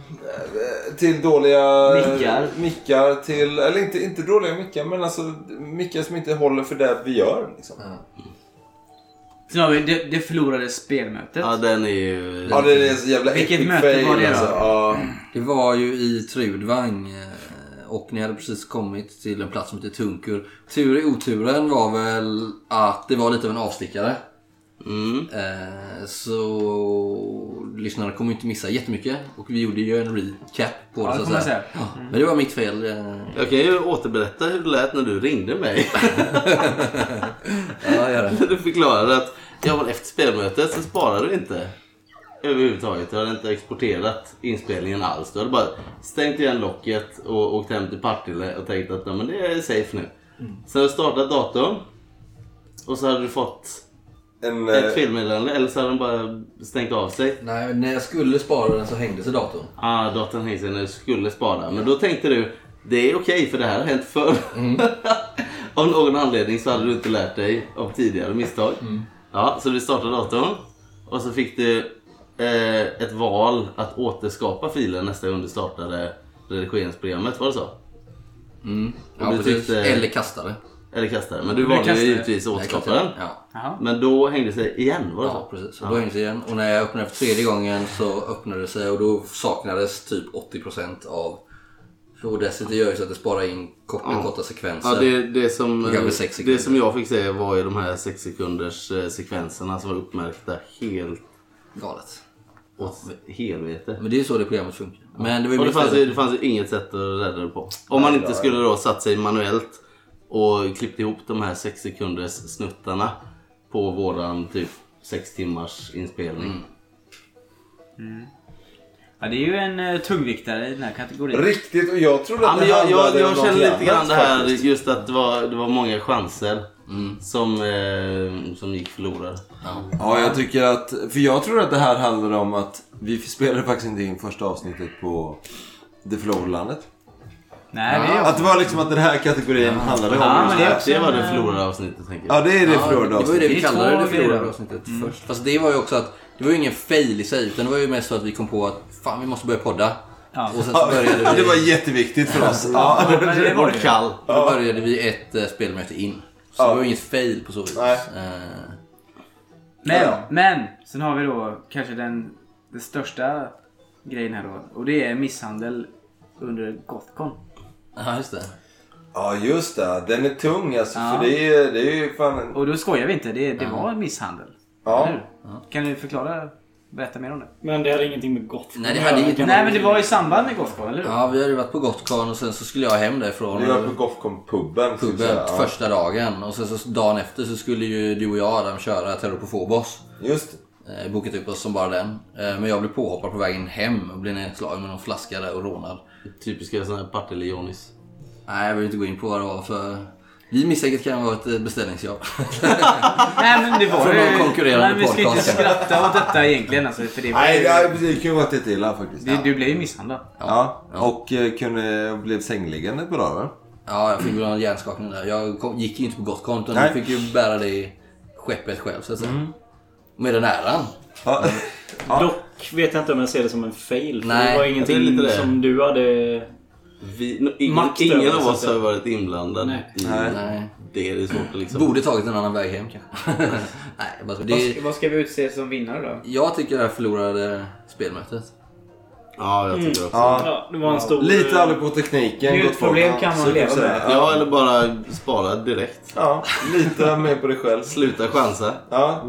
[SPEAKER 1] till dåliga...
[SPEAKER 9] Mickar.
[SPEAKER 1] Mickar till... Eller inte, inte dåliga mickar, men alltså mickar som inte håller för det vi gör. Liksom.
[SPEAKER 9] Sen har vi det, det förlorade spelmötet.
[SPEAKER 5] Ja, den är ju...
[SPEAKER 1] Ja, det är så jävla
[SPEAKER 9] Vilket
[SPEAKER 1] epic
[SPEAKER 9] möte
[SPEAKER 1] fail,
[SPEAKER 9] var det då?
[SPEAKER 1] Alltså. Ja.
[SPEAKER 2] Det var ju i Trudvang eh, och ni hade precis kommit till en plats som heter Tunkur. Tur i oturen var väl att det var lite av en avstickare.
[SPEAKER 5] Mm.
[SPEAKER 2] Eh, så lyssnarna kommer ju inte missa jättemycket och vi gjorde ju en recap på det
[SPEAKER 9] det
[SPEAKER 2] så att
[SPEAKER 9] får
[SPEAKER 2] säga.
[SPEAKER 9] man säga.
[SPEAKER 2] Ja, men det var mitt fel. eh.
[SPEAKER 5] Jag kan ju återberätta hur det lät när du ringde mig.
[SPEAKER 2] Ja, gör det.
[SPEAKER 5] Du förklarade att ja, men efter spelmötet så sparade du inte överhuvudtaget. Du hade inte exporterat inspelningen alls. Du hade bara stängt igen locket och åkt hem till Partille och tänkt att ja, men det är safe nu.
[SPEAKER 2] Mm.
[SPEAKER 5] Sen har du startat datorn och så hade du fått
[SPEAKER 1] En,
[SPEAKER 5] ett
[SPEAKER 1] eh,
[SPEAKER 5] felmeddelande eller så hade den bara stängt av sig.
[SPEAKER 2] Nej, när jag skulle spara den så hängde sig datorn.
[SPEAKER 5] Ah, datorn hängde sig när du skulle spara. Men då tänkte du det är okej för det här har hänt förr. Av någon anledning så hade du inte lärt dig av tidigare misstag. Ja, så du startade datorn och så fick du eh, ett val att återskapa filen nästa gång du startade redigeringsprogrammet. Var det så?
[SPEAKER 2] Mm. Ja,
[SPEAKER 5] vi
[SPEAKER 2] precis.
[SPEAKER 5] tyckte-
[SPEAKER 2] Eller kastare.
[SPEAKER 5] Eller kastare. Men du valde ju
[SPEAKER 4] kastare.
[SPEAKER 5] givetvis återskaparen.
[SPEAKER 2] Ja.
[SPEAKER 5] Men då hängde det sig igen, var det
[SPEAKER 2] ja,
[SPEAKER 5] så?
[SPEAKER 2] precis. Och då hängde det igen. Och när jag öppnade för tredje gången så öppnade det sig och då saknades typ 80% av... Och dessutom gör ju så att det sparar in korta,
[SPEAKER 5] Ja.
[SPEAKER 2] korta sekvenser.
[SPEAKER 5] Ja, det, det, som,
[SPEAKER 2] Det kan bli sex sekunder.
[SPEAKER 5] det som jag fick se var ju de här 6 sekunders eh, sekvenserna som var uppmärkta helt
[SPEAKER 2] Galet.
[SPEAKER 5] åt helvete.
[SPEAKER 2] Men det är ju så det programmet funkar. Men det var ju
[SPEAKER 5] Och det
[SPEAKER 2] mitt
[SPEAKER 5] fanns, ju,
[SPEAKER 2] ställe.
[SPEAKER 5] det fanns ju inget sätt att rädda det på. Om man inte skulle då satt sig manuellt och klippt ihop de här 6 sekunders snuttarna på våran typ 6 timmars inspelning.
[SPEAKER 9] Ja, det är ju en eh, tungviktare i den här kategorin.
[SPEAKER 1] Riktigt, och jag trodde
[SPEAKER 5] Ja,
[SPEAKER 1] att
[SPEAKER 5] men
[SPEAKER 1] det
[SPEAKER 5] jag jag,
[SPEAKER 1] handlade om
[SPEAKER 5] jag känner
[SPEAKER 1] någonting
[SPEAKER 5] lite grann
[SPEAKER 1] annat
[SPEAKER 5] det här
[SPEAKER 1] faktiskt.
[SPEAKER 5] just att det var, det var många chanser som, eh, som gick förlorade.
[SPEAKER 1] Ja, jag tycker att... För jag tror att det här handlar om att vi spelade faktiskt inte in första avsnittet på Det förlorade landet.
[SPEAKER 9] Nej, vi är
[SPEAKER 1] Att det var liksom att den här kategorin handlade om
[SPEAKER 5] Ja,
[SPEAKER 1] just
[SPEAKER 5] men det,
[SPEAKER 1] det.
[SPEAKER 5] det var det förlorade avsnittet tänker jag.
[SPEAKER 1] Ja, det är det förlorade
[SPEAKER 2] Det var ju det
[SPEAKER 1] avsnittet.
[SPEAKER 2] vi
[SPEAKER 9] Det är
[SPEAKER 2] kallade det
[SPEAKER 9] två grejer.
[SPEAKER 2] förlorade avsnittet först. Fast det var ju också att det var ju ingen fail i sig utan det var ju mest så att vi kom på att fan vi måste börja podda. Och sen så började
[SPEAKER 1] Ja,
[SPEAKER 2] vi,
[SPEAKER 1] det var jätteviktigt för oss. Ja.
[SPEAKER 9] men det var det.
[SPEAKER 5] Kall.
[SPEAKER 2] då började vi ett eh, spelmöte in. Så det var ju inget fail på så vis.
[SPEAKER 1] Nej.
[SPEAKER 2] Eh,
[SPEAKER 9] Men, men sen har vi då kanske den, den största grejen här då. Och det är misshandel under Gothcon.
[SPEAKER 2] Ja, just det.
[SPEAKER 1] Ja, just det. Den är tung alltså.
[SPEAKER 9] Ja.
[SPEAKER 1] För det är, det är ju fan... en-
[SPEAKER 9] Och då skojar vi inte, det, det var misshandel.
[SPEAKER 1] Ja.
[SPEAKER 9] Eller hur? Kan du förklara, berätta mer om det?
[SPEAKER 4] Men det hade ingenting med gott
[SPEAKER 2] Nej, det hade inget med-
[SPEAKER 9] Nej men det var i samband med Gothcon, eller hur?
[SPEAKER 2] Ja, vi hade ju varit på Gotcon och sen så skulle jag hem därifrån.
[SPEAKER 1] Vi var på Gothcon-puben. ska vi
[SPEAKER 2] puben
[SPEAKER 1] säga. Ja.
[SPEAKER 2] första dagen och sen så dagen efter så skulle ju du och jag Adam köra Terror på Phobos.
[SPEAKER 1] Just det.
[SPEAKER 2] Eh, bokat upp oss som bara den. Eh, men jag blev påhoppad på vägen hem och blev nedslagen med någon flaska där och rånad.
[SPEAKER 5] Typiska sådana här Partille-Jonis.
[SPEAKER 2] Nej, jag vill inte gå in på vad det var för... Vi misstänker att det kan vara ett eh, beställningsjobb.
[SPEAKER 9] Nej men det var
[SPEAKER 2] Från
[SPEAKER 9] ju-
[SPEAKER 2] någon konkurrerande
[SPEAKER 9] Nej, vi ska inte
[SPEAKER 2] podcast.
[SPEAKER 9] skratta åt detta egentligen alltså, för det var
[SPEAKER 1] Nej,
[SPEAKER 9] ju...
[SPEAKER 1] det är- det kunde varit ett illa faktiskt.
[SPEAKER 9] Det, du blev ju misshandlad.
[SPEAKER 1] Ja. Och eh, kunde, blev sängliggande ett par dagar.
[SPEAKER 2] ja, jag fick väl någon hjärnskakning där. Jag kom, gick ju inte på gott konto.
[SPEAKER 1] Nej. Mm.
[SPEAKER 2] Jag fick ju bära det i skeppet själv så att säga. Med den äran.
[SPEAKER 1] Ja.
[SPEAKER 4] Dock vet jag inte om jag ser det som en fail. För
[SPEAKER 2] Nej,
[SPEAKER 4] det var
[SPEAKER 5] det är
[SPEAKER 4] ingenting
[SPEAKER 5] lite det.
[SPEAKER 4] som du hade...
[SPEAKER 5] Vi, no, ingen,
[SPEAKER 4] Makt över
[SPEAKER 5] ingen
[SPEAKER 4] det,
[SPEAKER 5] av
[SPEAKER 4] så
[SPEAKER 5] oss
[SPEAKER 4] att
[SPEAKER 5] har
[SPEAKER 4] säga.
[SPEAKER 5] varit inblandad
[SPEAKER 4] Nej.
[SPEAKER 5] i
[SPEAKER 1] Nej.
[SPEAKER 2] Nej.
[SPEAKER 5] det. Det är svårt att liksom...
[SPEAKER 2] Borde tagit en annan väg hem kanske. Nej, jag bara, det,
[SPEAKER 9] Vad ska vi utse som vinnare då?
[SPEAKER 2] jag tycker det här förlorade spelmötet.
[SPEAKER 5] Ja, jag
[SPEAKER 9] Mm.
[SPEAKER 5] tycker också.
[SPEAKER 1] Ja.
[SPEAKER 4] Ja, det var en stor...
[SPEAKER 1] Lite aldrig på tekniken.
[SPEAKER 9] Hur
[SPEAKER 1] gott folk.
[SPEAKER 9] problem kan
[SPEAKER 1] Ja,
[SPEAKER 9] man
[SPEAKER 1] så
[SPEAKER 9] leva
[SPEAKER 1] kan jag
[SPEAKER 9] med?
[SPEAKER 1] säga.
[SPEAKER 5] Ja, eller bara spara direkt.
[SPEAKER 1] Ja, lita mer på dig själv.
[SPEAKER 5] Sluta chansa.
[SPEAKER 1] Ja.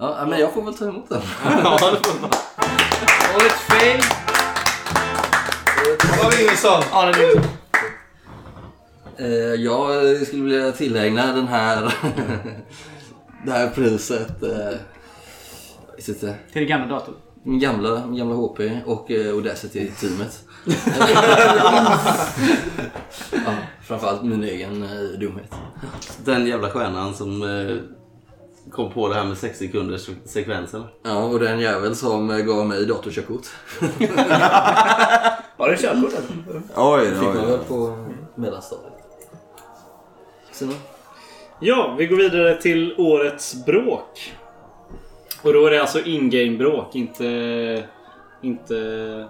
[SPEAKER 2] Ja, men jag får väl ta emot den.
[SPEAKER 5] Ja, det får man.
[SPEAKER 9] Årets fail! Adam Nilsson.
[SPEAKER 2] Eh, Jag skulle vilja tillägna den här... det här priset... eh, Jag vet inte.
[SPEAKER 9] Till den gamla datorn.
[SPEAKER 2] Min gamla, min gamla HP och eh, Audacity-teamet. ja, framförallt min egen eh, dumhet.
[SPEAKER 5] Den jävla stjärnan som eh, kom på det här med 6 sekunders sekvenserna.
[SPEAKER 2] Ja, och den jävel som eh, gav mig datorkörkort.
[SPEAKER 9] Har du körkort?
[SPEAKER 1] Oj,
[SPEAKER 2] Fick
[SPEAKER 1] oj,
[SPEAKER 2] man
[SPEAKER 1] oj.
[SPEAKER 2] väl på mellanstadiet. Simon?
[SPEAKER 4] Ja, vi går vidare till årets bråk. Och då är det alltså in-game-bråk, inte... Inte...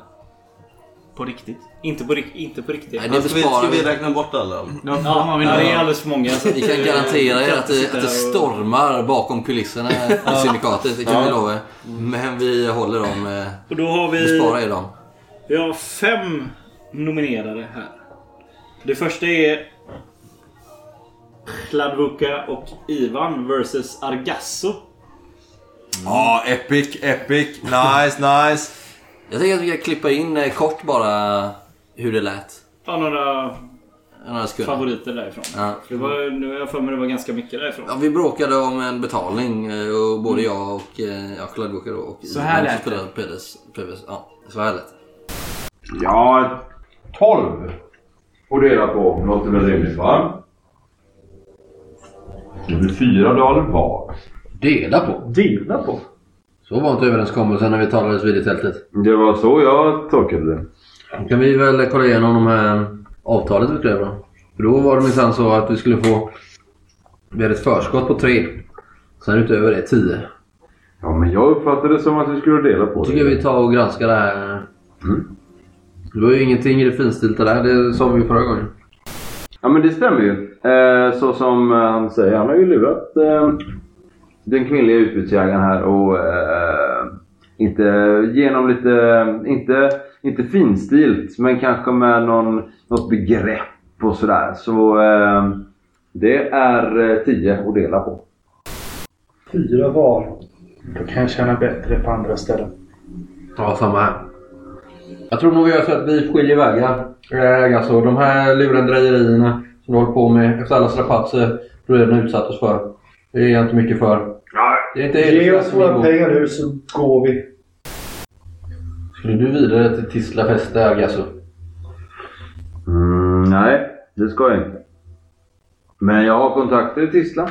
[SPEAKER 9] På riktigt.
[SPEAKER 4] Inte på, rik- inte på riktigt.
[SPEAKER 2] Nej, det
[SPEAKER 5] Alltså, vi, ska
[SPEAKER 2] besparar
[SPEAKER 5] vi
[SPEAKER 2] vi.
[SPEAKER 5] räkna bort alla
[SPEAKER 1] Mm.
[SPEAKER 5] dem?
[SPEAKER 9] De,
[SPEAKER 4] Ja,
[SPEAKER 9] de har vi
[SPEAKER 4] ja,
[SPEAKER 9] några-
[SPEAKER 4] det är alldeles för många. så
[SPEAKER 2] Vi kan
[SPEAKER 4] eh,
[SPEAKER 2] garantera er
[SPEAKER 4] kan inte
[SPEAKER 2] att det,
[SPEAKER 4] sitta
[SPEAKER 2] att det
[SPEAKER 4] och-
[SPEAKER 2] stormar bakom kulisserna i Syndikatet, det kan vi lova. er. Men vi håller dem... eh,
[SPEAKER 4] Och då har vi...
[SPEAKER 2] Bespara er dem.
[SPEAKER 4] Vi har fem nominerade här. Det första är Hladvuka och Ivan versus Argasso.
[SPEAKER 1] Ja, epic, epic. Nice, nice.
[SPEAKER 2] Jag tänker att vi kan klippa in eh, kort bara hur det lät.
[SPEAKER 4] Ta några
[SPEAKER 2] Några sekunder.
[SPEAKER 4] favoriter därifrån.
[SPEAKER 2] Ja.
[SPEAKER 4] Det var, nu har jag för mig det var ganska mycket därifrån.
[SPEAKER 2] Ja, vi bråkade om en betalning eh, och både jag och eh, ja, Claude Walker då och
[SPEAKER 9] Så här
[SPEAKER 2] Ivan
[SPEAKER 9] lät
[SPEAKER 2] som
[SPEAKER 9] det.
[SPEAKER 2] spelade Pedes, Pedes, ja, så här lät det.
[SPEAKER 11] Ja, 12 får dela på. Låter väl rimligt va? Det blir fyra dagar var.
[SPEAKER 2] Dela på!
[SPEAKER 11] Dela på?
[SPEAKER 2] Så var inte överenskommelsen när vi talades vid i tältet.
[SPEAKER 11] Det var så jag tolkade det.
[SPEAKER 2] Då kan vi väl kolla igenom de här avtalet vi skrev då. För då var det minsann så att vi skulle få... Vi hade ett förskott på tre. Sen utöver det tio.
[SPEAKER 11] Ja, men jag uppfattade det som att vi skulle dela på
[SPEAKER 2] Då
[SPEAKER 11] det.
[SPEAKER 2] tycker jag vi tar och granskar det här. Det var ju ingenting i det finstilta där, det sa vi ju förra gången.
[SPEAKER 1] Ja, men det stämmer ju. Eh, så som eh, han säger, han har ju lurat eh, den kvinnliga utbudsjägaren här och eh, inte genom lite, inte, inte finstilt, men kanske med någon, något begrepp och sådär. Så eh, det är eh, 10 att dela på.
[SPEAKER 12] Fyra var. Då kan jag tjäna bättre på andra ställen.
[SPEAKER 13] Ja, samma här. Jag tror nog vi gör så att vi skiljer vägar. Eh, Alltså, de här lurendrejerierna som du håller på med efter alla strapatser bröderna utsattes för. Det är jag inte mycket för. Det är inte
[SPEAKER 12] Ge oss
[SPEAKER 13] som
[SPEAKER 12] våra
[SPEAKER 13] ingår.
[SPEAKER 12] pengar nu så går vi.
[SPEAKER 13] Skulle du vidare till Tislafäste, Agasso?
[SPEAKER 1] Mm, nej, det ska jag inte. Men jag har kontakter i Tisla.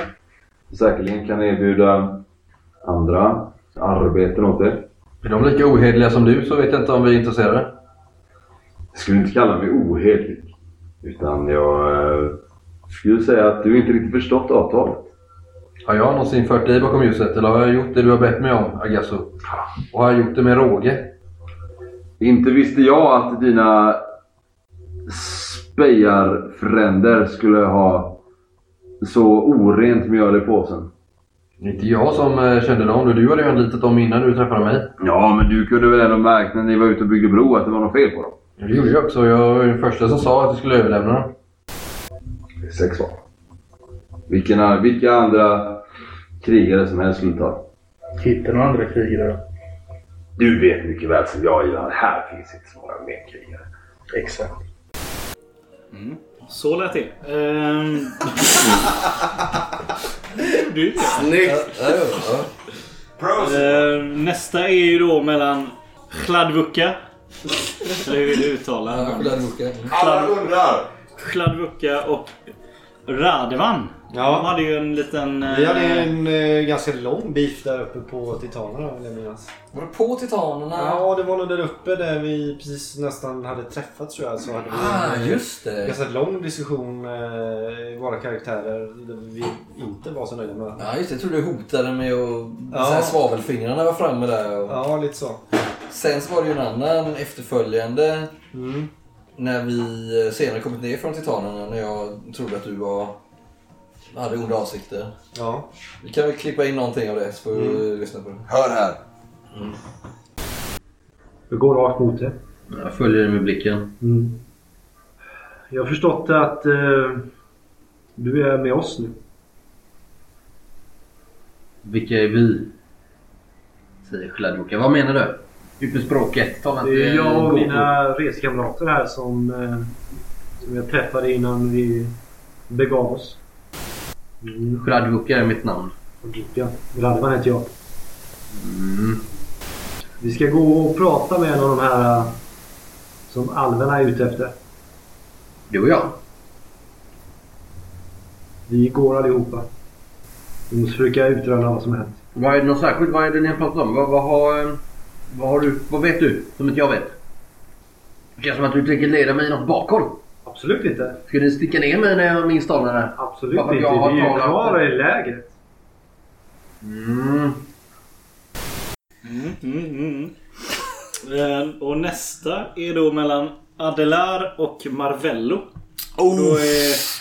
[SPEAKER 1] Säkerligen kan erbjuda andra arbeten åt er.
[SPEAKER 13] Är de lika ohederliga som du så vet jag inte om vi är intresserade.
[SPEAKER 1] Jag skulle inte kalla mig ohederlig. Utan jag eh, skulle säga att du inte riktigt förstått avtalet.
[SPEAKER 13] Har jag någonsin fört dig bakom ljuset eller har jag gjort det du har bett mig om, Agasso? Och har jag gjort det med råge?
[SPEAKER 1] Inte visste jag att dina spejarfränder skulle ha så orent mjöl i påsen.
[SPEAKER 13] Inte jag som eh, kände dem. Du hade ju anlitat dem innan du träffade mig.
[SPEAKER 1] Ja, men du kunde väl ändå märkt när ni var ute och byggde bro att det var något fel på dem?
[SPEAKER 13] Det gjorde jag också. Jag var ju den första som sa att du skulle överlämna dem.
[SPEAKER 1] Det är Sex var. Vilken, an- vilka andra krigare som helst skulle ta.
[SPEAKER 12] Hitta några andra krigare då.
[SPEAKER 1] Du vet mycket väl som jag gillar. Här finns inte så många mer krigare.
[SPEAKER 12] Exakt.
[SPEAKER 4] Så lät det. Ehm... du
[SPEAKER 5] Snyggt!
[SPEAKER 4] Ehm, Nästa är ju då mellan Chladvuka. Eller hur vill du uttala honom?
[SPEAKER 2] Alla undrar!
[SPEAKER 4] Chladvuka och Radevan. De
[SPEAKER 6] Ja.
[SPEAKER 4] hade ju en liten... eh,
[SPEAKER 6] Vi hade en eh, ganska lång beef där uppe på Titanerna vill jag minnas.
[SPEAKER 14] Var det på Titanerna?
[SPEAKER 6] Ja, det var nog där uppe där vi precis nästan hade träffats tror jag. Så hade vi
[SPEAKER 13] Ah,
[SPEAKER 6] en
[SPEAKER 13] just det.
[SPEAKER 6] ganska lång diskussion eh, våra karaktärer. Där vi inte var så nöjda med varandra.
[SPEAKER 13] Ja, just det. Jag tror du hotade med att...
[SPEAKER 6] Ja.
[SPEAKER 13] Så här svavelfingrarna var framme där. Och...
[SPEAKER 6] Ja, lite så.
[SPEAKER 13] Sen så var det ju en annan efterföljande
[SPEAKER 6] Mm.
[SPEAKER 13] när vi senare kommit ner från Titanerna när jag trodde att du var... hade onda avsikter.
[SPEAKER 6] Ja.
[SPEAKER 13] Vi kan väl klippa in någonting av det så får vi lyssna på det.
[SPEAKER 2] Hör här!
[SPEAKER 12] Jag går rakt mot det.
[SPEAKER 13] Jag följer dig med blicken.
[SPEAKER 12] Jag har förstått att eh, du är med oss nu.
[SPEAKER 13] Vilka är vi? Säger Chladjoka. Vad menar du? Ut med språket. Tala
[SPEAKER 12] Det är jag och mina reskamrater här som, eh, som jag träffade innan vi begav oss. Mm,
[SPEAKER 13] Chladjoka är mitt namn.
[SPEAKER 12] och dit ja. Radvan heter jag. Vi ska gå och prata med en av de här eh, som alverna är ute efter.
[SPEAKER 13] Du och jag.
[SPEAKER 12] Vi går allihopa. Vi måste försöka utröna vad som har hänt.
[SPEAKER 13] Vad är det något särskilt? Vad är det ni har pratat om? Vad, vad, har, eh, vad, har du, vad vet du som inte jag vet? Det känns som att du tänker leda mig något bakom.
[SPEAKER 12] Absolut inte.
[SPEAKER 13] Ska ni sticka ner mig när jag minst anar det?
[SPEAKER 12] Absolut
[SPEAKER 13] Varför
[SPEAKER 12] inte.
[SPEAKER 13] jag
[SPEAKER 12] Vi
[SPEAKER 13] har
[SPEAKER 12] är ju
[SPEAKER 13] talat-
[SPEAKER 12] kvar i lägret.
[SPEAKER 13] Mm.
[SPEAKER 4] Mm, mm, mm. Ehm, Och nästa är då mellan Adelar och Marvello. Oh. Då är...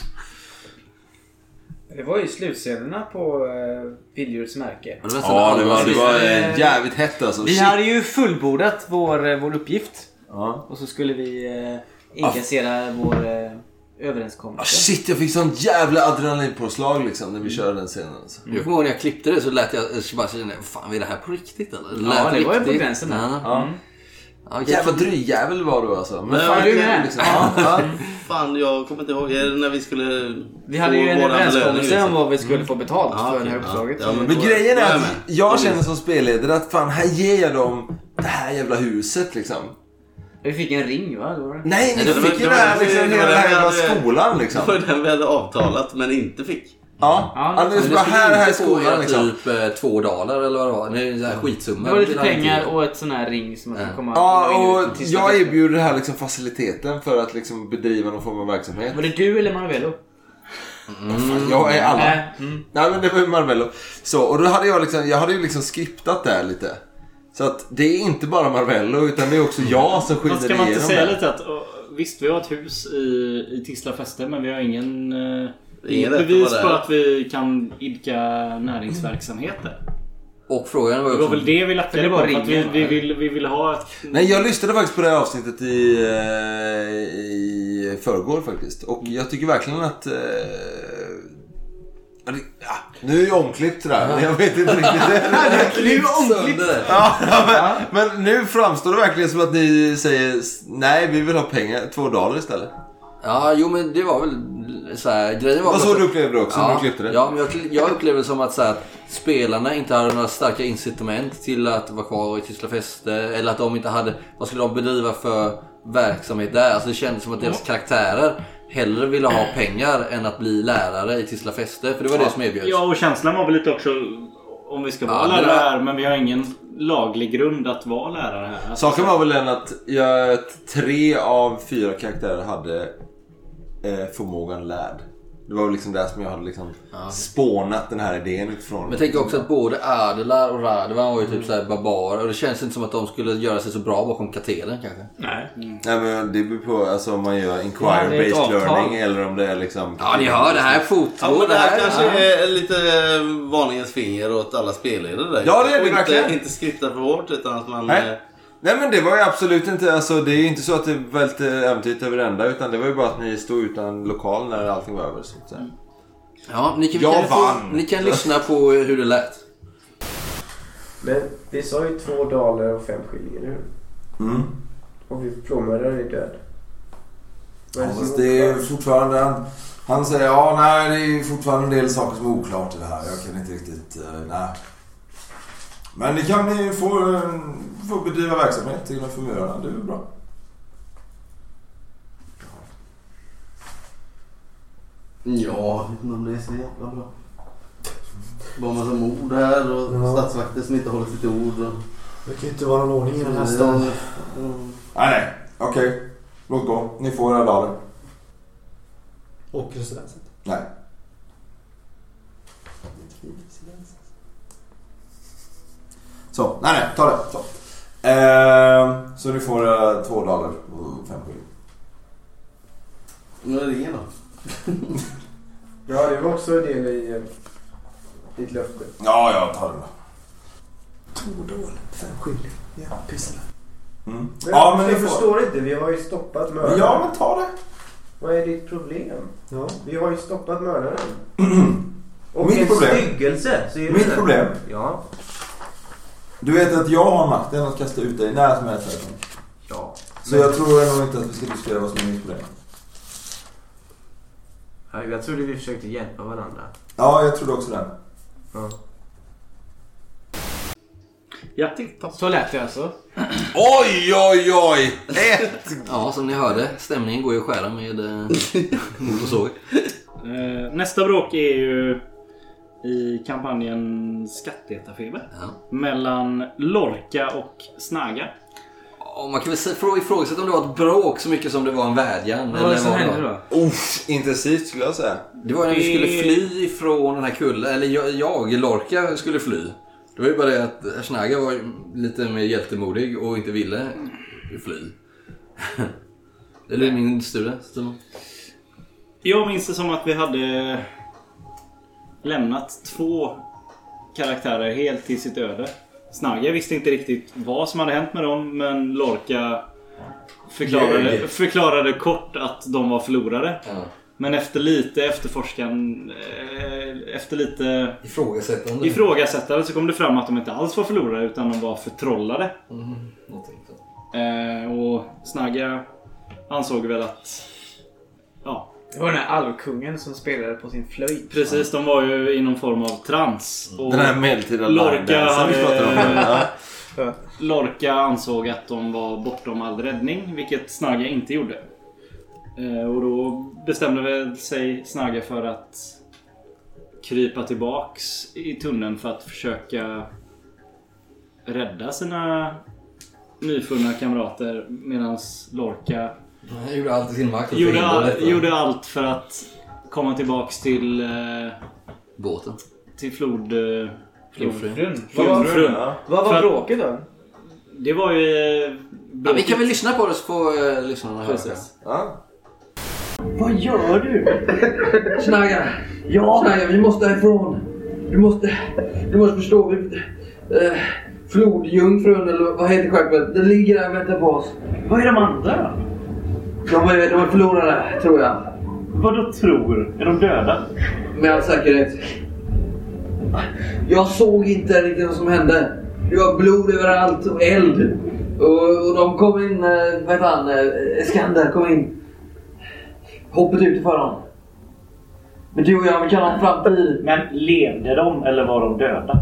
[SPEAKER 9] Det var ju slutscenerna på eh, Vilddjurets märke.
[SPEAKER 5] Ja, det var nästan
[SPEAKER 2] Ja, det
[SPEAKER 5] alla
[SPEAKER 2] var, det
[SPEAKER 5] som-
[SPEAKER 2] var eh, jävligt hett alltså.
[SPEAKER 9] Vi
[SPEAKER 2] Shit.
[SPEAKER 9] hade ju fullbordat vår, eh, vår uppgift.
[SPEAKER 2] Ja.
[SPEAKER 9] Och så skulle vi eh, inkassera vår eh,
[SPEAKER 2] Ah,
[SPEAKER 9] överenskommelse.
[SPEAKER 2] shit, jag fick sånt jävla adrenalinpåslag liksom när vi körde den scenen. Alltså.
[SPEAKER 13] Jag kommer ihåg när jag klippte det så lät jag eh, bara känna, fan är det här på riktigt eller? Det
[SPEAKER 9] Ja,
[SPEAKER 13] lät
[SPEAKER 9] det var ju på
[SPEAKER 13] riktigt.
[SPEAKER 9] gränsen där.
[SPEAKER 13] Ja.
[SPEAKER 2] Ja.
[SPEAKER 13] Ja, okej.
[SPEAKER 2] Jävla drygjävel var du alltså. Men
[SPEAKER 9] var du
[SPEAKER 2] det är
[SPEAKER 9] med?
[SPEAKER 2] liksom- Ja.
[SPEAKER 5] Fan, jag kommer inte ihåg. Är det när vi skulle...
[SPEAKER 9] Vi hade
[SPEAKER 5] få
[SPEAKER 9] ju en
[SPEAKER 5] våran belöning,
[SPEAKER 9] överenskommelse
[SPEAKER 5] liksom?
[SPEAKER 9] om vad vi skulle få betalt
[SPEAKER 5] Ja,
[SPEAKER 9] för det
[SPEAKER 5] okej,
[SPEAKER 9] här
[SPEAKER 5] ja.
[SPEAKER 9] uppdraget.
[SPEAKER 5] Ja, men
[SPEAKER 2] Men
[SPEAKER 5] då-
[SPEAKER 2] grejen
[SPEAKER 5] då
[SPEAKER 2] är
[SPEAKER 5] jag
[SPEAKER 2] att
[SPEAKER 5] med.
[SPEAKER 2] jag känner som spelledare att fan, här ger jag dem det här jävla huset liksom.
[SPEAKER 9] Vi fick en ring va? Det var det.
[SPEAKER 2] Nej, ni
[SPEAKER 5] Nej, det var-
[SPEAKER 2] fick ju
[SPEAKER 5] det
[SPEAKER 2] det
[SPEAKER 5] var-
[SPEAKER 2] här liksom,
[SPEAKER 5] det var-
[SPEAKER 2] hela
[SPEAKER 5] det
[SPEAKER 2] den
[SPEAKER 5] var-
[SPEAKER 2] här jävla
[SPEAKER 5] det var-
[SPEAKER 2] skolan liksom.
[SPEAKER 5] Det var den vi hade avtalat men inte fick.
[SPEAKER 2] Ja,
[SPEAKER 9] Ja,
[SPEAKER 2] ja det är
[SPEAKER 13] Men
[SPEAKER 2] så
[SPEAKER 13] det
[SPEAKER 2] bara
[SPEAKER 13] skulle
[SPEAKER 2] här, här är
[SPEAKER 13] inte få
[SPEAKER 2] skolan
[SPEAKER 13] era
[SPEAKER 2] liksom.
[SPEAKER 13] typ eh, två daler eller vad det var. Nej, det är skitsumma.
[SPEAKER 9] det var lite
[SPEAKER 13] Det är
[SPEAKER 9] pengar
[SPEAKER 13] inte-
[SPEAKER 9] och ett sån här ring som man kan
[SPEAKER 13] Ja.
[SPEAKER 9] komma
[SPEAKER 2] Ja,
[SPEAKER 9] komma in i
[SPEAKER 2] och
[SPEAKER 9] till sista
[SPEAKER 2] jag
[SPEAKER 9] festen.
[SPEAKER 2] erbjuder här liksom faciliteten för att liksom bedriva någon form av verksamhet.
[SPEAKER 9] Var det du eller Marvello?
[SPEAKER 2] Fan, Jag är alla.
[SPEAKER 9] Nej.
[SPEAKER 4] Mm.
[SPEAKER 2] Nej men det var ju Marvello. Så, och då hade jag liksom, jag hade ju liksom skriptat där lite. Så att det är inte bara Marvello utan det är också jag som skiner
[SPEAKER 4] Fast ska man inte
[SPEAKER 2] igenom
[SPEAKER 4] säga
[SPEAKER 2] det.
[SPEAKER 4] lite att... och, visst, vi har ett hus i, i Tisla fäste men vi har ingen, eh,
[SPEAKER 5] Ingen
[SPEAKER 4] ingen
[SPEAKER 5] rätt att vara
[SPEAKER 4] bevis på
[SPEAKER 5] där.
[SPEAKER 4] att vi kan idka näringsverksamhet där.
[SPEAKER 2] Och frågan var
[SPEAKER 4] Det
[SPEAKER 2] ju
[SPEAKER 4] var
[SPEAKER 2] också...
[SPEAKER 4] väl det vi
[SPEAKER 9] Eller
[SPEAKER 4] lackade på.
[SPEAKER 9] bara
[SPEAKER 4] För att vi,
[SPEAKER 9] ringen,
[SPEAKER 4] vi,
[SPEAKER 9] eller?
[SPEAKER 4] vill, vi vill ha ett...
[SPEAKER 1] Nej, jag lyssnade faktiskt på det här avsnittet i, eh, i förrgår faktiskt. Och jag tycker verkligen att... eh, ja, det- ja, nu är ju omklippt det där, men jag vet inte riktigt.
[SPEAKER 2] Nu omklippt!
[SPEAKER 1] Ja, ja, men, men nu framstår det verkligen som att ni säger nej, vi vill ha pengar, två dollar istället.
[SPEAKER 2] Ja, jo men det var väl så här, grejen var
[SPEAKER 1] Vad
[SPEAKER 2] väl
[SPEAKER 1] så
[SPEAKER 2] att-
[SPEAKER 1] du upplevde det också när
[SPEAKER 2] ja,
[SPEAKER 1] du klippte det?
[SPEAKER 2] Ja, men jag, kli- jag upplevde det som att, så här, att spelarna inte hade några starka incitament till att vara kvar i Tyskla Fäste. Eller att de inte hade, vad skulle de bedriva för verksamhet där? Alltså det kändes som att deras karaktärer hellre ville ha pengar än att bli lärare i Tyskla Fäste. För det var det som erbjöds.
[SPEAKER 4] Ja, och känslan var väl lite också om vi ska vara
[SPEAKER 2] Ja,
[SPEAKER 4] lärare
[SPEAKER 2] det var-
[SPEAKER 4] här, men vi har ingen laglig grund att vara lärare här. Alltså,
[SPEAKER 1] Saken var väl den att jag, tre av fyra karaktärer hade eh, förmågan lärd. Det var väl liksom där som jag hade liksom spånat den här idén utifrån.
[SPEAKER 2] Men jag tänker också att både Adela och Radovan var ju typ så här barbarer. Och det känns inte som att de skulle göra sig så bra bakom katedern kanske.
[SPEAKER 4] nej.
[SPEAKER 1] Nej men det beror på alltså, om man gör
[SPEAKER 3] Ja, det är ett
[SPEAKER 1] inquiry-based
[SPEAKER 3] avtal.
[SPEAKER 1] learning eller om det är liksom...
[SPEAKER 2] Ja, ni hör det här
[SPEAKER 5] Ja,
[SPEAKER 2] fotvård.
[SPEAKER 5] men det här
[SPEAKER 2] är-
[SPEAKER 5] kanske är lite eh, varningens finger åt alla spelledare där.
[SPEAKER 1] Ja, det är det
[SPEAKER 5] Och
[SPEAKER 1] verkligen.
[SPEAKER 5] inte, inte skripta för hårt utan att man...
[SPEAKER 1] Nej.
[SPEAKER 5] eh,
[SPEAKER 1] Nej men det var ju absolut inte, alltså det är ju inte så att det välte äventyret över ända utan det var ju bara att ni stod utan lokal när allting var över. Så att
[SPEAKER 3] Mm.
[SPEAKER 1] säga.
[SPEAKER 2] Ja, ni kan,
[SPEAKER 1] Jag
[SPEAKER 2] ni kan,
[SPEAKER 1] vann.
[SPEAKER 2] få, ni kan lyssna på eh, hur det lät.
[SPEAKER 15] Men vi sa ju två daler och fem skiljer, eller hur? Och vi plånmördaren är död. Vad är det som oklart?
[SPEAKER 1] fortfarande... Han, säger ja, nej det är fortfarande en del saker som är oklart i det här. Jag kan inte riktigt... eh, nej. Men det kan ni få, få bedriva verksamhet innanför murarna. Det är väl bra.
[SPEAKER 5] Ja, men det är så jävla bra. Bara massa mord här och statsvakter som inte håller sitt ord. Och...
[SPEAKER 16] Det kan ju inte vara någon ordning i den här
[SPEAKER 5] Ja,
[SPEAKER 16] staden.
[SPEAKER 1] Nej, nej. Okej. Låt gå. Ni får era daler.
[SPEAKER 16] Och residenset.
[SPEAKER 1] Nej. Så, nej nej, ta det. Ta. Ehm, så ni får eh, två daler och fem skilling.
[SPEAKER 5] Nu är det ingen då.
[SPEAKER 15] Ja, det var också en del i eh, ditt löfte.
[SPEAKER 1] Ja, ja, ta det då.
[SPEAKER 16] Tordål. Fem skilling. Ja, pyssla.
[SPEAKER 1] Mm.
[SPEAKER 15] Men
[SPEAKER 1] Ja,
[SPEAKER 15] jag
[SPEAKER 1] men ni får.
[SPEAKER 15] förstår inte, vi har ju stoppat mördaren.
[SPEAKER 1] Ja, men ta det.
[SPEAKER 15] Vad är ditt problem?
[SPEAKER 16] Ja.
[SPEAKER 15] Vi har ju stoppat mördaren. Och
[SPEAKER 1] Mitt
[SPEAKER 15] en
[SPEAKER 1] problem.
[SPEAKER 15] styggelse, säger du
[SPEAKER 1] Mitt
[SPEAKER 15] det?
[SPEAKER 1] problem.
[SPEAKER 15] Ja.
[SPEAKER 1] Du vet att jag har makten att kasta ut dig när som helst härifrån.
[SPEAKER 15] Ja.
[SPEAKER 1] Så jag tror nog inte att vi ska diskutera vad som är mitt problem.
[SPEAKER 15] Ja, Jag trodde vi försökte hjälpa varandra.
[SPEAKER 1] Ja, jag trodde också det.
[SPEAKER 4] Ja, titta.
[SPEAKER 3] Så lät det alltså.
[SPEAKER 1] Oj, oj, oj! Ett!
[SPEAKER 2] Ja, som ni hörde, stämningen går ju att skära med eh, mord och såg.
[SPEAKER 4] Eh, Nästa bråk är ju i kampanjen Skattletarfeber.
[SPEAKER 2] Ja.
[SPEAKER 4] Mellan Lorca och Snaga.
[SPEAKER 2] Och man kan väl se- frå- ifrågasätta om det var ett bråk så mycket som det var en vädjan.
[SPEAKER 9] Vad var det som
[SPEAKER 2] vad
[SPEAKER 9] hände
[SPEAKER 2] var.
[SPEAKER 9] då?
[SPEAKER 1] Uff, intensivt skulle jag säga.
[SPEAKER 2] Det var när vi skulle fly ifrån den här kullen. Eller jag, jag Lorca, skulle fly. Det var ju bara det att Schnager var ju lite mer hjältemodig och inte ville fly. Eller min studie. Simon.
[SPEAKER 4] Jag minns det som att vi hade lämnat två karaktärer helt till sitt öde. Snagga visste inte riktigt vad som hade hänt med dem men Lorca förklarade,
[SPEAKER 1] Ljög.
[SPEAKER 4] förklarade kort att de var förlorade.
[SPEAKER 2] Ja.
[SPEAKER 4] Men efter lite efterforskan, eh, efter lite
[SPEAKER 2] Mm. Ifrågasättande.
[SPEAKER 4] ifrågasättande så kom det fram att de inte alls var förlorade utan de var förtrollade.
[SPEAKER 2] Någonting sånt.
[SPEAKER 4] Eh, och Snagga ansåg väl att... Ja,
[SPEAKER 3] Det var den här alvkungen som spelade på sin flöjt.
[SPEAKER 4] precis. De var ju i någon form av trans. Och
[SPEAKER 1] Mm. Den här medeltida
[SPEAKER 4] Lorca
[SPEAKER 1] linedansen vi pratade om.
[SPEAKER 4] hade-
[SPEAKER 1] Ja.
[SPEAKER 4] Lorca ansåg att de var bortom all räddning, vilket Snagga inte gjorde. Eh, och då bestämde väl sig Snagga för att krypa tillbaks i tunneln för att försöka rädda sina nyfunna kamrater medan Lorca
[SPEAKER 2] Han gjorde allt i sin makt för att
[SPEAKER 4] gjorde,
[SPEAKER 2] förhindra
[SPEAKER 4] all,
[SPEAKER 2] detta.
[SPEAKER 4] gjorde allt för att komma tillbaks till, eh,
[SPEAKER 2] Båten.
[SPEAKER 4] till flod... eh,
[SPEAKER 2] Flodfrun.
[SPEAKER 3] Frun. Vad var,
[SPEAKER 4] Flodfrun.
[SPEAKER 3] vad
[SPEAKER 4] För
[SPEAKER 3] var
[SPEAKER 4] att-
[SPEAKER 3] bråket då?
[SPEAKER 4] Det var ju... eh,
[SPEAKER 2] Ja, vi kan väl lyssna på det så får eh, lyssnarna höra.
[SPEAKER 4] Precis.
[SPEAKER 13] Vad gör du? Snagga. Ja. Snagga, vi måste härifrån. Du måste, du måste förstå. Vi, eh, flodjungfrun eller vad heter skeppet? Den ligger där och väntar på oss. Vad är de andra De är, de är förlorade, tror jag. Vadå tror? Är de döda? Med all säkerhet. Jag såg inte riktigt vad som hände. Det var blod överallt och eld. Och, och de kom in, eh, vad heter han, eh, Skander kom in hoppet ut för dem. Men du och jag, vi kan ha en framtid.
[SPEAKER 17] Men levde de eller var de döda?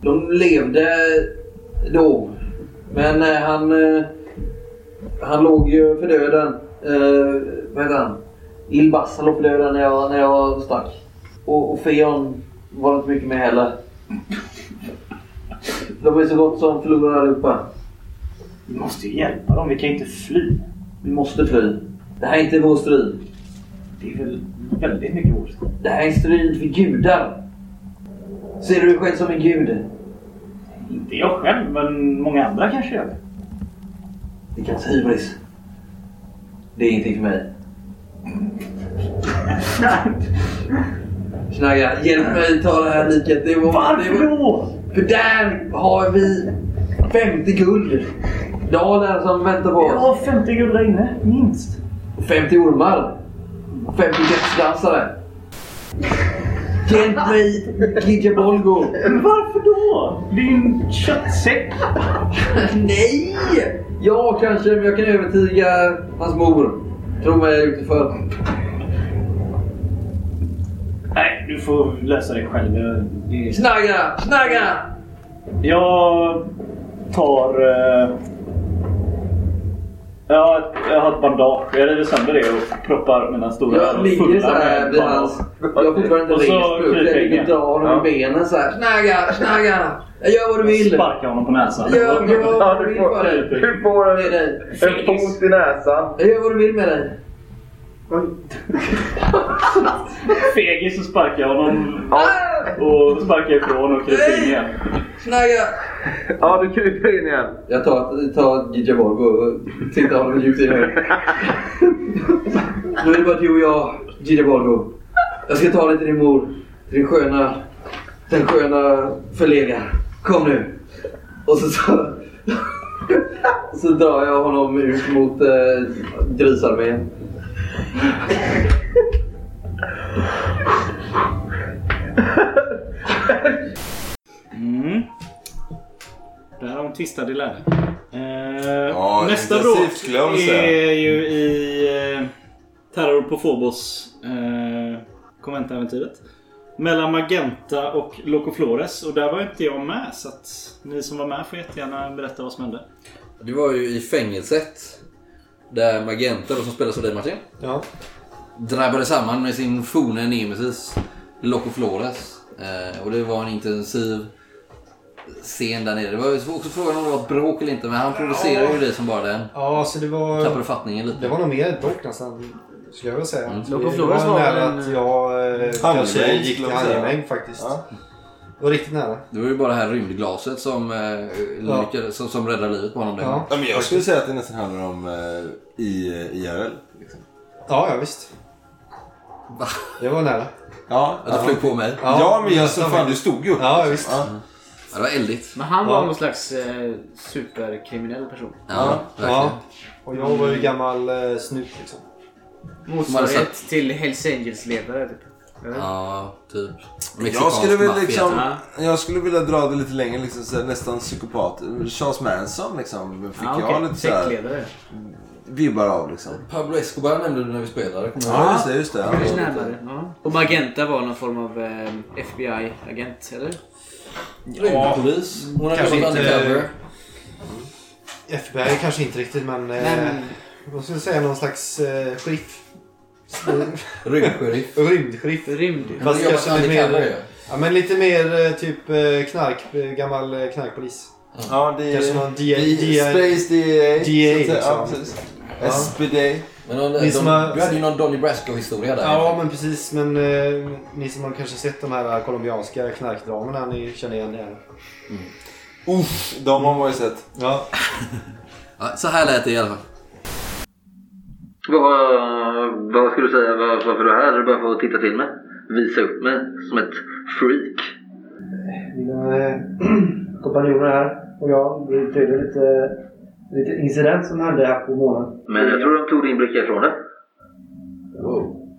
[SPEAKER 13] De levde då. Men eh, han, eh, han låg ju för döden. Eh, vad heter han? Ilbas, han låg för döden när jag, när jag stack. Och, och Feon var det inte mycket med heller. De är så gott som förlorade allihopa.
[SPEAKER 17] Vi måste ju hjälpa dem, vi kan ju inte fly.
[SPEAKER 13] Vi måste fly. Det här är inte vår strid.
[SPEAKER 17] Det är väl väldigt mycket vår strid.
[SPEAKER 13] Det här är en strid för gudar. Ser du dig själv som en gud?
[SPEAKER 17] Inte jag själv, men många andra kanske gör det.
[SPEAKER 13] Det kallas hybris. Det är ingenting för mig. Snagga, hjälp mig ta det här liket. Det var, Varför
[SPEAKER 17] då?
[SPEAKER 13] För där har vi 50 guld. Dalen som väntar på oss.
[SPEAKER 17] Ja, 50 guld där inne, minst.
[SPEAKER 13] 50 ormar. 50 dödsdansare. Hjälp mig, Gidja Bolgo.
[SPEAKER 17] Varför då? Din köttsäck.
[SPEAKER 13] Nej! Jag kanske, men jag kan övertyga hans mor. Tro mig, jag är ute för.
[SPEAKER 17] Nej, du får lösa det själv. Det är...
[SPEAKER 13] Snagga! Snagga!
[SPEAKER 17] Jag tar... eh, Jag, jag har ett bandage. Jag river sönder det och proppar mina stora
[SPEAKER 13] Jag ligger så här vid hans... Jag har fortfarande
[SPEAKER 17] Och
[SPEAKER 13] inte
[SPEAKER 17] så
[SPEAKER 13] rest mig upp.
[SPEAKER 17] kryper
[SPEAKER 13] Jag
[SPEAKER 17] jag
[SPEAKER 13] ligger
[SPEAKER 17] igen.
[SPEAKER 13] och drar honom i benen så här. Snagga! Snagga! Jag gör vad du vill.
[SPEAKER 17] Sparkar honom på näsan.
[SPEAKER 13] Jag gör vad du
[SPEAKER 17] du
[SPEAKER 13] vill för dig.
[SPEAKER 17] får-
[SPEAKER 13] Du får en fot i näsan. Jag gör vad du vill med dig.
[SPEAKER 17] Fegis så sparkar jag honom. Och sparkar ifrån och kryper in igen.
[SPEAKER 13] Snagga!
[SPEAKER 11] Ja, du kryper in igen.
[SPEAKER 13] Jag tar, tar Gidja Volvo och tittar honom djupt i ögonen. Nu är det bara du och jag, Gidja Volvo. Jag ska ta dig till din mor. Till din sköna... Den sköna förlegaren. Kom nu. Och så, så, så drar jag honom ut mot eh, grisarmén.
[SPEAKER 4] Mm. Där har de tvistade lärde. Eh,
[SPEAKER 1] Ja,
[SPEAKER 4] nästa
[SPEAKER 1] intensivt
[SPEAKER 4] bråk
[SPEAKER 1] skulle jag väl
[SPEAKER 4] är
[SPEAKER 1] säga.
[SPEAKER 4] ju i eh, Terror på Phobos eh, konventäventyret. Mellan Magenta och Loco Flores och där var inte jag med så att ni som var med får jättegärna berätta vad som hände.
[SPEAKER 2] Det var ju i fängelset. Där Magenta, då, som spelas av dig Martin.
[SPEAKER 6] Ja.
[SPEAKER 2] drabbade samman med sin forne nemesis Loco Flores. Eh, och det var en intensiv scen där nere. Det var ju också frågan om det var ett bråk eller inte, men han provocerade ju det som bara den.
[SPEAKER 6] Ja, så det var...
[SPEAKER 2] Tappade fattningen lite.
[SPEAKER 6] Det var nog mer ett bråk nästan. Skulle jag vilja säga. Mm.
[SPEAKER 2] Loco
[SPEAKER 6] Det var
[SPEAKER 2] Flores var
[SPEAKER 6] nära
[SPEAKER 2] väl en-
[SPEAKER 6] att jag eh,
[SPEAKER 2] Handgemäng,
[SPEAKER 6] kanske gick
[SPEAKER 2] skulle
[SPEAKER 6] till
[SPEAKER 2] jag säga.
[SPEAKER 6] handgemäng faktiskt.
[SPEAKER 2] Ja.
[SPEAKER 6] Det var riktigt nära.
[SPEAKER 2] Det var ju bara det här rymdglaset som, eh,
[SPEAKER 6] Ja.
[SPEAKER 2] lyckades, som, som räddade livet på honom. den
[SPEAKER 1] Ja,
[SPEAKER 2] gången.
[SPEAKER 1] men jag skulle säga att det nästan handlar om eh, i IRL. Liksom.
[SPEAKER 6] Ja, ja visst. Det var nära.
[SPEAKER 1] Ja,
[SPEAKER 2] Att det flög på mig.
[SPEAKER 1] Ja, men jag så fan, du stod ju upp.
[SPEAKER 6] Ja, visst.
[SPEAKER 2] Ja, det var eldigt.
[SPEAKER 9] Men han var
[SPEAKER 6] Ja.
[SPEAKER 9] någon slags eh, superkriminell person.
[SPEAKER 6] Och jag var ju gammal eh, snut liksom.
[SPEAKER 9] Motsvarighet till Hells Angels-ledare typ. Eller?
[SPEAKER 2] Ja, typ.
[SPEAKER 1] Jag skulle, väl liksom,
[SPEAKER 9] Ja.
[SPEAKER 1] jag skulle vilja dra det lite längre, liksom, så här, nästan psykopat. Charles Manson liksom, fick
[SPEAKER 2] Ah, okej.
[SPEAKER 1] jag lite så här,
[SPEAKER 2] Sektledare.
[SPEAKER 1] vibbar av. Liksom.
[SPEAKER 2] Pablo Escobar nämnde du när vi spelade. kommer jag
[SPEAKER 1] Ja,
[SPEAKER 2] ihåg.
[SPEAKER 1] just det, just det. Ja.
[SPEAKER 9] Kanske närmare. Ja. Och Magenta var någon form av eh, FBI-agent, eller?
[SPEAKER 2] Rymdpolis. Hon hade
[SPEAKER 6] Kanske
[SPEAKER 2] jobbat
[SPEAKER 6] inte-
[SPEAKER 2] undercover.
[SPEAKER 6] FBI kanske inte riktigt men... Eh,
[SPEAKER 9] Nej,
[SPEAKER 6] vad ska jag säga? Någon slags eh, sheriff.
[SPEAKER 2] Rymdsheriff.
[SPEAKER 6] Rymdsheriff.
[SPEAKER 9] Rymd.
[SPEAKER 6] Fast
[SPEAKER 2] Han
[SPEAKER 6] kanske
[SPEAKER 2] jobbar
[SPEAKER 6] lite
[SPEAKER 2] undercover,
[SPEAKER 6] mer...
[SPEAKER 2] ja.
[SPEAKER 6] Ja men lite mer eh, typ eh, knark, eh, gammal eh, knarkpolis.
[SPEAKER 1] Ja, det är...
[SPEAKER 6] Kanske någon DA.
[SPEAKER 1] det är Space DA.
[SPEAKER 6] DA
[SPEAKER 1] så att säga. Ja,
[SPEAKER 6] liksom.
[SPEAKER 1] precis.
[SPEAKER 6] Ja.
[SPEAKER 1] SPD.
[SPEAKER 2] Men de, de,
[SPEAKER 6] Ni som har-
[SPEAKER 2] du hade ju någon Donny Brasco-historia där.
[SPEAKER 6] Ja men precis men eh, ni som har kanske sett de här colombianska knarkdramerna ni känner igen det. här.
[SPEAKER 1] Uff, de har man ju sett. Ja.
[SPEAKER 2] Ja, så här lät det i alla fall.
[SPEAKER 18] Vad, vad skulle du säga var- varför du är här? Är det bara för att titta till mig? Visa upp mig som ett freak?
[SPEAKER 6] Mina eh, kompanjoner här och jag. Det är tydligen lite, lite incident som hände här på månen.
[SPEAKER 18] Men jag tror de tog din blick ifrån dig.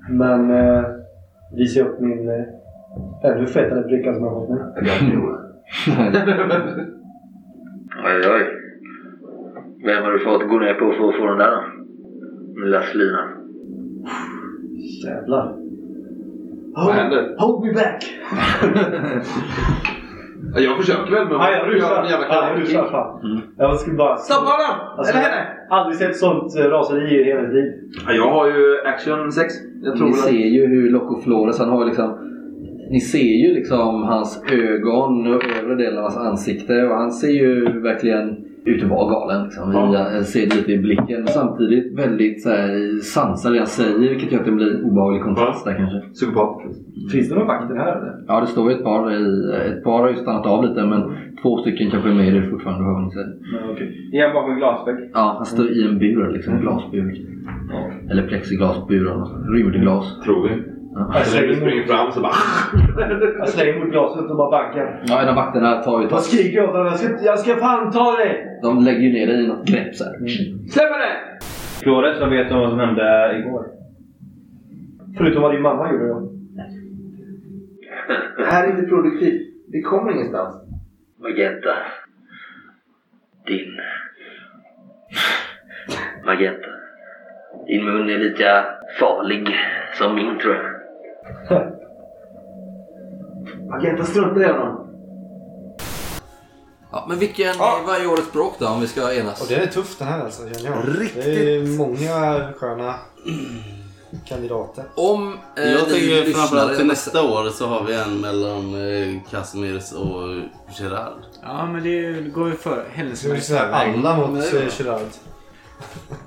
[SPEAKER 6] Men eh, visar upp min eh, ännu fetare bricka som jag har fått nu.
[SPEAKER 18] Oj, oj. Vem har du fått gå ner på för att få den där då? Den lilla slinan.
[SPEAKER 6] Jävlar.
[SPEAKER 18] Vad händer?
[SPEAKER 6] Hold me back!
[SPEAKER 18] Jag försöker väl men...
[SPEAKER 6] Ja, jag rusar. Ja, jag rusar fan. Jag skulle bara... Stoppa
[SPEAKER 18] honom!
[SPEAKER 6] Alltså, Eller henne! Aldrig sett sånt eh, raseri i hela mitt liv.
[SPEAKER 2] jag har ju action 6.
[SPEAKER 6] Jag tror
[SPEAKER 2] ni
[SPEAKER 6] väl att-
[SPEAKER 2] ser ju hur Loco Flores, han har ju liksom... Ni ser ju liksom hans ögon och övre delen av hans ansikte och han ser ju verkligen ut att vara galen. Liksom. Jag ser det lite i blicken. Men Samtidigt väldigt så här, sansad i det han säger vilket gör att det blir en obehaglig kontrast där kanske.
[SPEAKER 1] Psykopat.
[SPEAKER 6] Finns det några vakter här eller?
[SPEAKER 2] Ja, det står ju ett par. I, ett par har ju stannat av lite men två stycken kanske är med i det fortfarande. Hör ni säger.
[SPEAKER 19] Nej, okej. Är han bakom glasvägg?
[SPEAKER 2] Ja, han står i en bur, liksom
[SPEAKER 13] Mm.
[SPEAKER 2] glasbur. Eller plexiglasbur eller något. Rymdglas. Tror vi.
[SPEAKER 6] Jag slänger Så vi springer
[SPEAKER 2] fram så bara...
[SPEAKER 6] Jag slänger mot glaset och bara bankar.
[SPEAKER 2] Ja, en av vakterna tar ju
[SPEAKER 6] Vad
[SPEAKER 2] tag
[SPEAKER 6] skriker jag åt honom? Jag ska, jag ska fan ta dig!
[SPEAKER 2] De lägger ju ner dig i något grepp så här.
[SPEAKER 6] Släpp det!
[SPEAKER 19] Flores, vad vet du om vad som hände igår?
[SPEAKER 6] Förutom vad din mamma gjorde då.
[SPEAKER 19] Det här är inte produktivt. Vi kommer ingenstans.
[SPEAKER 18] Magenta. Din... Magenta. Din mun är lika farlig som min tror jag.
[SPEAKER 19] Agenten struntar i honom.
[SPEAKER 2] Ja, men vilken vad är årets bråk då om vi ska enas?
[SPEAKER 13] Och den är tuff den här alltså, känner jag.
[SPEAKER 2] Riktigt.
[SPEAKER 13] Det är många sköna kandidater.
[SPEAKER 2] Om eh,
[SPEAKER 5] jag tänker framförallt till
[SPEAKER 13] nästa
[SPEAKER 5] nästa år så har vi en mellan eh, Casemirs och Gerard.
[SPEAKER 9] Ja, men det går ju för händelsemärkta
[SPEAKER 13] Gerard.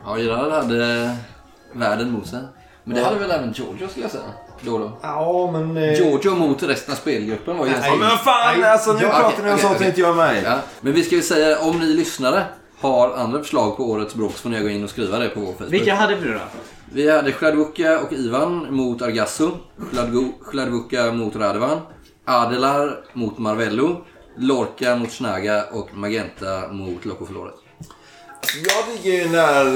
[SPEAKER 2] Ja, Gerard hade eh, världen mot sig. Men det hade väl även Giorgio skulle jag säga. Då och då.
[SPEAKER 13] Ja, men... eh,
[SPEAKER 2] Giorgio mot resten av spelgruppen var ju
[SPEAKER 13] Nej.
[SPEAKER 2] ganska...
[SPEAKER 13] Ja, men fan, Nej. alltså, nu pratar ni om sånt som inte
[SPEAKER 2] gör mig. Ja. Men vi ska ju säga om ni lyssnare har andra förslag på årets bråk så får ni gå in och skriva det på vår Facebook.
[SPEAKER 20] Vilka hade vi då?
[SPEAKER 2] Vi hade Chladvuka och Ivan mot Argasso. Chladgu- Chladvuka mot Radovan. Adelar mot Marvello. Lorca mot Snaga och Magenta mot Loco Flores.
[SPEAKER 1] Jag tycker ju när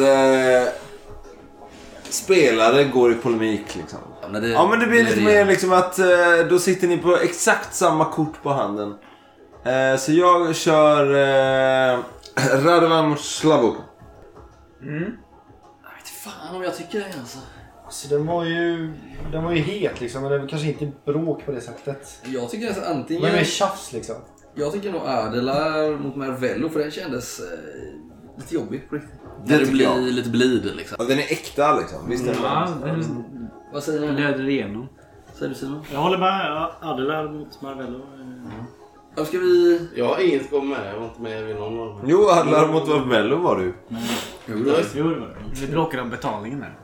[SPEAKER 1] eh, spelare går i polemik liksom.
[SPEAKER 2] Ja, det,
[SPEAKER 1] ja men det blir
[SPEAKER 2] när
[SPEAKER 1] lite
[SPEAKER 2] det-
[SPEAKER 1] mer liksom att eh, då sitter ni på exakt samma kort på handen. Eh, så jag kör eh, Radovan mot Slavuk.
[SPEAKER 2] Mm. Jag vet fan om jag tycker det alltså.
[SPEAKER 13] Alltså, den var ju... Den var ju het liksom, men det var kanske inte bråk på det sättet.
[SPEAKER 2] Jag tycker alltså antingen...
[SPEAKER 13] Men med tjafs liksom.
[SPEAKER 2] Jag tycker nog Adela mot Marvello för den kändes eh, lite jobbig på riktigt.
[SPEAKER 1] Det
[SPEAKER 2] När det
[SPEAKER 1] tycker
[SPEAKER 2] blir
[SPEAKER 1] jag.
[SPEAKER 2] lite blid liksom.
[SPEAKER 1] Ja, den är äkta liksom. Visst är den
[SPEAKER 13] Mm.
[SPEAKER 2] Ja,
[SPEAKER 1] det?
[SPEAKER 2] den-
[SPEAKER 9] Mm.
[SPEAKER 2] Vad säger du?
[SPEAKER 9] Löder igenom.
[SPEAKER 2] Säger du Simon?
[SPEAKER 4] Jag håller med. Adelar mot Marvello. eh.
[SPEAKER 2] Då ska vi...
[SPEAKER 5] Jag har inget gått med. Jag var inte med vid någon av dem.
[SPEAKER 1] Jo, Adlar mot Marmello var du.
[SPEAKER 5] det var det. Jo, det var
[SPEAKER 9] Vi bråkade om betalningen där.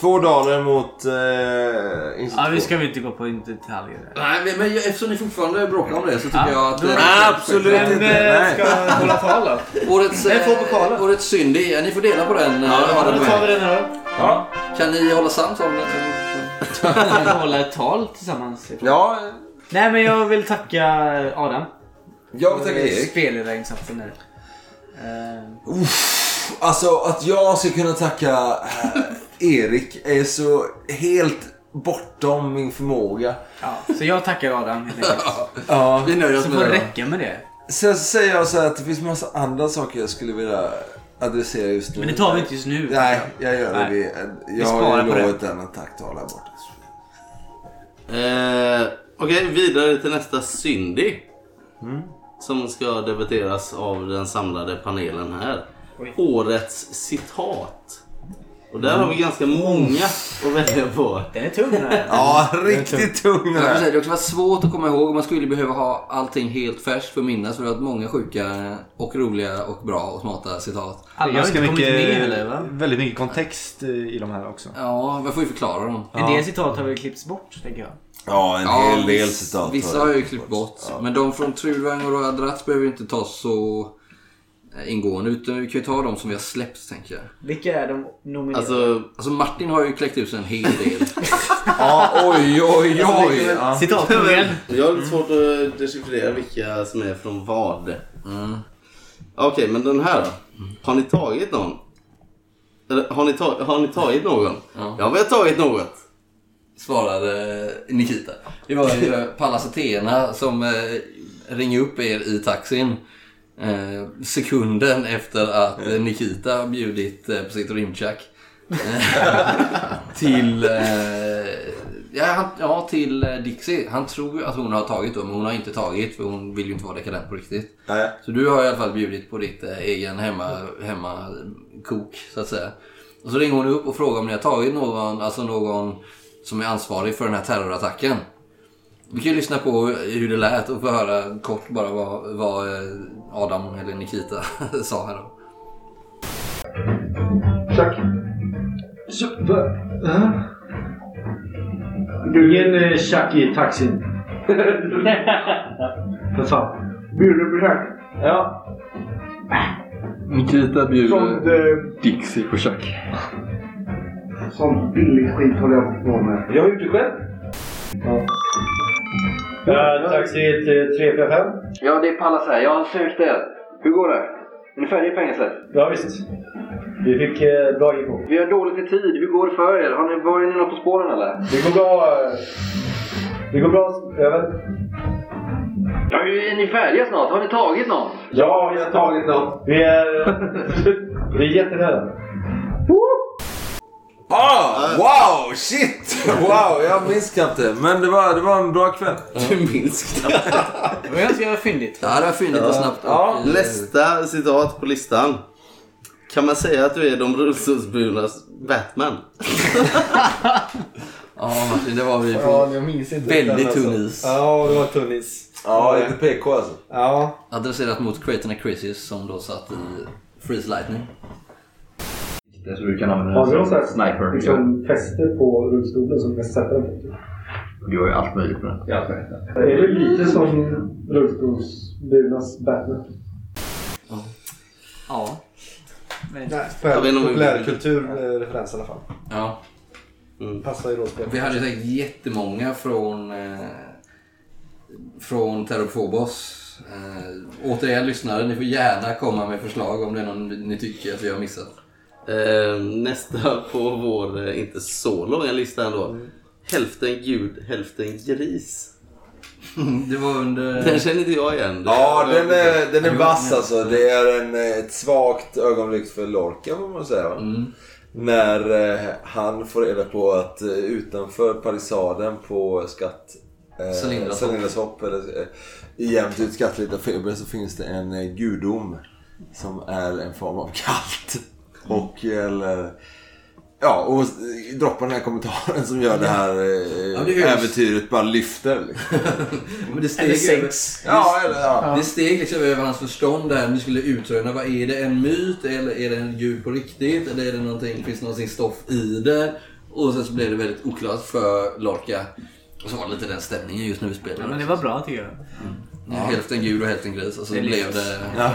[SPEAKER 1] Två daler mot eh, Institut
[SPEAKER 9] Ja, vi
[SPEAKER 1] två.
[SPEAKER 9] ska väl inte gå på in- detaljer där.
[SPEAKER 2] Nej, men, men eftersom ni fortfarande bråkar om det så tycker
[SPEAKER 9] Ja.
[SPEAKER 2] jag att...
[SPEAKER 9] Nej, absolut
[SPEAKER 2] Vem,
[SPEAKER 9] inte.
[SPEAKER 2] eh,
[SPEAKER 9] Nej.
[SPEAKER 2] hålla tal då? Årets,
[SPEAKER 9] Vem får
[SPEAKER 2] eh, årets synd, det är- ni får dela på den. eh, Adam och jag.
[SPEAKER 9] den här
[SPEAKER 2] Ja. Kan ni hålla sams om det?
[SPEAKER 9] Kan vi hålla ett tal tillsammans?
[SPEAKER 1] Ja.
[SPEAKER 9] Nej, men jag vill tacka Adam.
[SPEAKER 1] Jag vill tacka
[SPEAKER 9] För
[SPEAKER 1] Erik.
[SPEAKER 9] Spelledarinsatsen där. Eh,
[SPEAKER 1] Uff, alltså att jag ska kunna tacka eh, Erik är så helt bortom min förmåga.
[SPEAKER 9] Ja, så jag tackar Adam helt enkelt.
[SPEAKER 1] Ja.
[SPEAKER 2] Vi nöjer oss
[SPEAKER 9] Så
[SPEAKER 1] med
[SPEAKER 9] får det
[SPEAKER 1] det.
[SPEAKER 9] räcka med det.
[SPEAKER 1] Sen så säger jag så här att det finns massa andra saker jag skulle vilja adressera just nu.
[SPEAKER 9] Men det tar vi inte just nu.
[SPEAKER 1] Nej, jag gör det.
[SPEAKER 9] Nej.
[SPEAKER 1] Vi, eh,
[SPEAKER 9] Vi
[SPEAKER 1] jag har
[SPEAKER 9] sparar
[SPEAKER 1] ju
[SPEAKER 9] på det.
[SPEAKER 1] lovat den attacktal här borta.
[SPEAKER 5] Eh, Okej, vidare till nästa Cindy.
[SPEAKER 13] Mm.
[SPEAKER 5] Som ska debatteras av den samlade panelen här. Årets citat. Och där har vi
[SPEAKER 13] Mm.
[SPEAKER 5] ganska många att välja på.
[SPEAKER 9] Den är tung den här.
[SPEAKER 2] Jag får säga, Det har också varit svårt att komma ihåg och man skulle behöva ha allting helt färskt för att minnas för det har varit många sjuka och roliga och bra och smarta citat.
[SPEAKER 6] Det är ganska mycket- Väldigt mycket kontext eh, i de här också.
[SPEAKER 2] Ja, man får ju förklara dem.
[SPEAKER 6] En del
[SPEAKER 9] citat har väl klippts bort, tänker jag.
[SPEAKER 1] Ja, en hel del
[SPEAKER 2] viss-
[SPEAKER 1] citat.
[SPEAKER 2] Vissa har jag ju klippt bort. Men de från Trudvang och Radrats behöver ju inte tas så eh, ingående. Utan vi kan ju ta de som vi har släppt, tänker jag.
[SPEAKER 9] Vilka är de nominerade?
[SPEAKER 2] Alltså, alltså Martin har ju kläckt ut sig en hel del.
[SPEAKER 5] Ja,
[SPEAKER 2] oj, oj, oj. Ja.
[SPEAKER 1] Alltså,
[SPEAKER 5] Jag har lite svårt att dechiffrera vilka som är från vad. Okej, men den här då? Har ni tagit någon? Eller, har, ni ta- har ni tagit någon?
[SPEAKER 2] Ja.
[SPEAKER 5] Jag har väl tagit något.
[SPEAKER 2] Svarade Nikita. Det var ju eh, Pallas Athena som eh, ringde upp er i taxin. Eh, sekunden efter att eh, Nikita har bjudit eh, på sitt rimchack. Eh, till... Eh, ja, han, ja, till eh, Dixie. Han tror ju att hon har tagit dem, men hon har inte tagit för hon vill ju inte vara dekadent på riktigt. Så du har i alla fall bjudit på ditt eh, egen hemma, hemmakok, så att säga. Och så ringer hon upp och frågar om ni har tagit någon, alltså någon som är ansvarig för den här terrorattacken. Vi kan ju lyssna på hur det lät och få höra kort bara vad, vad eh, Adam eller Nikita sa här då.
[SPEAKER 16] Tack. Så, va? Va? Du ger en eh, tjack i taxin. För fan. Bjuder på tjack? Ja.
[SPEAKER 21] Nikita
[SPEAKER 16] Sånt,
[SPEAKER 21] bjuder Dixie på tjack.
[SPEAKER 16] Sån billig skit håller jag på med. Jag har gjort det själv.
[SPEAKER 6] eh,
[SPEAKER 16] Ja. Taxi till 345.
[SPEAKER 22] Ja, det är Pallas här. Jag har sökt er. Hur går det? Är ni färdiga i fängelset?
[SPEAKER 16] Ja, visst. Vi fick eh, bra info.
[SPEAKER 22] Vi har dåligt med tid. Hur går det för er? Har ni, var ni något på spåren eller?
[SPEAKER 16] Det går bra. eh, Det går bra. Över.
[SPEAKER 22] Ja, är ni färdiga snart? Har ni tagit någon?
[SPEAKER 16] Ja, vi har tagit dem. Vi är, eh, vi är jättenära.
[SPEAKER 1] Ah, wow, shit! Wow, jag minns knappt det. Men det var, det var en bra kväll.
[SPEAKER 5] Du minns knappt
[SPEAKER 9] Det var ganska fyndigt.
[SPEAKER 2] Ja, det var fyndigt och snabbt.
[SPEAKER 5] Ja.
[SPEAKER 2] Och, eh,
[SPEAKER 5] Nästa citat på listan. Kan man säga att du är de rullstolsburnas Batman?
[SPEAKER 2] Ja, Martin, det var vi
[SPEAKER 7] Ja, jag minns inte.
[SPEAKER 2] väldigt
[SPEAKER 7] den,
[SPEAKER 2] tunn
[SPEAKER 7] alltså.
[SPEAKER 2] is.
[SPEAKER 7] Ja, det var tunn is.
[SPEAKER 1] PK alltså.
[SPEAKER 7] Ja.
[SPEAKER 2] Adresserat mot Creighton och Crisis som då satt i Freeze Lightning.
[SPEAKER 22] Det så du kan använda
[SPEAKER 16] Har vi någon
[SPEAKER 22] den
[SPEAKER 16] sån
[SPEAKER 22] som
[SPEAKER 16] här
[SPEAKER 22] sniper.
[SPEAKER 16] liksom, fäste på rullstolen som vi kan sätta den på?
[SPEAKER 22] Du gör ju allt möjligt med den. Ja,
[SPEAKER 16] Är det lite som rullstolsburnas Batman?
[SPEAKER 9] Ja. Men...
[SPEAKER 7] Populärkulturreferens i alla fall.
[SPEAKER 2] Ja.
[SPEAKER 7] Mm. Passar ju rollspelet.
[SPEAKER 2] Vi hade säkert jättemånga från, eh, från Terrorphobos. Eh, återigen lyssnare, ni får gärna komma med förslag om det är någon ni tycker att vi har missat.
[SPEAKER 5] Eh, nästa på vår, eh, inte så långa lista ändå. Hälften gud, hälften gris.
[SPEAKER 2] Mm, Det var under...
[SPEAKER 5] Den känner inte jag igen.
[SPEAKER 1] Ja, den är, den är vass alltså. Det är en, eh, ett svagt ögonblick för Lorca får man säga. Va? När eh, han får reda på att eh, utanför palissaden på skatt eh,
[SPEAKER 2] Cylindras hopp.
[SPEAKER 1] Cylindras hopp, eller eh, i jämnt ut skattletarfeber så finns det en eh, gudom som är en form av kallt. Och eller, ja, och eh, droppen den här kommentaren som gör det här eh,
[SPEAKER 2] Ja, det är-
[SPEAKER 1] äventyret bara lyfter. Liksom.
[SPEAKER 2] Men det steg
[SPEAKER 1] Eller
[SPEAKER 2] över-
[SPEAKER 1] sex. Ja, eller- ja.
[SPEAKER 2] Det steg liksom över hans förstånd där. Ni skulle utröna, vad är det en myt eller är det en gud på riktigt? Eller är det någonting, finns det någonting stoff i det? Och sen så blev det väldigt oklart för Lorca. Och så var det lite den stämningen just när vi spelade.
[SPEAKER 9] Ja, men det var bra tycker jag.
[SPEAKER 2] Ja. Hälften gud och hälften gris. Och så,
[SPEAKER 9] Det är
[SPEAKER 2] blev
[SPEAKER 9] lyx.
[SPEAKER 2] det,
[SPEAKER 9] Ja.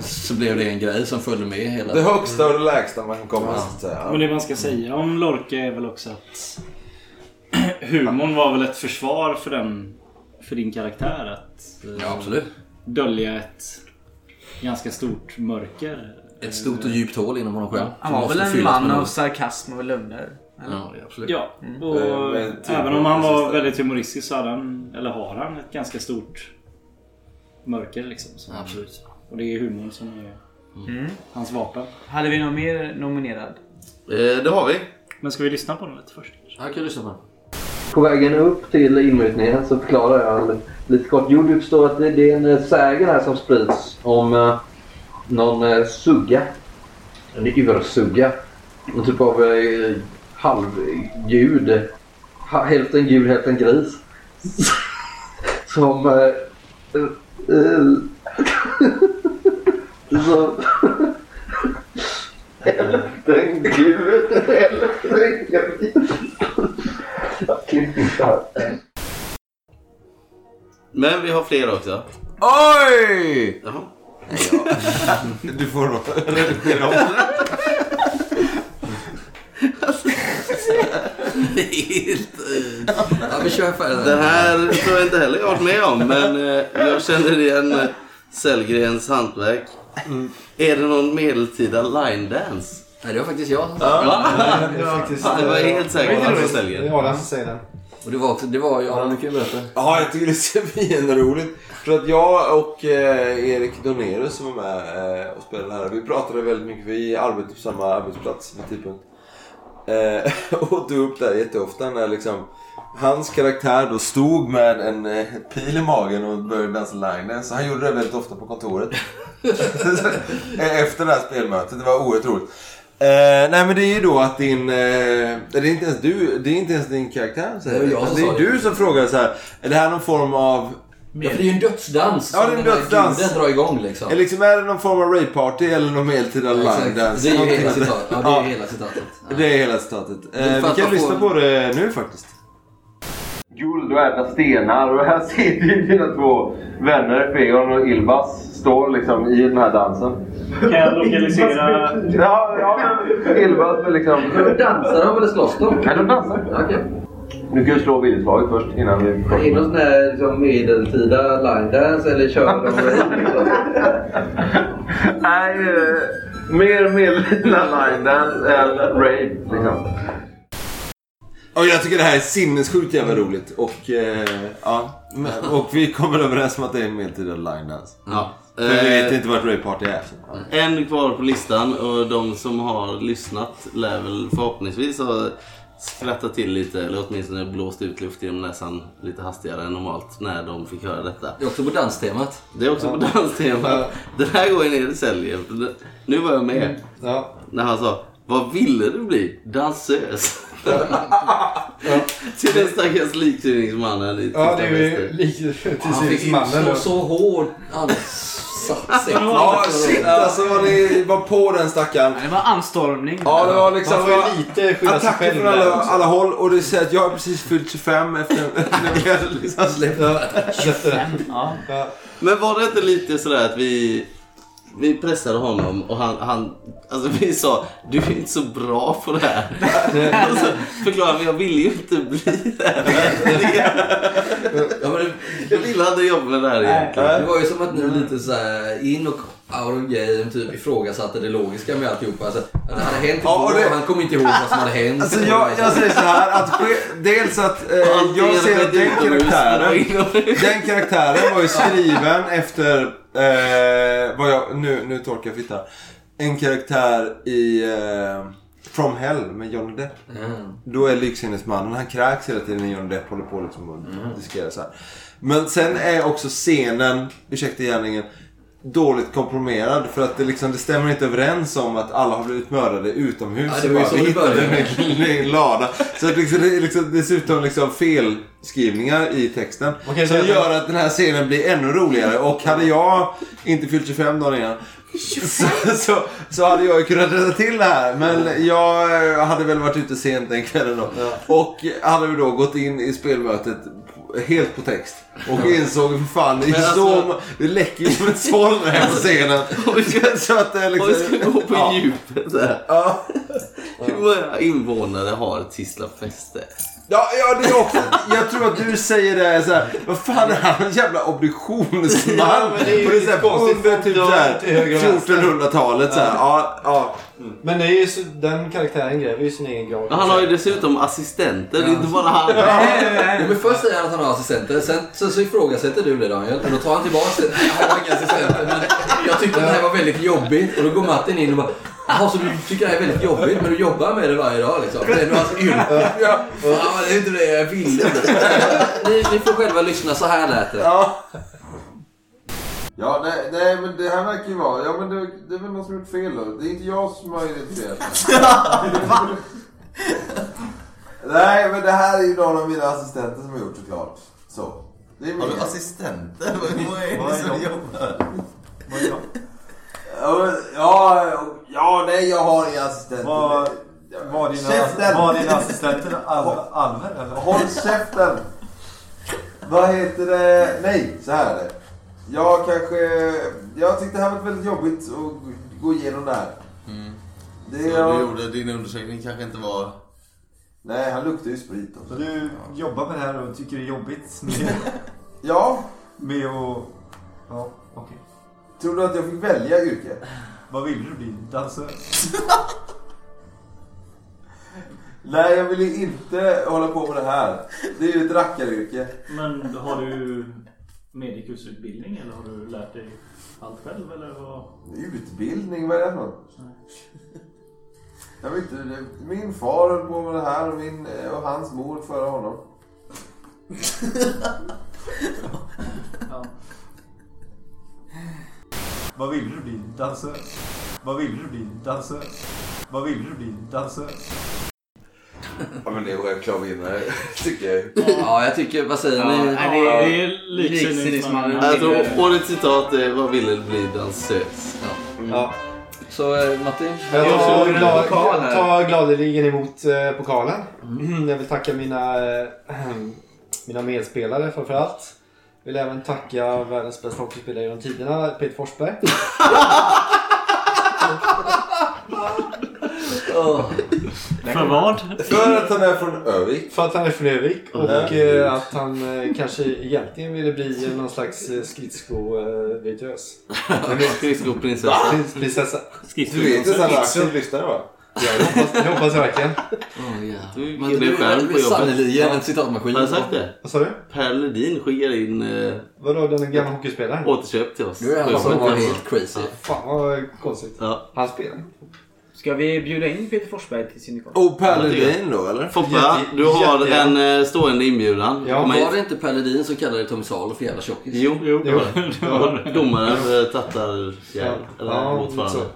[SPEAKER 2] så blev det en grej som följde med hela...
[SPEAKER 1] Det högsta och det lägsta man kan komma
[SPEAKER 2] Ja.
[SPEAKER 1] så att säga.
[SPEAKER 4] Men det man ska säga om Lorca är väl också att humorn var väl ett försvar för den för din karaktär att eh,
[SPEAKER 2] Ja, absolut.
[SPEAKER 4] dölja ett ganska stort mörker.
[SPEAKER 2] Ett stort och djupt hål inom honom själv.
[SPEAKER 4] Ja.
[SPEAKER 2] Ja.
[SPEAKER 9] Han var
[SPEAKER 4] måste
[SPEAKER 9] väl en
[SPEAKER 4] fyllas
[SPEAKER 9] man
[SPEAKER 4] med
[SPEAKER 9] av
[SPEAKER 4] något.
[SPEAKER 9] sarkasm och lögner? eller?
[SPEAKER 2] Ja, absolut.
[SPEAKER 4] Ja,
[SPEAKER 9] Mm.
[SPEAKER 4] och
[SPEAKER 9] Eh, men typ-
[SPEAKER 4] även om han var väldigt humoristisk så hade han, eller har han, ett ganska stort mörker liksom. Så.
[SPEAKER 2] Absolut.
[SPEAKER 4] Och det är humorn som är
[SPEAKER 9] Mm.
[SPEAKER 4] hans vapen.
[SPEAKER 9] Hade vi någon mer nominerad?
[SPEAKER 5] det har vi.
[SPEAKER 4] Men ska vi lyssna på den lite först?
[SPEAKER 2] Jag kan lyssna på den.
[SPEAKER 21] På vägen upp till inmutningen så förklarar jag lite kort. Jo, du förstår att det, det är en eh, sägen här som sprids om eh, någon eh, sugga. En ursugga. En typ av eh, halvgud. Ha, hälften gud, hälften gris. Som... Eh, eh, eh, som
[SPEAKER 8] Hälften gul, hälften grön.
[SPEAKER 5] Men vi har fler också.
[SPEAKER 1] Oj!
[SPEAKER 5] Jaha.
[SPEAKER 1] Du får nog redigera om.
[SPEAKER 2] Ja, vi kör för
[SPEAKER 5] Det här tror jag inte heller jag har varit med om, men eh, jag känner igen eh, Sellgrens hantverk.
[SPEAKER 1] Mm.
[SPEAKER 5] Är det någon medeltida line dance?
[SPEAKER 2] Nej, det var faktiskt jag som
[SPEAKER 5] sa det.
[SPEAKER 6] det var faktiskt-
[SPEAKER 5] Fan, jag
[SPEAKER 7] eh,
[SPEAKER 5] var helt säker på att det var Sellgren.
[SPEAKER 6] Det var den som säger det.
[SPEAKER 2] Och det var också, det var, ja, nu kan jag berätta.
[SPEAKER 1] Ja, jag tycker det är svinroligt. För att jag och eh, Erik Donerus som var med eh, och spelade här, vi pratade väldigt mycket. Vi arbetade på samma arbetsplats vid tidpunkt. Eh, och tog upp det här jätteofta när liksom hans karaktär då stod med en eh, pil i magen och började dansa line dance. Så han gjorde det väldigt ofta på kontoret. Eh, Efter det här spelmötet. Det var oerhört roligt. Eh, nej men det är ju då att din... Eh, det, är inte ens du, det är inte ens din karaktär säger
[SPEAKER 2] Det var jag
[SPEAKER 1] Utan
[SPEAKER 2] som
[SPEAKER 1] det
[SPEAKER 2] sa
[SPEAKER 1] är
[SPEAKER 2] det.
[SPEAKER 1] du som frågar så här. Är det här någon form av...
[SPEAKER 2] Ja, för det är ju en dödsdans
[SPEAKER 1] Ja, det är
[SPEAKER 2] som
[SPEAKER 1] en
[SPEAKER 2] den här
[SPEAKER 1] dödsdans.
[SPEAKER 2] guden drar igång, liksom.
[SPEAKER 1] Eller liksom är det någon form av raveparty eller någon medeltida
[SPEAKER 2] Exakt.
[SPEAKER 1] line dance?
[SPEAKER 2] Det är ju
[SPEAKER 1] Någonting
[SPEAKER 2] hela
[SPEAKER 1] sånt.
[SPEAKER 2] citatet. Ja, det är ju hela citatet.
[SPEAKER 1] Det är hela citatet. Eh,
[SPEAKER 2] Men för
[SPEAKER 1] vi
[SPEAKER 2] att
[SPEAKER 1] kan
[SPEAKER 2] man
[SPEAKER 1] lyssna
[SPEAKER 2] får-
[SPEAKER 1] på det nu faktiskt.
[SPEAKER 11] guld och äta stenar. Och här sitter ju dina två vänner, Feon och Ilvas, står liksom i den här dansen.
[SPEAKER 17] Kan jag lokalisera...
[SPEAKER 11] Ja, ja. Ilvas är liksom...
[SPEAKER 21] Dansar de eller slåss de?
[SPEAKER 11] Nej, de dansar.
[SPEAKER 21] Okej.
[SPEAKER 11] Du kan ju slå viljeslaget först innan vi...
[SPEAKER 21] Är det någon sån här liksom, medeltida line dance eller kör de... Liksom?
[SPEAKER 11] Nej, eh, mer medeltida line dance än rave liksom.
[SPEAKER 1] Och jag tycker det här är sinnessjukt jävla roligt. Och, eh, ja. Men- och vi kommer överens om att det är en medeltida line dance.
[SPEAKER 5] Ja.
[SPEAKER 1] För vi vet
[SPEAKER 5] Eh,
[SPEAKER 1] inte vart raveparty är. så.
[SPEAKER 5] En kvar på listan och de som har lyssnat lär väl förhoppningsvis ha skrattat till lite eller åtminstone blåst ut luft genom näsan lite hastigare än normalt när de fick höra detta.
[SPEAKER 2] Det är också på danstemat.
[SPEAKER 5] Det är också på danstemat. Den här gången är det säljer. Nu var jag
[SPEAKER 6] Mm.
[SPEAKER 5] med. När han sa Vad ville du bli? Dansös. Till den stackars likkylningsmannen i
[SPEAKER 6] Ja, det är
[SPEAKER 5] Tysta
[SPEAKER 6] ju
[SPEAKER 5] Väster.
[SPEAKER 6] likt
[SPEAKER 5] Han fick
[SPEAKER 6] precis
[SPEAKER 5] ju
[SPEAKER 6] mannen.
[SPEAKER 5] slå
[SPEAKER 6] då.
[SPEAKER 5] så
[SPEAKER 2] hård ansatt sig.
[SPEAKER 1] Ja, shit alltså vad ni var på den stackaren.
[SPEAKER 9] Det var anstormning.
[SPEAKER 1] Ja, det var liksom...
[SPEAKER 9] Man får ju lite skylla sig
[SPEAKER 1] attacker
[SPEAKER 9] själv
[SPEAKER 1] från
[SPEAKER 9] där
[SPEAKER 1] alla,
[SPEAKER 9] också.
[SPEAKER 1] alla håll. Och det säger att jag har precis fyllt 25 efter... när jag liksom släppt.
[SPEAKER 9] 25, ja.
[SPEAKER 5] Men var det inte lite sådär att vi, vi pressade honom och han, han alltså vi sa du är inte så bra på det här. och så förklarade vi jag ville ju inte bli det här. jag ville aldrig jobba med det här egentligen.
[SPEAKER 2] Det var ju som att ni lite så här in och out of game typ ifrågasatte det logiska med alltihopa. Alltså, att det hade hänt
[SPEAKER 1] Ja, och
[SPEAKER 2] igår
[SPEAKER 1] det-
[SPEAKER 2] och han kom inte ihåg vad som hade hänt.
[SPEAKER 1] Alltså jag, jag säger så här att ske- dels att eh, jag ser att den karaktären, den karaktären var ju skriven efter, eh, vad jag, nu, nu torkar jag fitta. En karaktär i eh, From Hell med Johnny Depp.
[SPEAKER 2] Mm.
[SPEAKER 1] Då är Lyxsinnesmannen, han kräks hela tiden när Johnny Depp håller på liksom och
[SPEAKER 2] Mm.
[SPEAKER 1] diskuterar så här. Men sen är också scenen, ursäkta gärningen, dåligt komprimerad för att det, liksom, det stämmer inte överens om att alla har blivit mördade utomhus.
[SPEAKER 2] Ja, det var ju
[SPEAKER 1] Så
[SPEAKER 2] så
[SPEAKER 1] bara,
[SPEAKER 2] det
[SPEAKER 1] vi hittade
[SPEAKER 2] började.
[SPEAKER 1] en liten lada. Så att liksom, det är liksom, dessutom liksom felskrivningar i texten.
[SPEAKER 6] Okej,
[SPEAKER 1] som
[SPEAKER 6] så-
[SPEAKER 1] gör att den här scenen blir ännu roligare. Och hade jag inte fyllt 25 dagar innan så, så, så hade jag ju kunnat rätta till det här. Men jag eh, hade väl varit ute sent den kvällen då. Och hade vi då gått in i spelmötet på- helt på text. Och insåg för fan, det, är ju
[SPEAKER 5] Men
[SPEAKER 6] alltså-
[SPEAKER 1] så, det läcker ju som ett såll här på scenen. så att det är liksom...
[SPEAKER 5] Och vi ska gå på
[SPEAKER 1] Ja.
[SPEAKER 5] djupet där.
[SPEAKER 1] Ja.
[SPEAKER 5] Hur många invånare har Tisla fäste?
[SPEAKER 1] Ja, ja, det är också. Jag tror att du säger det så här. Vad fan är han? En jävla obduktionsman.
[SPEAKER 6] Ja, men det är ju
[SPEAKER 1] Och så här,
[SPEAKER 6] konstigt.
[SPEAKER 1] Under typ så här
[SPEAKER 6] Till höger och vänster.
[SPEAKER 1] 1400-talet. Så här. Ja, ja.
[SPEAKER 6] Men det är ju, så- den karaktären gräver ju sin egen grav.
[SPEAKER 5] Och Han har ju dessutom assistenter, det är inte bara han.
[SPEAKER 2] Nej, men först säger han att han har assistenter, sen så, så ifrågasätter du det Daniel. Och då tar han tillbaka det. Nej, Jag har inga assistenter, men jag tyckte att det här var väldigt jobbigt. Och då går Martin in och bara Jaha, så du tycker det här är väldigt jobbigt, men du jobbar med det varje dag liksom. Det är nog hans yrke. Ja, men det är inte det jag ville. Ni, ni får själva lyssna, så här lät det.
[SPEAKER 1] Ja, nej, nej, men det här verkar ju vara... Ja, men det, det är väl någon som gjort fel då. Det är inte jag som har identifierat mig. Nej, men det här är ju någon av mina assistenter som har gjort såklart. Så. Det är
[SPEAKER 23] Har du
[SPEAKER 1] mina.
[SPEAKER 23] assistenter? Vad vad är
[SPEAKER 1] Vad
[SPEAKER 23] det
[SPEAKER 1] är
[SPEAKER 23] som
[SPEAKER 1] de?
[SPEAKER 23] jobbar?
[SPEAKER 1] Ja, men- ja, ja, nej, jag har inga assistenter.
[SPEAKER 24] Var- var dina- var dina assistenter
[SPEAKER 1] Al-
[SPEAKER 24] Alver, eller?
[SPEAKER 1] Håll käften! Vad heter det? Nej, så här är det. Jag kanske... Jag tyckte det här var väldigt jobbigt att gå igenom det här.
[SPEAKER 23] Mm.
[SPEAKER 1] Det
[SPEAKER 23] så
[SPEAKER 1] jag-
[SPEAKER 23] du gjorde, din undersökning kanske inte var...
[SPEAKER 1] Nej, han luktar ju sprit också.
[SPEAKER 23] Så du
[SPEAKER 24] jobbar med det här och tycker det är jobbigt?
[SPEAKER 1] ja.
[SPEAKER 24] Med att... Ja, okej.
[SPEAKER 1] Tror du att jag fick välja yrke?
[SPEAKER 24] Vad ville du bli? Dansör?
[SPEAKER 1] Nej, jag vill ju inte hålla på med det här. Det är ju ett rackaryrke.
[SPEAKER 17] Men har du medikusutbildning eller har du lärt dig allt själv eller vad?
[SPEAKER 1] Utbildning, vad är det för något? Jag vet inte, det- min far höll på med det här och, min, eh, och hans mor före honom.
[SPEAKER 24] Vad ville du bli? Dansör? Vad ville du bli? Dansör? Vad ville du bli? Dansör?
[SPEAKER 11] Ja men det är våra klavinare tycker jag
[SPEAKER 2] Ja, jag tycker... Vad säger
[SPEAKER 5] Ja,
[SPEAKER 2] ni?
[SPEAKER 5] nej, det är- det är
[SPEAKER 2] Liksinnesmannen.
[SPEAKER 5] Alltså, årets citat är Vad ville bli dansös?
[SPEAKER 2] Ja. Så eh, Martin?
[SPEAKER 7] Jag tar,
[SPEAKER 2] pokal här.
[SPEAKER 7] tar gladeligen emot eh, pokalen. Jag vill tacka mina, eh, mina medspelare framförallt. Jag vill även tacka världens bästa hockeyspelare genom tiderna, Peter Forsberg.
[SPEAKER 17] För vad?
[SPEAKER 1] För att han är från Övik.
[SPEAKER 7] För att han är från Övik och
[SPEAKER 1] Mm.
[SPEAKER 7] eh, att han eh, kanske egentligen ville bli någon slags eh, skridskovirtuös.
[SPEAKER 5] Skridskoprinsessa.
[SPEAKER 7] Prins- Prinsessa.
[SPEAKER 5] Skridsko-
[SPEAKER 7] Du vet ju Sanna Axel
[SPEAKER 5] Skridsko-
[SPEAKER 7] lyssnar va? Ja, det hoppas, det hoppas jag verkligen.
[SPEAKER 5] Oh, yeah.
[SPEAKER 7] Du
[SPEAKER 5] Man
[SPEAKER 7] ger
[SPEAKER 5] skrev
[SPEAKER 7] det
[SPEAKER 5] själv på jobbet.
[SPEAKER 7] sannerligen en
[SPEAKER 5] citatmaskin. Har jag sagt det?
[SPEAKER 7] Vad sa du?
[SPEAKER 5] Per Ledin skickar in eh,
[SPEAKER 7] Vadå, den gamla hockeyspelaren?
[SPEAKER 5] återköp till oss.
[SPEAKER 7] Du är han
[SPEAKER 5] På
[SPEAKER 7] som
[SPEAKER 5] jobbet,
[SPEAKER 7] var
[SPEAKER 5] alltså.
[SPEAKER 7] helt
[SPEAKER 5] crazy.
[SPEAKER 7] Fan vad konstigt.
[SPEAKER 5] Ja.
[SPEAKER 7] Han spelar.
[SPEAKER 9] Ska vi bjuda in Peter Forsberg till syndikatet?
[SPEAKER 1] Och Per
[SPEAKER 5] Ledin
[SPEAKER 1] då eller?
[SPEAKER 5] Foppa, du har en eh, stående inbjudan. Kom hit.
[SPEAKER 2] Var det inte Per Ledin som kallade Tommy Salo för jävla tjockis?
[SPEAKER 5] Jo, det var det. Domaren
[SPEAKER 2] Ja.
[SPEAKER 5] eh, tattar
[SPEAKER 7] Ja,
[SPEAKER 5] jävel. Eller
[SPEAKER 7] ja, lite så.
[SPEAKER 5] motsvarande.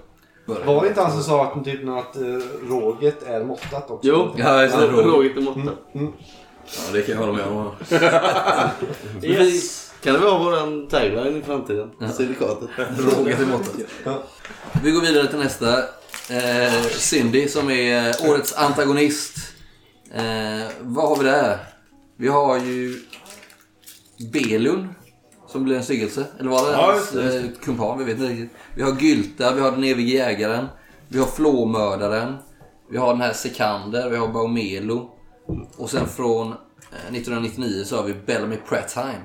[SPEAKER 7] Var det inte han som sa att, typ, att eh, råget är måttat också?
[SPEAKER 5] Jo, ja, just det. Råget är måttat.
[SPEAKER 2] Ja, det kan jag hålla med om.
[SPEAKER 5] yes. Kan det vara våran tagline i framtiden?
[SPEAKER 2] Ja.
[SPEAKER 5] Syndikatet.
[SPEAKER 2] Rågat i måttet. Vi går vidare till nästa. Eh, Cindy som är eh, årets antagonist. Eh, vad har vi där? Vi har ju Belun som blev en styggelse. Eller var det
[SPEAKER 1] Ja,
[SPEAKER 2] hans
[SPEAKER 1] just det.
[SPEAKER 2] eh, kumpan? Vi vet inte riktigt. Vi har Gylta, vi har den evige jägaren. Vi har Flåmördaren. Vi har den här Sekander, vi har Baumelo. Och sen från eh, 1999 så har vi Bellamy Pratheim.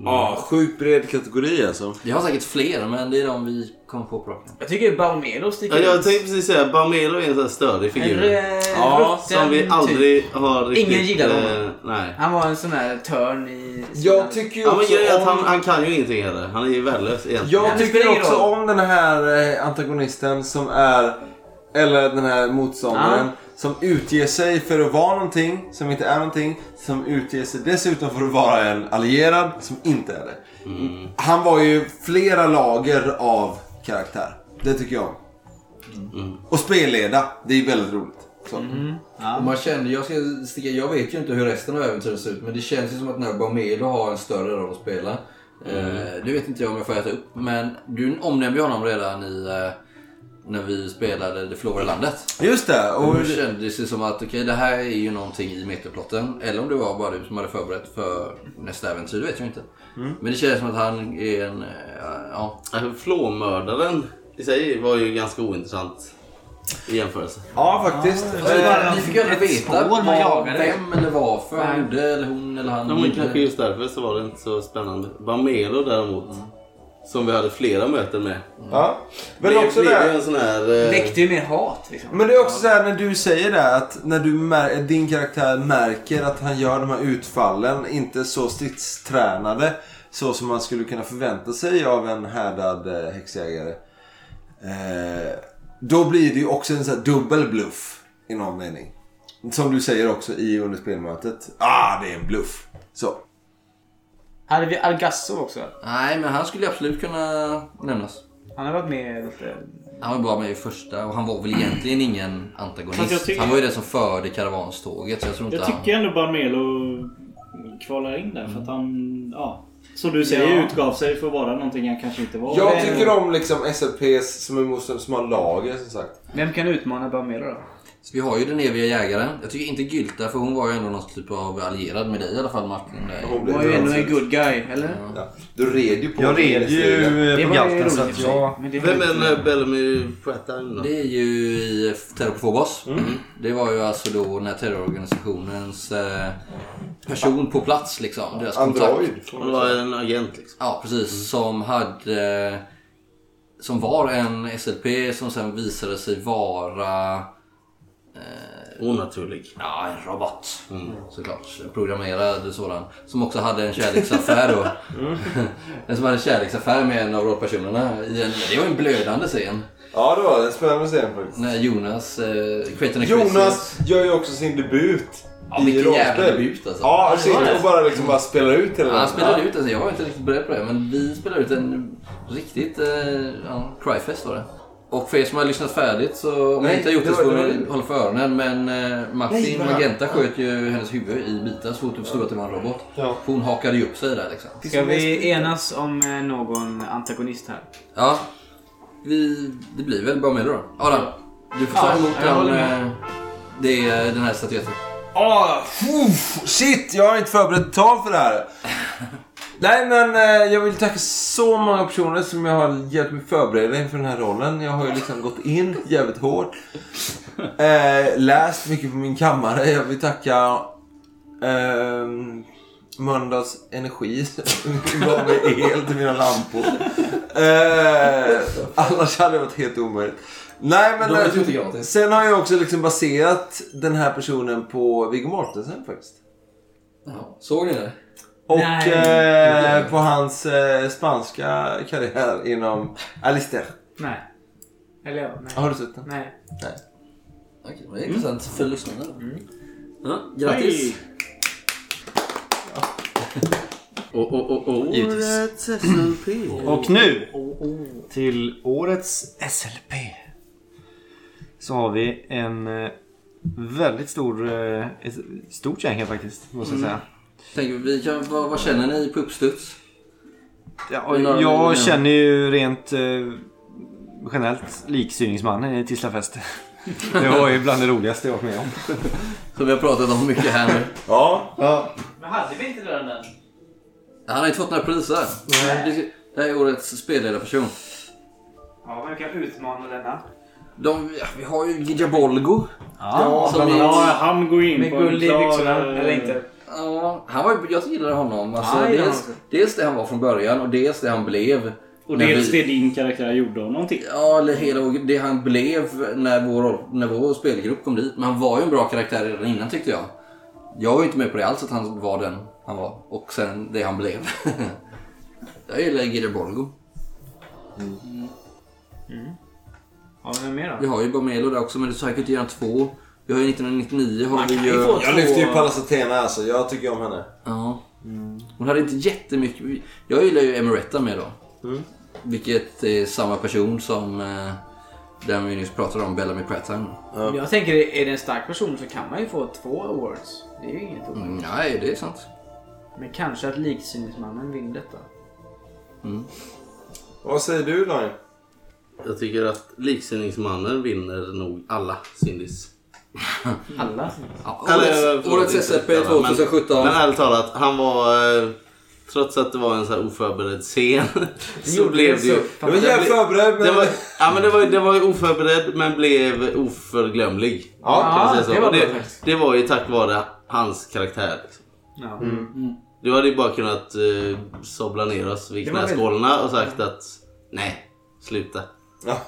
[SPEAKER 1] Ja, sjukt bred kategori alltså.
[SPEAKER 2] Vi har säkert fler, men det är de vi kom på på raken.
[SPEAKER 9] Jag tycker Baumelo sticker
[SPEAKER 5] Ja, jag
[SPEAKER 9] ut.
[SPEAKER 5] tänkte precis säga Barmelo är en sån här störig figur.
[SPEAKER 9] En, eh,
[SPEAKER 5] ja,
[SPEAKER 9] rutten
[SPEAKER 5] som vi aldrig har riktigt...
[SPEAKER 9] Ingen gillar
[SPEAKER 5] eh,
[SPEAKER 9] honom.
[SPEAKER 5] Nej.
[SPEAKER 9] Han var en sån här törn i...
[SPEAKER 1] Jag tycker ju
[SPEAKER 5] Ja, men
[SPEAKER 1] också
[SPEAKER 5] grejen är att
[SPEAKER 1] om-
[SPEAKER 5] han, han kan ju ingenting heller. Han är ju värdelös egentligen.
[SPEAKER 1] Jag tycker också om den här eh, antagonisten som är, eller den här motståndaren,
[SPEAKER 5] Ja.
[SPEAKER 1] som utger sig för att vara någonting som inte är någonting. Som utger sig dessutom för att vara en allierad som inte är det.
[SPEAKER 5] Mm.
[SPEAKER 1] Han var ju flera lager av karaktär. Det tycker jag om.
[SPEAKER 5] Mm.
[SPEAKER 1] Och spelleda, det är väldigt roligt. Så.
[SPEAKER 2] Och man kände, jag, ska sticka, jag vet ju inte hur resten av äventyret ser ut men det känns ju som att den här Baumelo har en större roll att spela.
[SPEAKER 5] Mm.
[SPEAKER 2] Eh, det vet inte jag om jag får äta upp men du omnämnde ju honom redan i eh, när vi spelade Det förlorade landet.
[SPEAKER 1] Just det!
[SPEAKER 2] Och
[SPEAKER 1] och-
[SPEAKER 2] då
[SPEAKER 5] Mm.
[SPEAKER 2] kändes det som att okej det här är ju någonting i metaplotten. Eller om det var bara du som hade förberett för nästa äventyr, det vet jag inte.
[SPEAKER 5] Mm.
[SPEAKER 2] Men det känns som att han är en... eh, ja.
[SPEAKER 5] Flåmördaren i sig var ju ganska ointressant i jämförelse.
[SPEAKER 1] Ja, faktiskt.
[SPEAKER 2] Eh, Ni fick ju aldrig veta
[SPEAKER 5] Spår man
[SPEAKER 2] vad,
[SPEAKER 5] jagade.
[SPEAKER 2] vem eller varför
[SPEAKER 5] Nej.
[SPEAKER 2] han gjorde eller hon eller han
[SPEAKER 5] Ja, men
[SPEAKER 2] gjorde.
[SPEAKER 5] kanske just därför så var det inte så spännande. Bamelo däremot, som vi hade flera möten med.
[SPEAKER 1] Ja. Men
[SPEAKER 5] det
[SPEAKER 1] också
[SPEAKER 5] blev
[SPEAKER 1] där-
[SPEAKER 5] ju en sån här... eh,
[SPEAKER 9] Väckte ju mer hat liksom.
[SPEAKER 1] Men det är också så här när du säger det att när du mär- eh, din karaktär märker att han gör de här utfallen inte så stridstränade så som man skulle kunna förvänta sig av en härdad eh, häxjägare. Eh, då blir det ju också en sån här dubbel bluff i någon mening. Som du säger också i under spelmötet. Ah, det är en bluff. Så.
[SPEAKER 3] Hade vi Algasso också?
[SPEAKER 2] Nej, men han skulle absolut kunna nämnas.
[SPEAKER 3] Han har varit med lite...
[SPEAKER 2] Han var bara med i första och han var väl egentligen ingen antagonist.
[SPEAKER 17] Fast jag tycker-
[SPEAKER 2] Han var ju den som förde karavanståget. Så jag tror inte
[SPEAKER 17] Jag
[SPEAKER 2] han...
[SPEAKER 17] tycker ändå Barmelo kvalar in där för att han, ja. Som du säger,
[SPEAKER 2] Ja.
[SPEAKER 17] utgav sig för att vara någonting han kanske inte var.
[SPEAKER 1] Jag tycker om liksom SLPs som, är motstånd- som har lager som sagt.
[SPEAKER 3] Vem kan utmana Barmelo då?
[SPEAKER 2] Så vi har ju den eviga jägaren. Jag tycker inte Gylta, för hon var ju ändå någon typ av allierad med dig i alla fall Martin.
[SPEAKER 17] Mm.
[SPEAKER 1] Hon blev Hon var ju ändå en
[SPEAKER 2] en
[SPEAKER 3] good guy, eller?
[SPEAKER 1] Ja. Du red ju på
[SPEAKER 2] Jag red ju, eh, Det på var ju galten, roligt så att i och för sig. jag- Men det är
[SPEAKER 5] Vem
[SPEAKER 2] lite-
[SPEAKER 5] är eh, Bellamy Poetan då?
[SPEAKER 2] Det är ju i Terror på Phobos.
[SPEAKER 17] Mm.
[SPEAKER 2] Det var ju alltså då när terrororganisationens eh, person på plats liksom. Deras
[SPEAKER 5] Android,
[SPEAKER 2] kontakt.
[SPEAKER 5] får man säga. Han var en agent liksom.
[SPEAKER 2] Ja precis.
[SPEAKER 17] Mm.
[SPEAKER 2] Som hade... eh, Som var en SLP som sen visade sig vara... Eh,
[SPEAKER 5] Onaturlig.
[SPEAKER 2] Ja, en robot. Mm. Såklart. En programmerad sådan. Som också hade en kärleksaffär då. en som hade en kärleksaffär med en av rollpersonerna. i en- Det var en blödande scen.
[SPEAKER 1] Ja, det var en spännande scen faktiskt.
[SPEAKER 2] När Jonas, eh, Creighton och Christian-
[SPEAKER 1] Jonas gör ju också sin debut.
[SPEAKER 2] Ja, vilken
[SPEAKER 1] rollspel.
[SPEAKER 2] jävla debut alltså.
[SPEAKER 1] Ja, han sitter och bara, liksom bara spelar ut hela
[SPEAKER 2] Ja, han
[SPEAKER 1] den.
[SPEAKER 2] spelar
[SPEAKER 1] Ja.
[SPEAKER 2] ut alltså. Jag var inte riktigt beredd på det. Men vi spelade ut en riktigt... Eh, ja, cryfest var det. Och för er som har lyssnat färdigt så om
[SPEAKER 1] Nej,
[SPEAKER 2] ni inte har gjort
[SPEAKER 1] det
[SPEAKER 2] det så
[SPEAKER 1] var-
[SPEAKER 2] får
[SPEAKER 1] det
[SPEAKER 2] ni
[SPEAKER 1] var-
[SPEAKER 2] hålla för öronen. Men eh,
[SPEAKER 1] Nej,
[SPEAKER 2] Martin
[SPEAKER 1] vad-
[SPEAKER 2] Magenta sköt ju hennes huvud i bitar så fort hon förstod att det var en robot. För hon hakade ju upp sig där liksom.
[SPEAKER 3] Ska vi enas om eh, någon antagonist här?
[SPEAKER 2] Ja. Vi, det blir väl bara med då. Adam, du får ta
[SPEAKER 3] Ja,
[SPEAKER 2] emot
[SPEAKER 3] jag
[SPEAKER 2] den,
[SPEAKER 3] håller med.
[SPEAKER 2] eh, det, är den här statyetten.
[SPEAKER 1] Ah, uff, shit, jag har inte förberett tal för det här. Nej, men eh, jag vill tacka så många personer som jag har hjälpt mig förbereda inför den här rollen. Jag har ju liksom gått in jävligt hårt. Eh, läst mycket på min kammare. Jag vill tacka eh, Mölndals Energi som gav mig el till mina lampor. Eh, annars hade det varit helt omöjligt. Nej, men
[SPEAKER 2] De är ju inte
[SPEAKER 1] eh,
[SPEAKER 2] gratis.
[SPEAKER 1] sen har jag också liksom baserat den här personen på Viggo Mortensen faktiskt.
[SPEAKER 2] Såg ni det?
[SPEAKER 1] Och
[SPEAKER 2] Nej.
[SPEAKER 1] eh, på hans eh, spanska karriär inom Alistair.
[SPEAKER 3] Nej. Eller ja, nej.
[SPEAKER 1] Har du sett den?
[SPEAKER 3] Nej.
[SPEAKER 1] Nej.
[SPEAKER 2] Okej, det är
[SPEAKER 17] Mm.
[SPEAKER 2] intressant för lyssnarna. Ja,
[SPEAKER 5] Hej.
[SPEAKER 2] grattis!
[SPEAKER 5] Och, och, och, och. Årets SLP.
[SPEAKER 6] Och nu till årets SLP. Så har vi en eh, väldigt stor, eh, ett stort gäng här faktiskt. Måste jag
[SPEAKER 2] Mm.
[SPEAKER 6] säga.
[SPEAKER 2] Tänker vi kan, vad, vad känner ni på uppstuds?
[SPEAKER 6] Ja, och jag känner ju rent eh, generellt liksyningsmannen i Tislafest. Det var ju bland det roligaste jag varit med om.
[SPEAKER 2] Som vi har pratat om mycket här nu.
[SPEAKER 1] ja.
[SPEAKER 6] ja.
[SPEAKER 17] Men hade vi inte den än?
[SPEAKER 2] Han har ju inte fått några priser. Det här är årets spelledarperson.
[SPEAKER 3] Ja, vem kan utmana denna?
[SPEAKER 2] De, ja, vi har ju Gijabolgo.
[SPEAKER 17] Ja,
[SPEAKER 2] Som
[SPEAKER 17] bland
[SPEAKER 2] är-
[SPEAKER 17] annat. Ja, han går in
[SPEAKER 2] Med
[SPEAKER 17] på en
[SPEAKER 2] guld i
[SPEAKER 17] klar,
[SPEAKER 2] byxorna,
[SPEAKER 17] eh,
[SPEAKER 2] eller inte. Ja, han var, ju- jag gillade honom. Alltså,
[SPEAKER 17] Ja, jag gillar
[SPEAKER 2] dels,
[SPEAKER 17] honom
[SPEAKER 2] dels det han var från början och dels det han blev.
[SPEAKER 17] Och
[SPEAKER 2] när
[SPEAKER 17] dels
[SPEAKER 2] vi,
[SPEAKER 17] det din karaktär gjorde honom till.
[SPEAKER 2] Ja, eller hela det han blev när vår, när vår spelgrupp kom dit. Men han var ju en bra karaktär redan innan tyckte jag. Jag var ju inte med på det alls att han var den han var. Och sen det han blev. jag gillar Gijabolgo.
[SPEAKER 3] Har vi någon mer då?
[SPEAKER 2] Vi har ju Bomelo där också men det är säkert redan två. Vi har ju 1999 har
[SPEAKER 3] Man
[SPEAKER 2] vi
[SPEAKER 3] kan
[SPEAKER 2] ju...
[SPEAKER 3] ju få
[SPEAKER 1] Jag lyfter ju Pallas Athena alltså. Jag tycker om henne.
[SPEAKER 2] Ja. Hon hade inte jättemycket... Jag gillar ju Emeretta med då.
[SPEAKER 1] Mm.
[SPEAKER 2] Vilket är samma person som eh, den vi nyss pratade om, Bellamy Prattan.
[SPEAKER 3] Jag tänker, är det en stark person så kan man ju få två awards. Det är ju inget omöjligt.
[SPEAKER 2] Mm, nej, det är sant.
[SPEAKER 3] Men kanske att liksyningsmannen vinner detta.
[SPEAKER 1] Vad säger du Daniel?
[SPEAKER 5] Jag tycker att liksyningsmannen vinner nog alla Cindys.
[SPEAKER 3] Alla?
[SPEAKER 5] Ja,
[SPEAKER 2] årets-
[SPEAKER 5] Eller, eh, förlåt,
[SPEAKER 2] årets
[SPEAKER 5] inte
[SPEAKER 2] SLP
[SPEAKER 5] alla, men-
[SPEAKER 2] 2017.
[SPEAKER 5] Men ärligt talat, han var... eh, Trots att det var en så här oförberedd scen så
[SPEAKER 1] Gjorde
[SPEAKER 5] blev
[SPEAKER 1] det
[SPEAKER 5] det ju...
[SPEAKER 1] så. Jag var jävligt förberedd, men-
[SPEAKER 5] Det var, ja, men det var, ju- det var ju oförberedd men blev oförglömlig.
[SPEAKER 1] Ja,
[SPEAKER 5] kan man säga så.
[SPEAKER 1] det var
[SPEAKER 5] Och det,
[SPEAKER 1] bra
[SPEAKER 5] det var ju tack vare hans karaktär. Liksom.
[SPEAKER 3] Ja.
[SPEAKER 5] Mm. Du hade ju bara kunnat eh, sobbla ner oss vid
[SPEAKER 3] Det var väl-
[SPEAKER 5] knäskålarna och sagt att nej, sluta.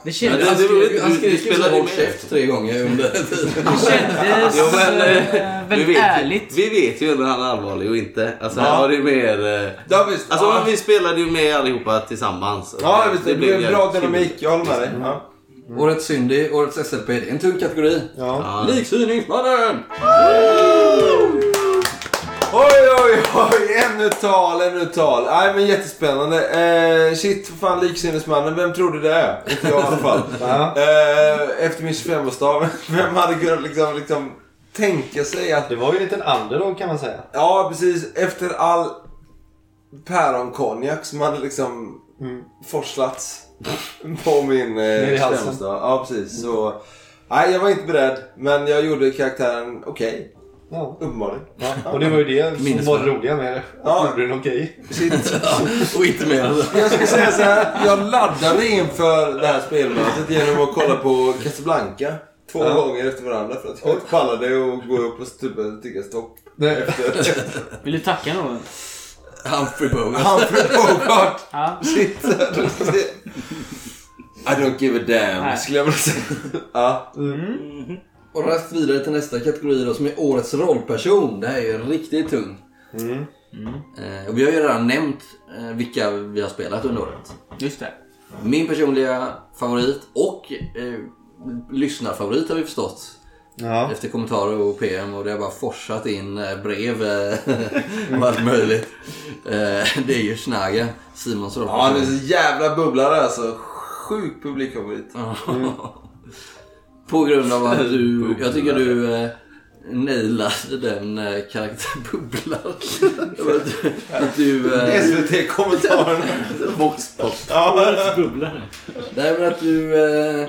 [SPEAKER 3] Det kändes-
[SPEAKER 5] Men
[SPEAKER 2] Han
[SPEAKER 5] det-
[SPEAKER 2] skrek-
[SPEAKER 5] du-
[SPEAKER 2] han
[SPEAKER 5] du
[SPEAKER 2] skrek ju så
[SPEAKER 5] spelade
[SPEAKER 2] här,
[SPEAKER 5] ju
[SPEAKER 2] "Håll
[SPEAKER 5] med."
[SPEAKER 2] käft" tre gånger under tiden.
[SPEAKER 5] Det
[SPEAKER 2] kändes,
[SPEAKER 5] Jo, men, eh,
[SPEAKER 2] eh,
[SPEAKER 5] vi
[SPEAKER 2] väldigt
[SPEAKER 5] vet ju-
[SPEAKER 2] ärligt.
[SPEAKER 5] Vi vet ju när han är allvarlig och inte. Alltså här
[SPEAKER 1] Ja.
[SPEAKER 5] var det ju mer... eh,
[SPEAKER 1] Ja, visst.
[SPEAKER 5] alltså
[SPEAKER 1] Ja.
[SPEAKER 5] men vi spelade ju med allihopa tillsammans.
[SPEAKER 1] Ja, visst. Det blev en bra
[SPEAKER 5] jävligt
[SPEAKER 1] dynamik.
[SPEAKER 5] kul.
[SPEAKER 1] Jag håller med dig. Ja.
[SPEAKER 2] Årets Syndy, årets SLP, det är en tung kategori.
[SPEAKER 1] Ja.
[SPEAKER 2] Liksyningsmannen!
[SPEAKER 1] Oj, oj, oj! Ännu ett tal, ännu ett tal. Nej, men jättespännande. Eh, shit, för fan liksinnesmannen. Vem trodde det? Inte jag i alla fall. eh, efter min 25-årsdag, vem hade kunnat liksom, liksom tänka sig att... Det var ju en liten underdog kan man säga. Ja, precis. Efter all päronkonjak som hade liksom forslats på min eh,
[SPEAKER 7] Ner i halsen.
[SPEAKER 1] 25-årsdag. Ja, precis. Så, nej, jag var inte beredd, men jag gjorde karaktären okej.
[SPEAKER 7] Ja.
[SPEAKER 1] Uppenbarligen.
[SPEAKER 7] Ja, och det var ju det som var det roliga med det.
[SPEAKER 1] Ja.
[SPEAKER 7] Gjorde den okej?
[SPEAKER 1] och inte mer. Jag skulle säga så här. Jag laddade inför det här spelmötet genom att kolla på Casablanca. Två
[SPEAKER 7] Ja.
[SPEAKER 1] gånger efter varandra för att jag inte pallade att gå upp och stupa och tycka stopp.
[SPEAKER 7] Nej.
[SPEAKER 1] Vill du tacka någon?
[SPEAKER 2] Humphrey Bogart.
[SPEAKER 1] Humphrey Bogart!
[SPEAKER 2] Ja.
[SPEAKER 1] Shit. I don't give a damn,
[SPEAKER 2] Nej.
[SPEAKER 1] skulle jag vilja säga. ja.
[SPEAKER 2] Och raskt vidare till nästa kategori då som är årets rollperson. Det här är ju riktigt tung.
[SPEAKER 5] Mm.
[SPEAKER 2] Eh, och vi har ju redan nämnt eh, vilka vi har spelat under året. Just det. Min personliga favorit och eh, lyssnarfavorit har vi förstått.
[SPEAKER 7] Ja.
[SPEAKER 2] Efter kommentarer och PM och det har bara forsat in eh, brev eh, och allt möjligt. Eh, det är ju Schnage, Simons rollperson.
[SPEAKER 1] Ja, han är så jävla bubblare alltså. Sjuk publikfavorit.
[SPEAKER 2] Mm. På grund av att du, jag tycker du eh, nailade den eh, karaktären bubblar. Jag vet inte, att du... Eh,
[SPEAKER 1] SVT-kommentarerna.
[SPEAKER 2] Voxpop.
[SPEAKER 4] Bubblare.
[SPEAKER 2] Nej men att du... Eh,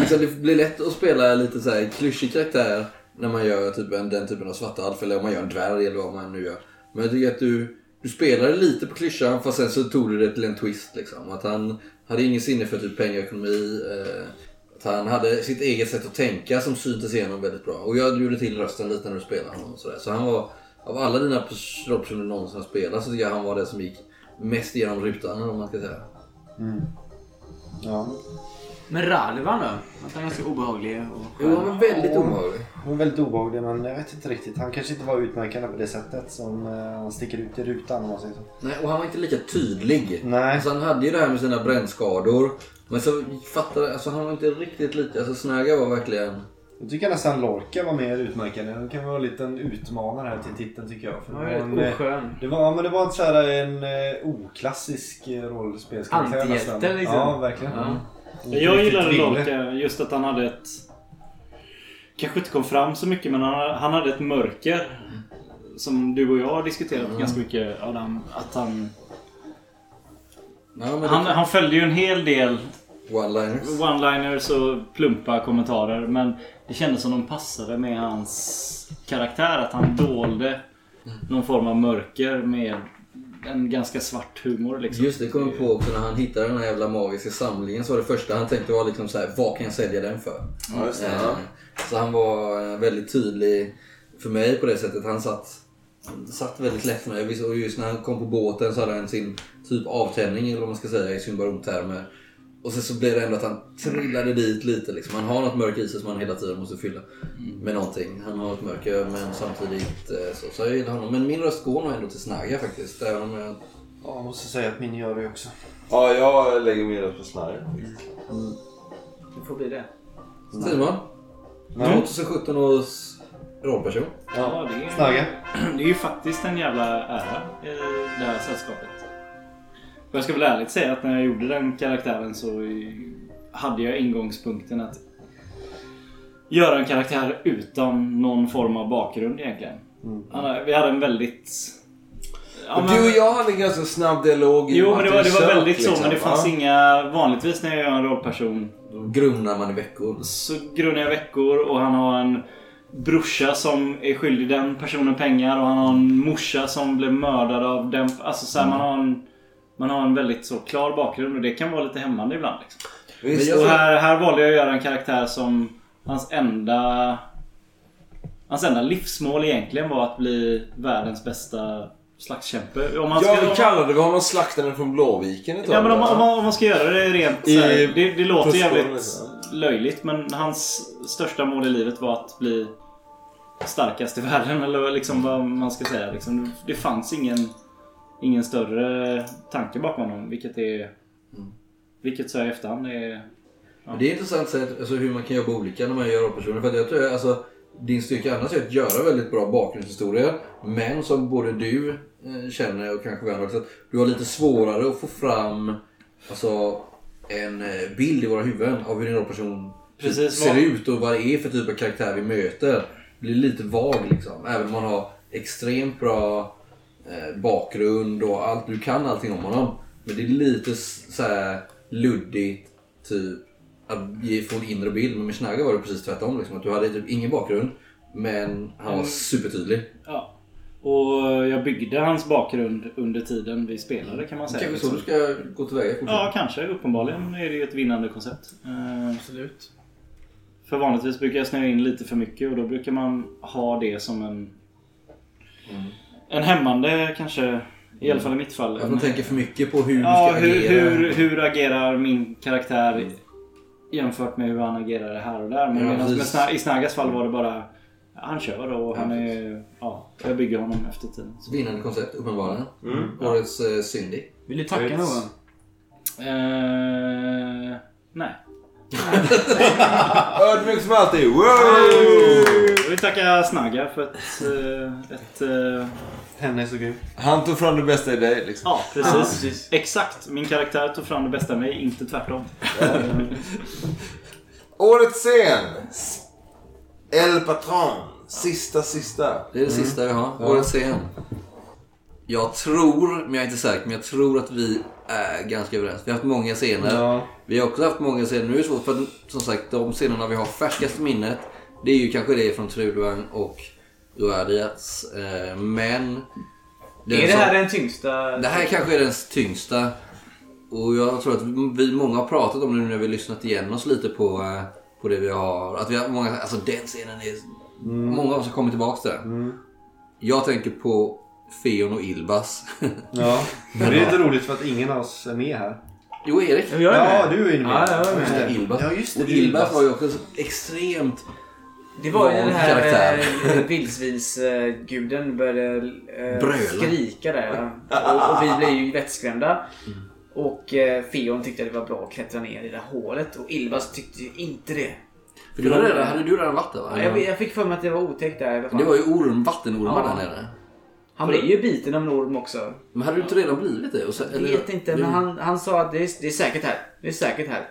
[SPEAKER 2] liksom, det blir lätt att spela lite så här klyschig karaktär när man gör typ en, den typen av svarta alf eller om man gör en dvärg eller vad man nu gör. Men jag tycker att du, du spelade lite på klyschan fast sen så tog du det till en twist liksom. Att han hade ingen sinne för typ pengaekonomi. Eh, att han hade sitt eget sätt att tänka som syntes igenom väldigt bra. Och jag gjorde till rösten lite när du spelade honom och sådär. Så han var, av alla dina pers- rollpersoner du någonsin har spelat så tycker jag han var den som gick mest igenom rutan om man ska säga.
[SPEAKER 7] Ja.
[SPEAKER 9] Men Ralvan då? Att han är ganska obehaglig och skön.
[SPEAKER 7] Han var väldigt obehaglig men jag vet inte riktigt. Han kanske inte var utmärkande på det sättet som eh, han sticker ut i rutan om man säger så.
[SPEAKER 2] Nej, och han var inte lika tydlig. Nej. Alltså, han hade ju det här med sina brännskador. Men så fattade alltså, han var inte riktigt lika... Alltså Snöga var verkligen...
[SPEAKER 7] Jag tycker nästan Lorca var mer utmärkande. Det kan vara en liten utmanare här till titeln tycker jag. För
[SPEAKER 9] Ja, det är
[SPEAKER 7] en,
[SPEAKER 9] rätt oskön.
[SPEAKER 7] Det var, ja, men det var en, så här, en eh, oklassisk eh, rollspelskaraktär
[SPEAKER 9] Antihjälte,
[SPEAKER 7] nästan.
[SPEAKER 9] liksom.
[SPEAKER 7] Ja, verkligen.
[SPEAKER 9] Ja.
[SPEAKER 7] Mm.
[SPEAKER 4] Men Jag gillade
[SPEAKER 7] Riktigt
[SPEAKER 4] Lorca
[SPEAKER 17] eh,
[SPEAKER 4] just att han hade ett... Kanske inte kom fram så mycket men han, han hade ett mörker. Som du och jag har diskuterat ganska mycket Adam. Att han...
[SPEAKER 2] det-
[SPEAKER 4] han, han följde ju en hel del
[SPEAKER 2] One-liners.
[SPEAKER 4] one-liners och plumpa kommentarer. Men det kändes som de passade med hans karaktär. Att han dolde någon form av mörker med en ganska svart humor. Liksom.
[SPEAKER 2] Just det, kom jag på också när han hittade den här jävla magiska samlingen så var det första han tänkte var liksom så här, vad kan jag sälja den för?
[SPEAKER 1] Ja, just det,
[SPEAKER 2] Eh,
[SPEAKER 1] ja.
[SPEAKER 2] Så han var eh, väldigt tydlig för mig på det sättet. Han satt, han satt väldigt lätt för mig. Visst, Och just när han kom på båten så hade han sin typ avtändning eller vad man ska säga i symbaromtermer. Och sen så blev det ändå att han trillade dit lite liksom. Han har något mörker i sig som han hela tiden måste fylla med någonting. Han har ett mörker men samtidigt eh, så. Så jag gillar honom. Men min röst går nog ändå till Snagga faktiskt. Även om jag
[SPEAKER 7] Ja, jag måste säga att min gör det också.
[SPEAKER 1] Ja, jag lägger mig röst på Snarre.
[SPEAKER 9] Det får bli det.
[SPEAKER 2] Simon?
[SPEAKER 4] Nej.
[SPEAKER 2] 2017 års rollperson.
[SPEAKER 4] Ja, det är,
[SPEAKER 2] Snagga.
[SPEAKER 4] det är ju faktiskt en jävla ära i det här sällskapet. Och jag ska väl ärligt säga att när jag gjorde den karaktären så hade jag ingångspunkten att göra en karaktär utan någon form av bakgrund egentligen. Han- Vi hade en väldigt... Ja,
[SPEAKER 1] Mm. Och
[SPEAKER 4] men-
[SPEAKER 1] Du och jag hade en ganska snabb dialog. i
[SPEAKER 4] Jo,
[SPEAKER 1] och med
[SPEAKER 4] men det
[SPEAKER 1] att
[SPEAKER 4] var,
[SPEAKER 1] vi
[SPEAKER 4] det var
[SPEAKER 1] sök,
[SPEAKER 4] väldigt så.
[SPEAKER 1] liksom,
[SPEAKER 4] Men det fanns
[SPEAKER 1] va?
[SPEAKER 4] inga... Vanligtvis när jag gör en rollperson...
[SPEAKER 2] Grunnar man i veckor.
[SPEAKER 4] Så grunnar jag i veckor och han har en brorsa som är skyldig den personen pengar och han har en morsa som blev mördad av den... Alltså så här, man har en... Man har en väldigt så klar bakgrund och det kan vara lite hämmande ibland. Liksom.
[SPEAKER 1] Visst.
[SPEAKER 4] Men jag- och här, här valde jag att göra en karaktär som hans enda... Hans enda livsmål egentligen var att bli världens bästa slagskämpe. Om han
[SPEAKER 1] Jag
[SPEAKER 4] ska- om-
[SPEAKER 1] kallade det honom slaktaren från Blåviken ett
[SPEAKER 4] Ja men om,
[SPEAKER 1] va?
[SPEAKER 4] om, man- om man ska göra det rent
[SPEAKER 1] I-
[SPEAKER 4] så här, det, det låter
[SPEAKER 1] Pussgården,
[SPEAKER 4] jävligt
[SPEAKER 1] liksom.
[SPEAKER 4] löjligt men hans största mål i livet var att bli starkast i världen eller liksom vad man ska säga. Liksom, det fanns ingen, ingen större tanke bakom honom vilket är...
[SPEAKER 1] Mm.
[SPEAKER 4] Vilket så här i efterhand är... Ja.
[SPEAKER 2] Men Det är intressant sätt, alltså, hur man kan jobba olika när man gör rollpersoner. För att jag tror, alltså, din styrka annars är att göra väldigt bra bakgrundshistorier. Men som både du eh, känner och kanske vänner också, att du har lite svårare att få fram alltså, en eh, bild i våra huvuden av hur en person
[SPEAKER 4] Precis,
[SPEAKER 2] ser
[SPEAKER 4] vad-
[SPEAKER 2] ut och vad det är för typ av karaktär vi möter. Det blir lite vag liksom. Även om man har extremt bra eh, bakgrund och allt. Du kan allting om honom. Men det är lite s- så här luddigt typ att ge, få en inre bild. Men med Schnager var det precis tvärtom. Liksom, att du hade typ ingen bakgrund. Men han var
[SPEAKER 4] Mm.
[SPEAKER 2] supertydlig.
[SPEAKER 4] Ja. Och jag byggde hans bakgrund under tiden vi spelade kan man säga. liksom.
[SPEAKER 2] Kanske så du ska gå tillväga fortfarande.
[SPEAKER 4] Ja, kanske. Uppenbarligen är det ju ett vinnande koncept. Eh,
[SPEAKER 9] Absolut.
[SPEAKER 4] För vanligtvis brukar jag snöa in lite för mycket och då brukar man ha det som en... En hämmande kanske. I alla fall i mitt fall.
[SPEAKER 2] Att man tänker för mycket på hur du
[SPEAKER 4] ja,
[SPEAKER 2] ska
[SPEAKER 4] hur,
[SPEAKER 2] agera.
[SPEAKER 4] Hur, hur agerar min karaktär jämfört med hur han agerade här och där. Men
[SPEAKER 2] Ja,
[SPEAKER 4] medan med
[SPEAKER 2] precis.
[SPEAKER 4] Sna- i Snaggas fall var det bara... Han kör och han är... Ja, jag bygger honom efter tiden.
[SPEAKER 2] Vinnande koncept, uppenbarligen.
[SPEAKER 4] Mm.
[SPEAKER 2] Årets eh, Cindy.
[SPEAKER 4] Vill
[SPEAKER 3] du tacka någon?
[SPEAKER 4] Eh, nej.
[SPEAKER 1] Ödmjuk som alltid. Wow!
[SPEAKER 4] Jag vill tacka Snagga för ett... eh, ett eh,
[SPEAKER 1] Henne är så grym. Han tog fram det bästa i dig liksom.
[SPEAKER 4] Ja, precis. Exakt. Min karaktär tog fram det bästa i mig, inte tvärtom. Eh,
[SPEAKER 1] Årets scen! El Patron. Sista, sista.
[SPEAKER 2] Det är
[SPEAKER 3] Mm.
[SPEAKER 2] det sista vi har. Årets scen. Jag tror, men jag är inte säker, men jag tror att vi är ganska överens. Vi har haft många scener.
[SPEAKER 5] Ja.
[SPEAKER 2] Vi har också haft många scener. Nu är det svårt för att, som sagt, de scenerna vi har färskast i minnet. Det är ju kanske det från Trudvang och Uadiats. Eh, men... den
[SPEAKER 3] Är det
[SPEAKER 2] som-
[SPEAKER 3] här den tyngsta?
[SPEAKER 2] det här kanske är den tyngsta. Och jag tror att vi många har pratat om det nu när vi har lyssnat igen oss lite på, eh, på det vi har. Att vi har många, alltså den scenen är... Många av oss har kommit tillbaka till den. Jag tänker på Feon och Ilbas.
[SPEAKER 7] Ja. Men det är lite roligt för att ingen av oss är med här.
[SPEAKER 2] Jo, Erik.
[SPEAKER 7] Jag är med. Ja, du är ju med.
[SPEAKER 2] Ja, jag är
[SPEAKER 7] Just
[SPEAKER 2] med.
[SPEAKER 7] det.
[SPEAKER 2] Ilbas.
[SPEAKER 7] Ja, just det,
[SPEAKER 2] Och Ilbas
[SPEAKER 7] Ilbas.
[SPEAKER 2] var ju också extremt
[SPEAKER 9] Det var ju
[SPEAKER 2] van
[SPEAKER 9] den här
[SPEAKER 2] karaktär.
[SPEAKER 9] eh, vildsvinsguden började eh,
[SPEAKER 2] Bröla.
[SPEAKER 9] skrika där. Och, och vi blev ju vettskrämda. Och eh, Feon tyckte att det var bra att klättra ner i det här hålet och Ilvas tyckte ju inte det.
[SPEAKER 2] För du var redan- hade du redan varit där, va?
[SPEAKER 9] Ja, jag, jag fick för mig att det var otäckt där i alla fall.
[SPEAKER 2] Det var ju orm, vattenormar
[SPEAKER 9] Ja.
[SPEAKER 2] där nere.
[SPEAKER 9] Han blev ju biten av en orm också.
[SPEAKER 2] Men hade du inte redan blivit det? Och så,
[SPEAKER 9] Jag vet inte, men han, han sa att det är, det är säkert här. Det är säkert här.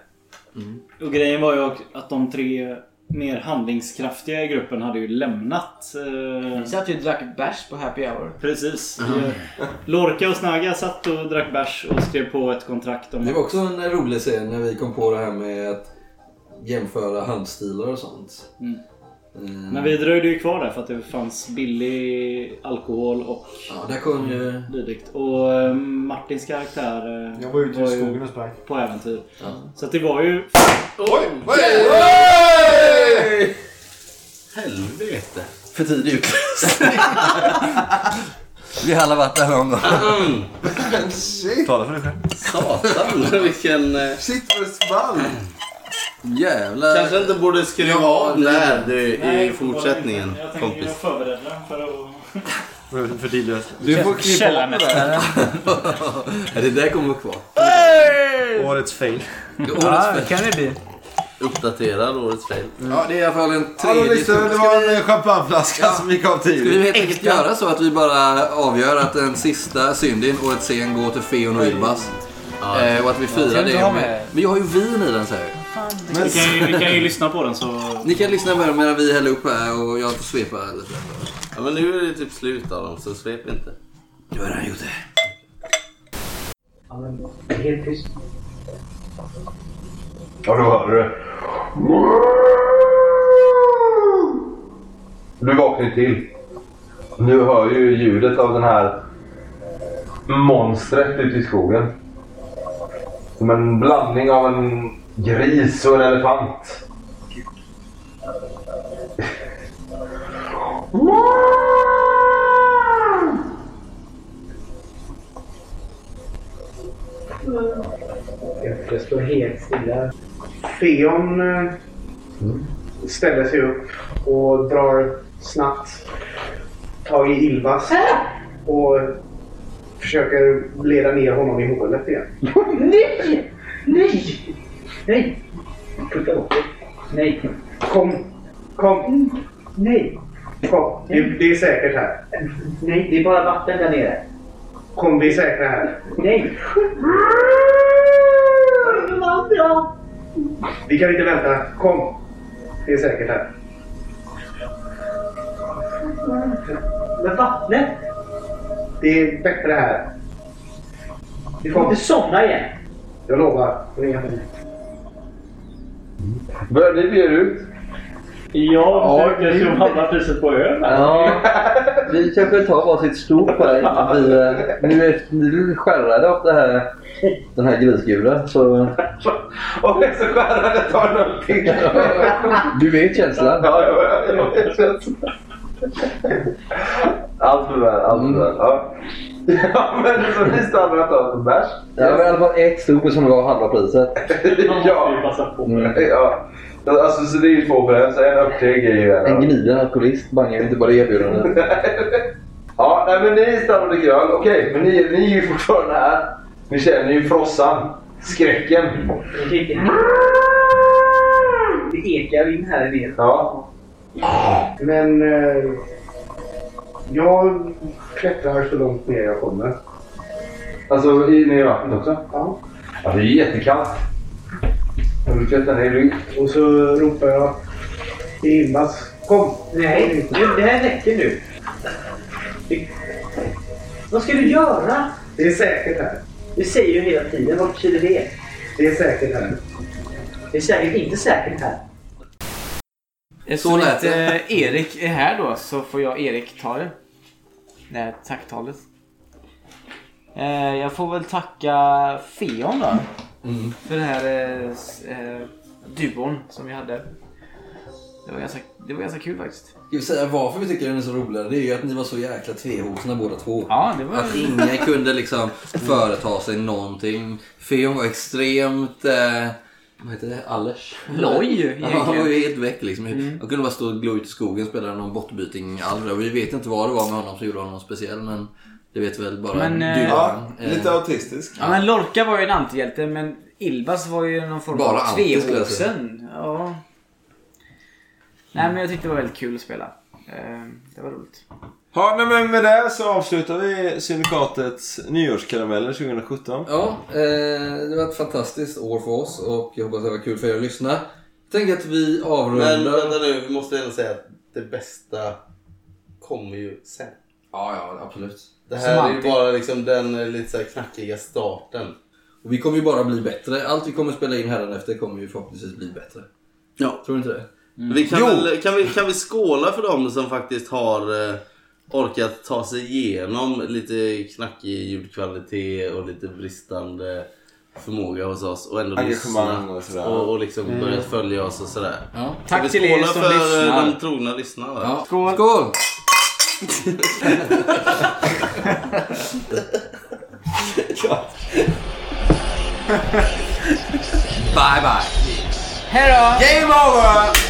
[SPEAKER 4] Och grejen var ju också att de tre mer handlingskraftiga i gruppen hade ju lämnat. Vi
[SPEAKER 9] satt ju och drack bärs på happy hour.
[SPEAKER 4] Precis.
[SPEAKER 2] Mhm.
[SPEAKER 4] Eh, Lorca och Snagga satt och drack bärs och skrev på ett kontrakt om
[SPEAKER 2] Det var också en rolig scen när vi kom på det här med att jämföra handstilar och sånt.
[SPEAKER 4] Mm.
[SPEAKER 2] Mm.
[SPEAKER 4] Men vi dröjde ju kvar där för att det fanns billig alkohol och...
[SPEAKER 2] Ja, där kom ju-
[SPEAKER 4] Dylikt. Och eh, Martins karaktär... eh,
[SPEAKER 7] Jag var ute i
[SPEAKER 4] ju
[SPEAKER 7] skogen och sprang.
[SPEAKER 4] På äventyr. Så att det var ju...
[SPEAKER 5] Oj!
[SPEAKER 4] Oj!
[SPEAKER 5] Helvete.
[SPEAKER 2] För tidig ut. Vi har alla varit där någon gång.
[SPEAKER 5] Shit.
[SPEAKER 2] Tala för dig själv.
[SPEAKER 5] Satan vilken... eh,
[SPEAKER 1] Shit vad det svall!
[SPEAKER 2] Jävlar.
[SPEAKER 5] Kanske inte borde skriva av det här du, i
[SPEAKER 4] Nej,
[SPEAKER 5] fortsättningen
[SPEAKER 4] Jag tänker
[SPEAKER 5] kompis.
[SPEAKER 4] förbereda den för att...
[SPEAKER 7] För tidlöst.
[SPEAKER 5] Du får klippa
[SPEAKER 4] Källarmästare.
[SPEAKER 2] det där kommer kvar.
[SPEAKER 7] Årets fail.
[SPEAKER 2] Årets fail.
[SPEAKER 5] kan det bli. Uppdaterad årets fail.
[SPEAKER 2] Ja, det är i alla fall en
[SPEAKER 1] Hallå
[SPEAKER 2] tredje...
[SPEAKER 1] lyssnare, det var en champagneflaska som gick av
[SPEAKER 2] Ska vi helt
[SPEAKER 1] tidigt.
[SPEAKER 2] enkelt göra så att vi bara avgör att den sista syndin, årets scen, går till Feon och Ylvas? Eh, och att vi
[SPEAKER 4] Ska
[SPEAKER 2] firar
[SPEAKER 4] du
[SPEAKER 2] det.
[SPEAKER 4] inte ha
[SPEAKER 2] med-
[SPEAKER 4] med?
[SPEAKER 2] Men jag har ju vin i den säger jag.
[SPEAKER 4] Vi kan ju- vi kan ju lyssna på den så...
[SPEAKER 2] Ni kan lyssna på den medan vi häller upp här och jag får svepa lite.
[SPEAKER 5] Ja men nu är det typ slut av dem så svep inte.
[SPEAKER 2] Du har redan gjort det.
[SPEAKER 24] Helt tyst.
[SPEAKER 11] Ja, du hörde det. Du vaknar till. Du hör ju ljudet av den här monstret ute i skogen. Som en blandning av en gris och en elefant.
[SPEAKER 16] Det står helt stilla. Feon eh, ställer sig upp och drar snabbt tag i Ilvas och försöker leda ner honom i hålet igen.
[SPEAKER 13] Nej! Nej!
[SPEAKER 16] Nej! Putta bort det. Nej. Kom. Kom. Nej. Kom. Det, det är säkert här.
[SPEAKER 25] Nej, det är bara vatten där nere.
[SPEAKER 16] Kom, vi är säkra här.
[SPEAKER 25] Nej.
[SPEAKER 16] Vi kan inte vänta. Kom. Det är säkert här.
[SPEAKER 25] Men vattnet!
[SPEAKER 16] Det är bättre här.
[SPEAKER 25] Du får inte somna igen.
[SPEAKER 16] Jag lovar. Ringa mig.
[SPEAKER 21] Börjar ni bjuda ut?
[SPEAKER 17] Jag försöker ja, handla priset på öl.
[SPEAKER 21] Ja, vi kanske tar varsitt stort på dig. Vi, eh, nu är vi skärrade av det här, den här grisgulan. Så...
[SPEAKER 16] Och så skärrade tar någon till.
[SPEAKER 21] Du vet känslan.
[SPEAKER 11] Ja, ja, ja, jag vet. Allt för väl, allt för väl. Ja. ja, men så ni stannar och tar en bärs.
[SPEAKER 21] Ja, men i alla fall ett stort som det var halva priset.
[SPEAKER 11] ja. ja. Alltså, så det är ju två för en, så en uppteg är ju en.
[SPEAKER 21] En gniden alkoholist bangar ju inte bara erbjudandet.
[SPEAKER 11] Ja, nej, men ni stannar och dricker öl. Okej, men ni, ni är ju fortfarande här. Ni känner ju frossan. Skräcken.
[SPEAKER 25] Det ekar in här nere.
[SPEAKER 11] Ja.
[SPEAKER 16] Men eh, jag klättrar så långt ner jag kommer.
[SPEAKER 11] Alltså, i, nere i vattnet också?
[SPEAKER 16] Ja.
[SPEAKER 11] Ja, det är ju jättekallt. Har du klättrat ner i rygg?
[SPEAKER 16] Och så ropar jag till Ilmas. Kom!
[SPEAKER 25] Nej, nu, det här räcker nu. Vad ska du göra?
[SPEAKER 16] Det är säkert här.
[SPEAKER 25] Du säger ju hela tiden, vad betyder det?
[SPEAKER 16] Det är säkert här.
[SPEAKER 25] Det är säkert inte säkert här.
[SPEAKER 9] Eftersom inte eh, Erik är här då så får jag Erik ta det. Det här tacktalet. Eh, Jag får väl tacka Feon då.
[SPEAKER 2] Mm.
[SPEAKER 9] För den här eh, s- eh, duon som vi hade. Det var ganska, det var ganska kul faktiskt.
[SPEAKER 2] Ska vi säga varför vi tycker den är så rolig? Det är ju att ni var så jäkla tvehågsna båda två.
[SPEAKER 9] Ja, det var-
[SPEAKER 2] Att ingen kunde liksom företa sig någonting. Feon var extremt... Eh, vad heter det? Allers?
[SPEAKER 9] Loj,
[SPEAKER 2] Ja,
[SPEAKER 9] egentligen. Mm.
[SPEAKER 2] han var ju helt väck liksom. Han kunde bara stå och glo ut i skogen och spela någon bortbyting alver. Vi vet inte vad det var med honom som gjorde honom speciell men det vet väl bara
[SPEAKER 9] Men,
[SPEAKER 2] du.
[SPEAKER 9] eh, ja, lite
[SPEAKER 24] autistisk.
[SPEAKER 9] Ja, men Lorca var ju en antihjälte men Ilbas var ju någon form
[SPEAKER 2] Bara
[SPEAKER 9] av
[SPEAKER 2] anti, skulle jag säga.
[SPEAKER 9] tvehågsen. Ja. Nej men jag tyckte det var väldigt kul att spela. Eh, Det var roligt.
[SPEAKER 1] Ja, nej, men med det så avslutar vi Syndikatets nyårskarameller 2017.
[SPEAKER 2] Ja, eh, det var ett fantastiskt år för oss och jag hoppas det var kul för er att lyssna. Tänk att vi avrundar...
[SPEAKER 5] Men vänta nu, vi måste ändå säga att det bästa kommer ju sen.
[SPEAKER 2] Ja, ja, absolut.
[SPEAKER 5] Det
[SPEAKER 2] Som
[SPEAKER 5] här är ju
[SPEAKER 2] alltid.
[SPEAKER 5] bara liksom den eh, lite så här knackiga starten.
[SPEAKER 2] Och vi kommer ju bara bli bättre. Allt vi kommer spela in här efter kommer ju förhoppningsvis bli bättre.
[SPEAKER 5] Ja. Mm.
[SPEAKER 2] Tror du inte det?
[SPEAKER 5] Vi kan, väl, kan, vi, kan vi skåla för dem som faktiskt har eh, orkat ta sig igenom lite knackig ljudkvalitet och lite bristande förmåga hos oss och ändå
[SPEAKER 1] Engagemang
[SPEAKER 5] lyssna
[SPEAKER 1] och sådär.
[SPEAKER 5] och, och liksom
[SPEAKER 1] Mm.
[SPEAKER 5] börjat följa oss och sådär.
[SPEAKER 2] Ja.
[SPEAKER 5] Kan
[SPEAKER 9] Tack
[SPEAKER 5] vi
[SPEAKER 9] till er
[SPEAKER 5] skåla
[SPEAKER 9] som
[SPEAKER 5] för eh,
[SPEAKER 9] lyssnar.
[SPEAKER 5] de trogna lyssnarna.
[SPEAKER 2] Ja. Skål! Skål! bye bye!
[SPEAKER 9] Hej då!
[SPEAKER 2] Game over!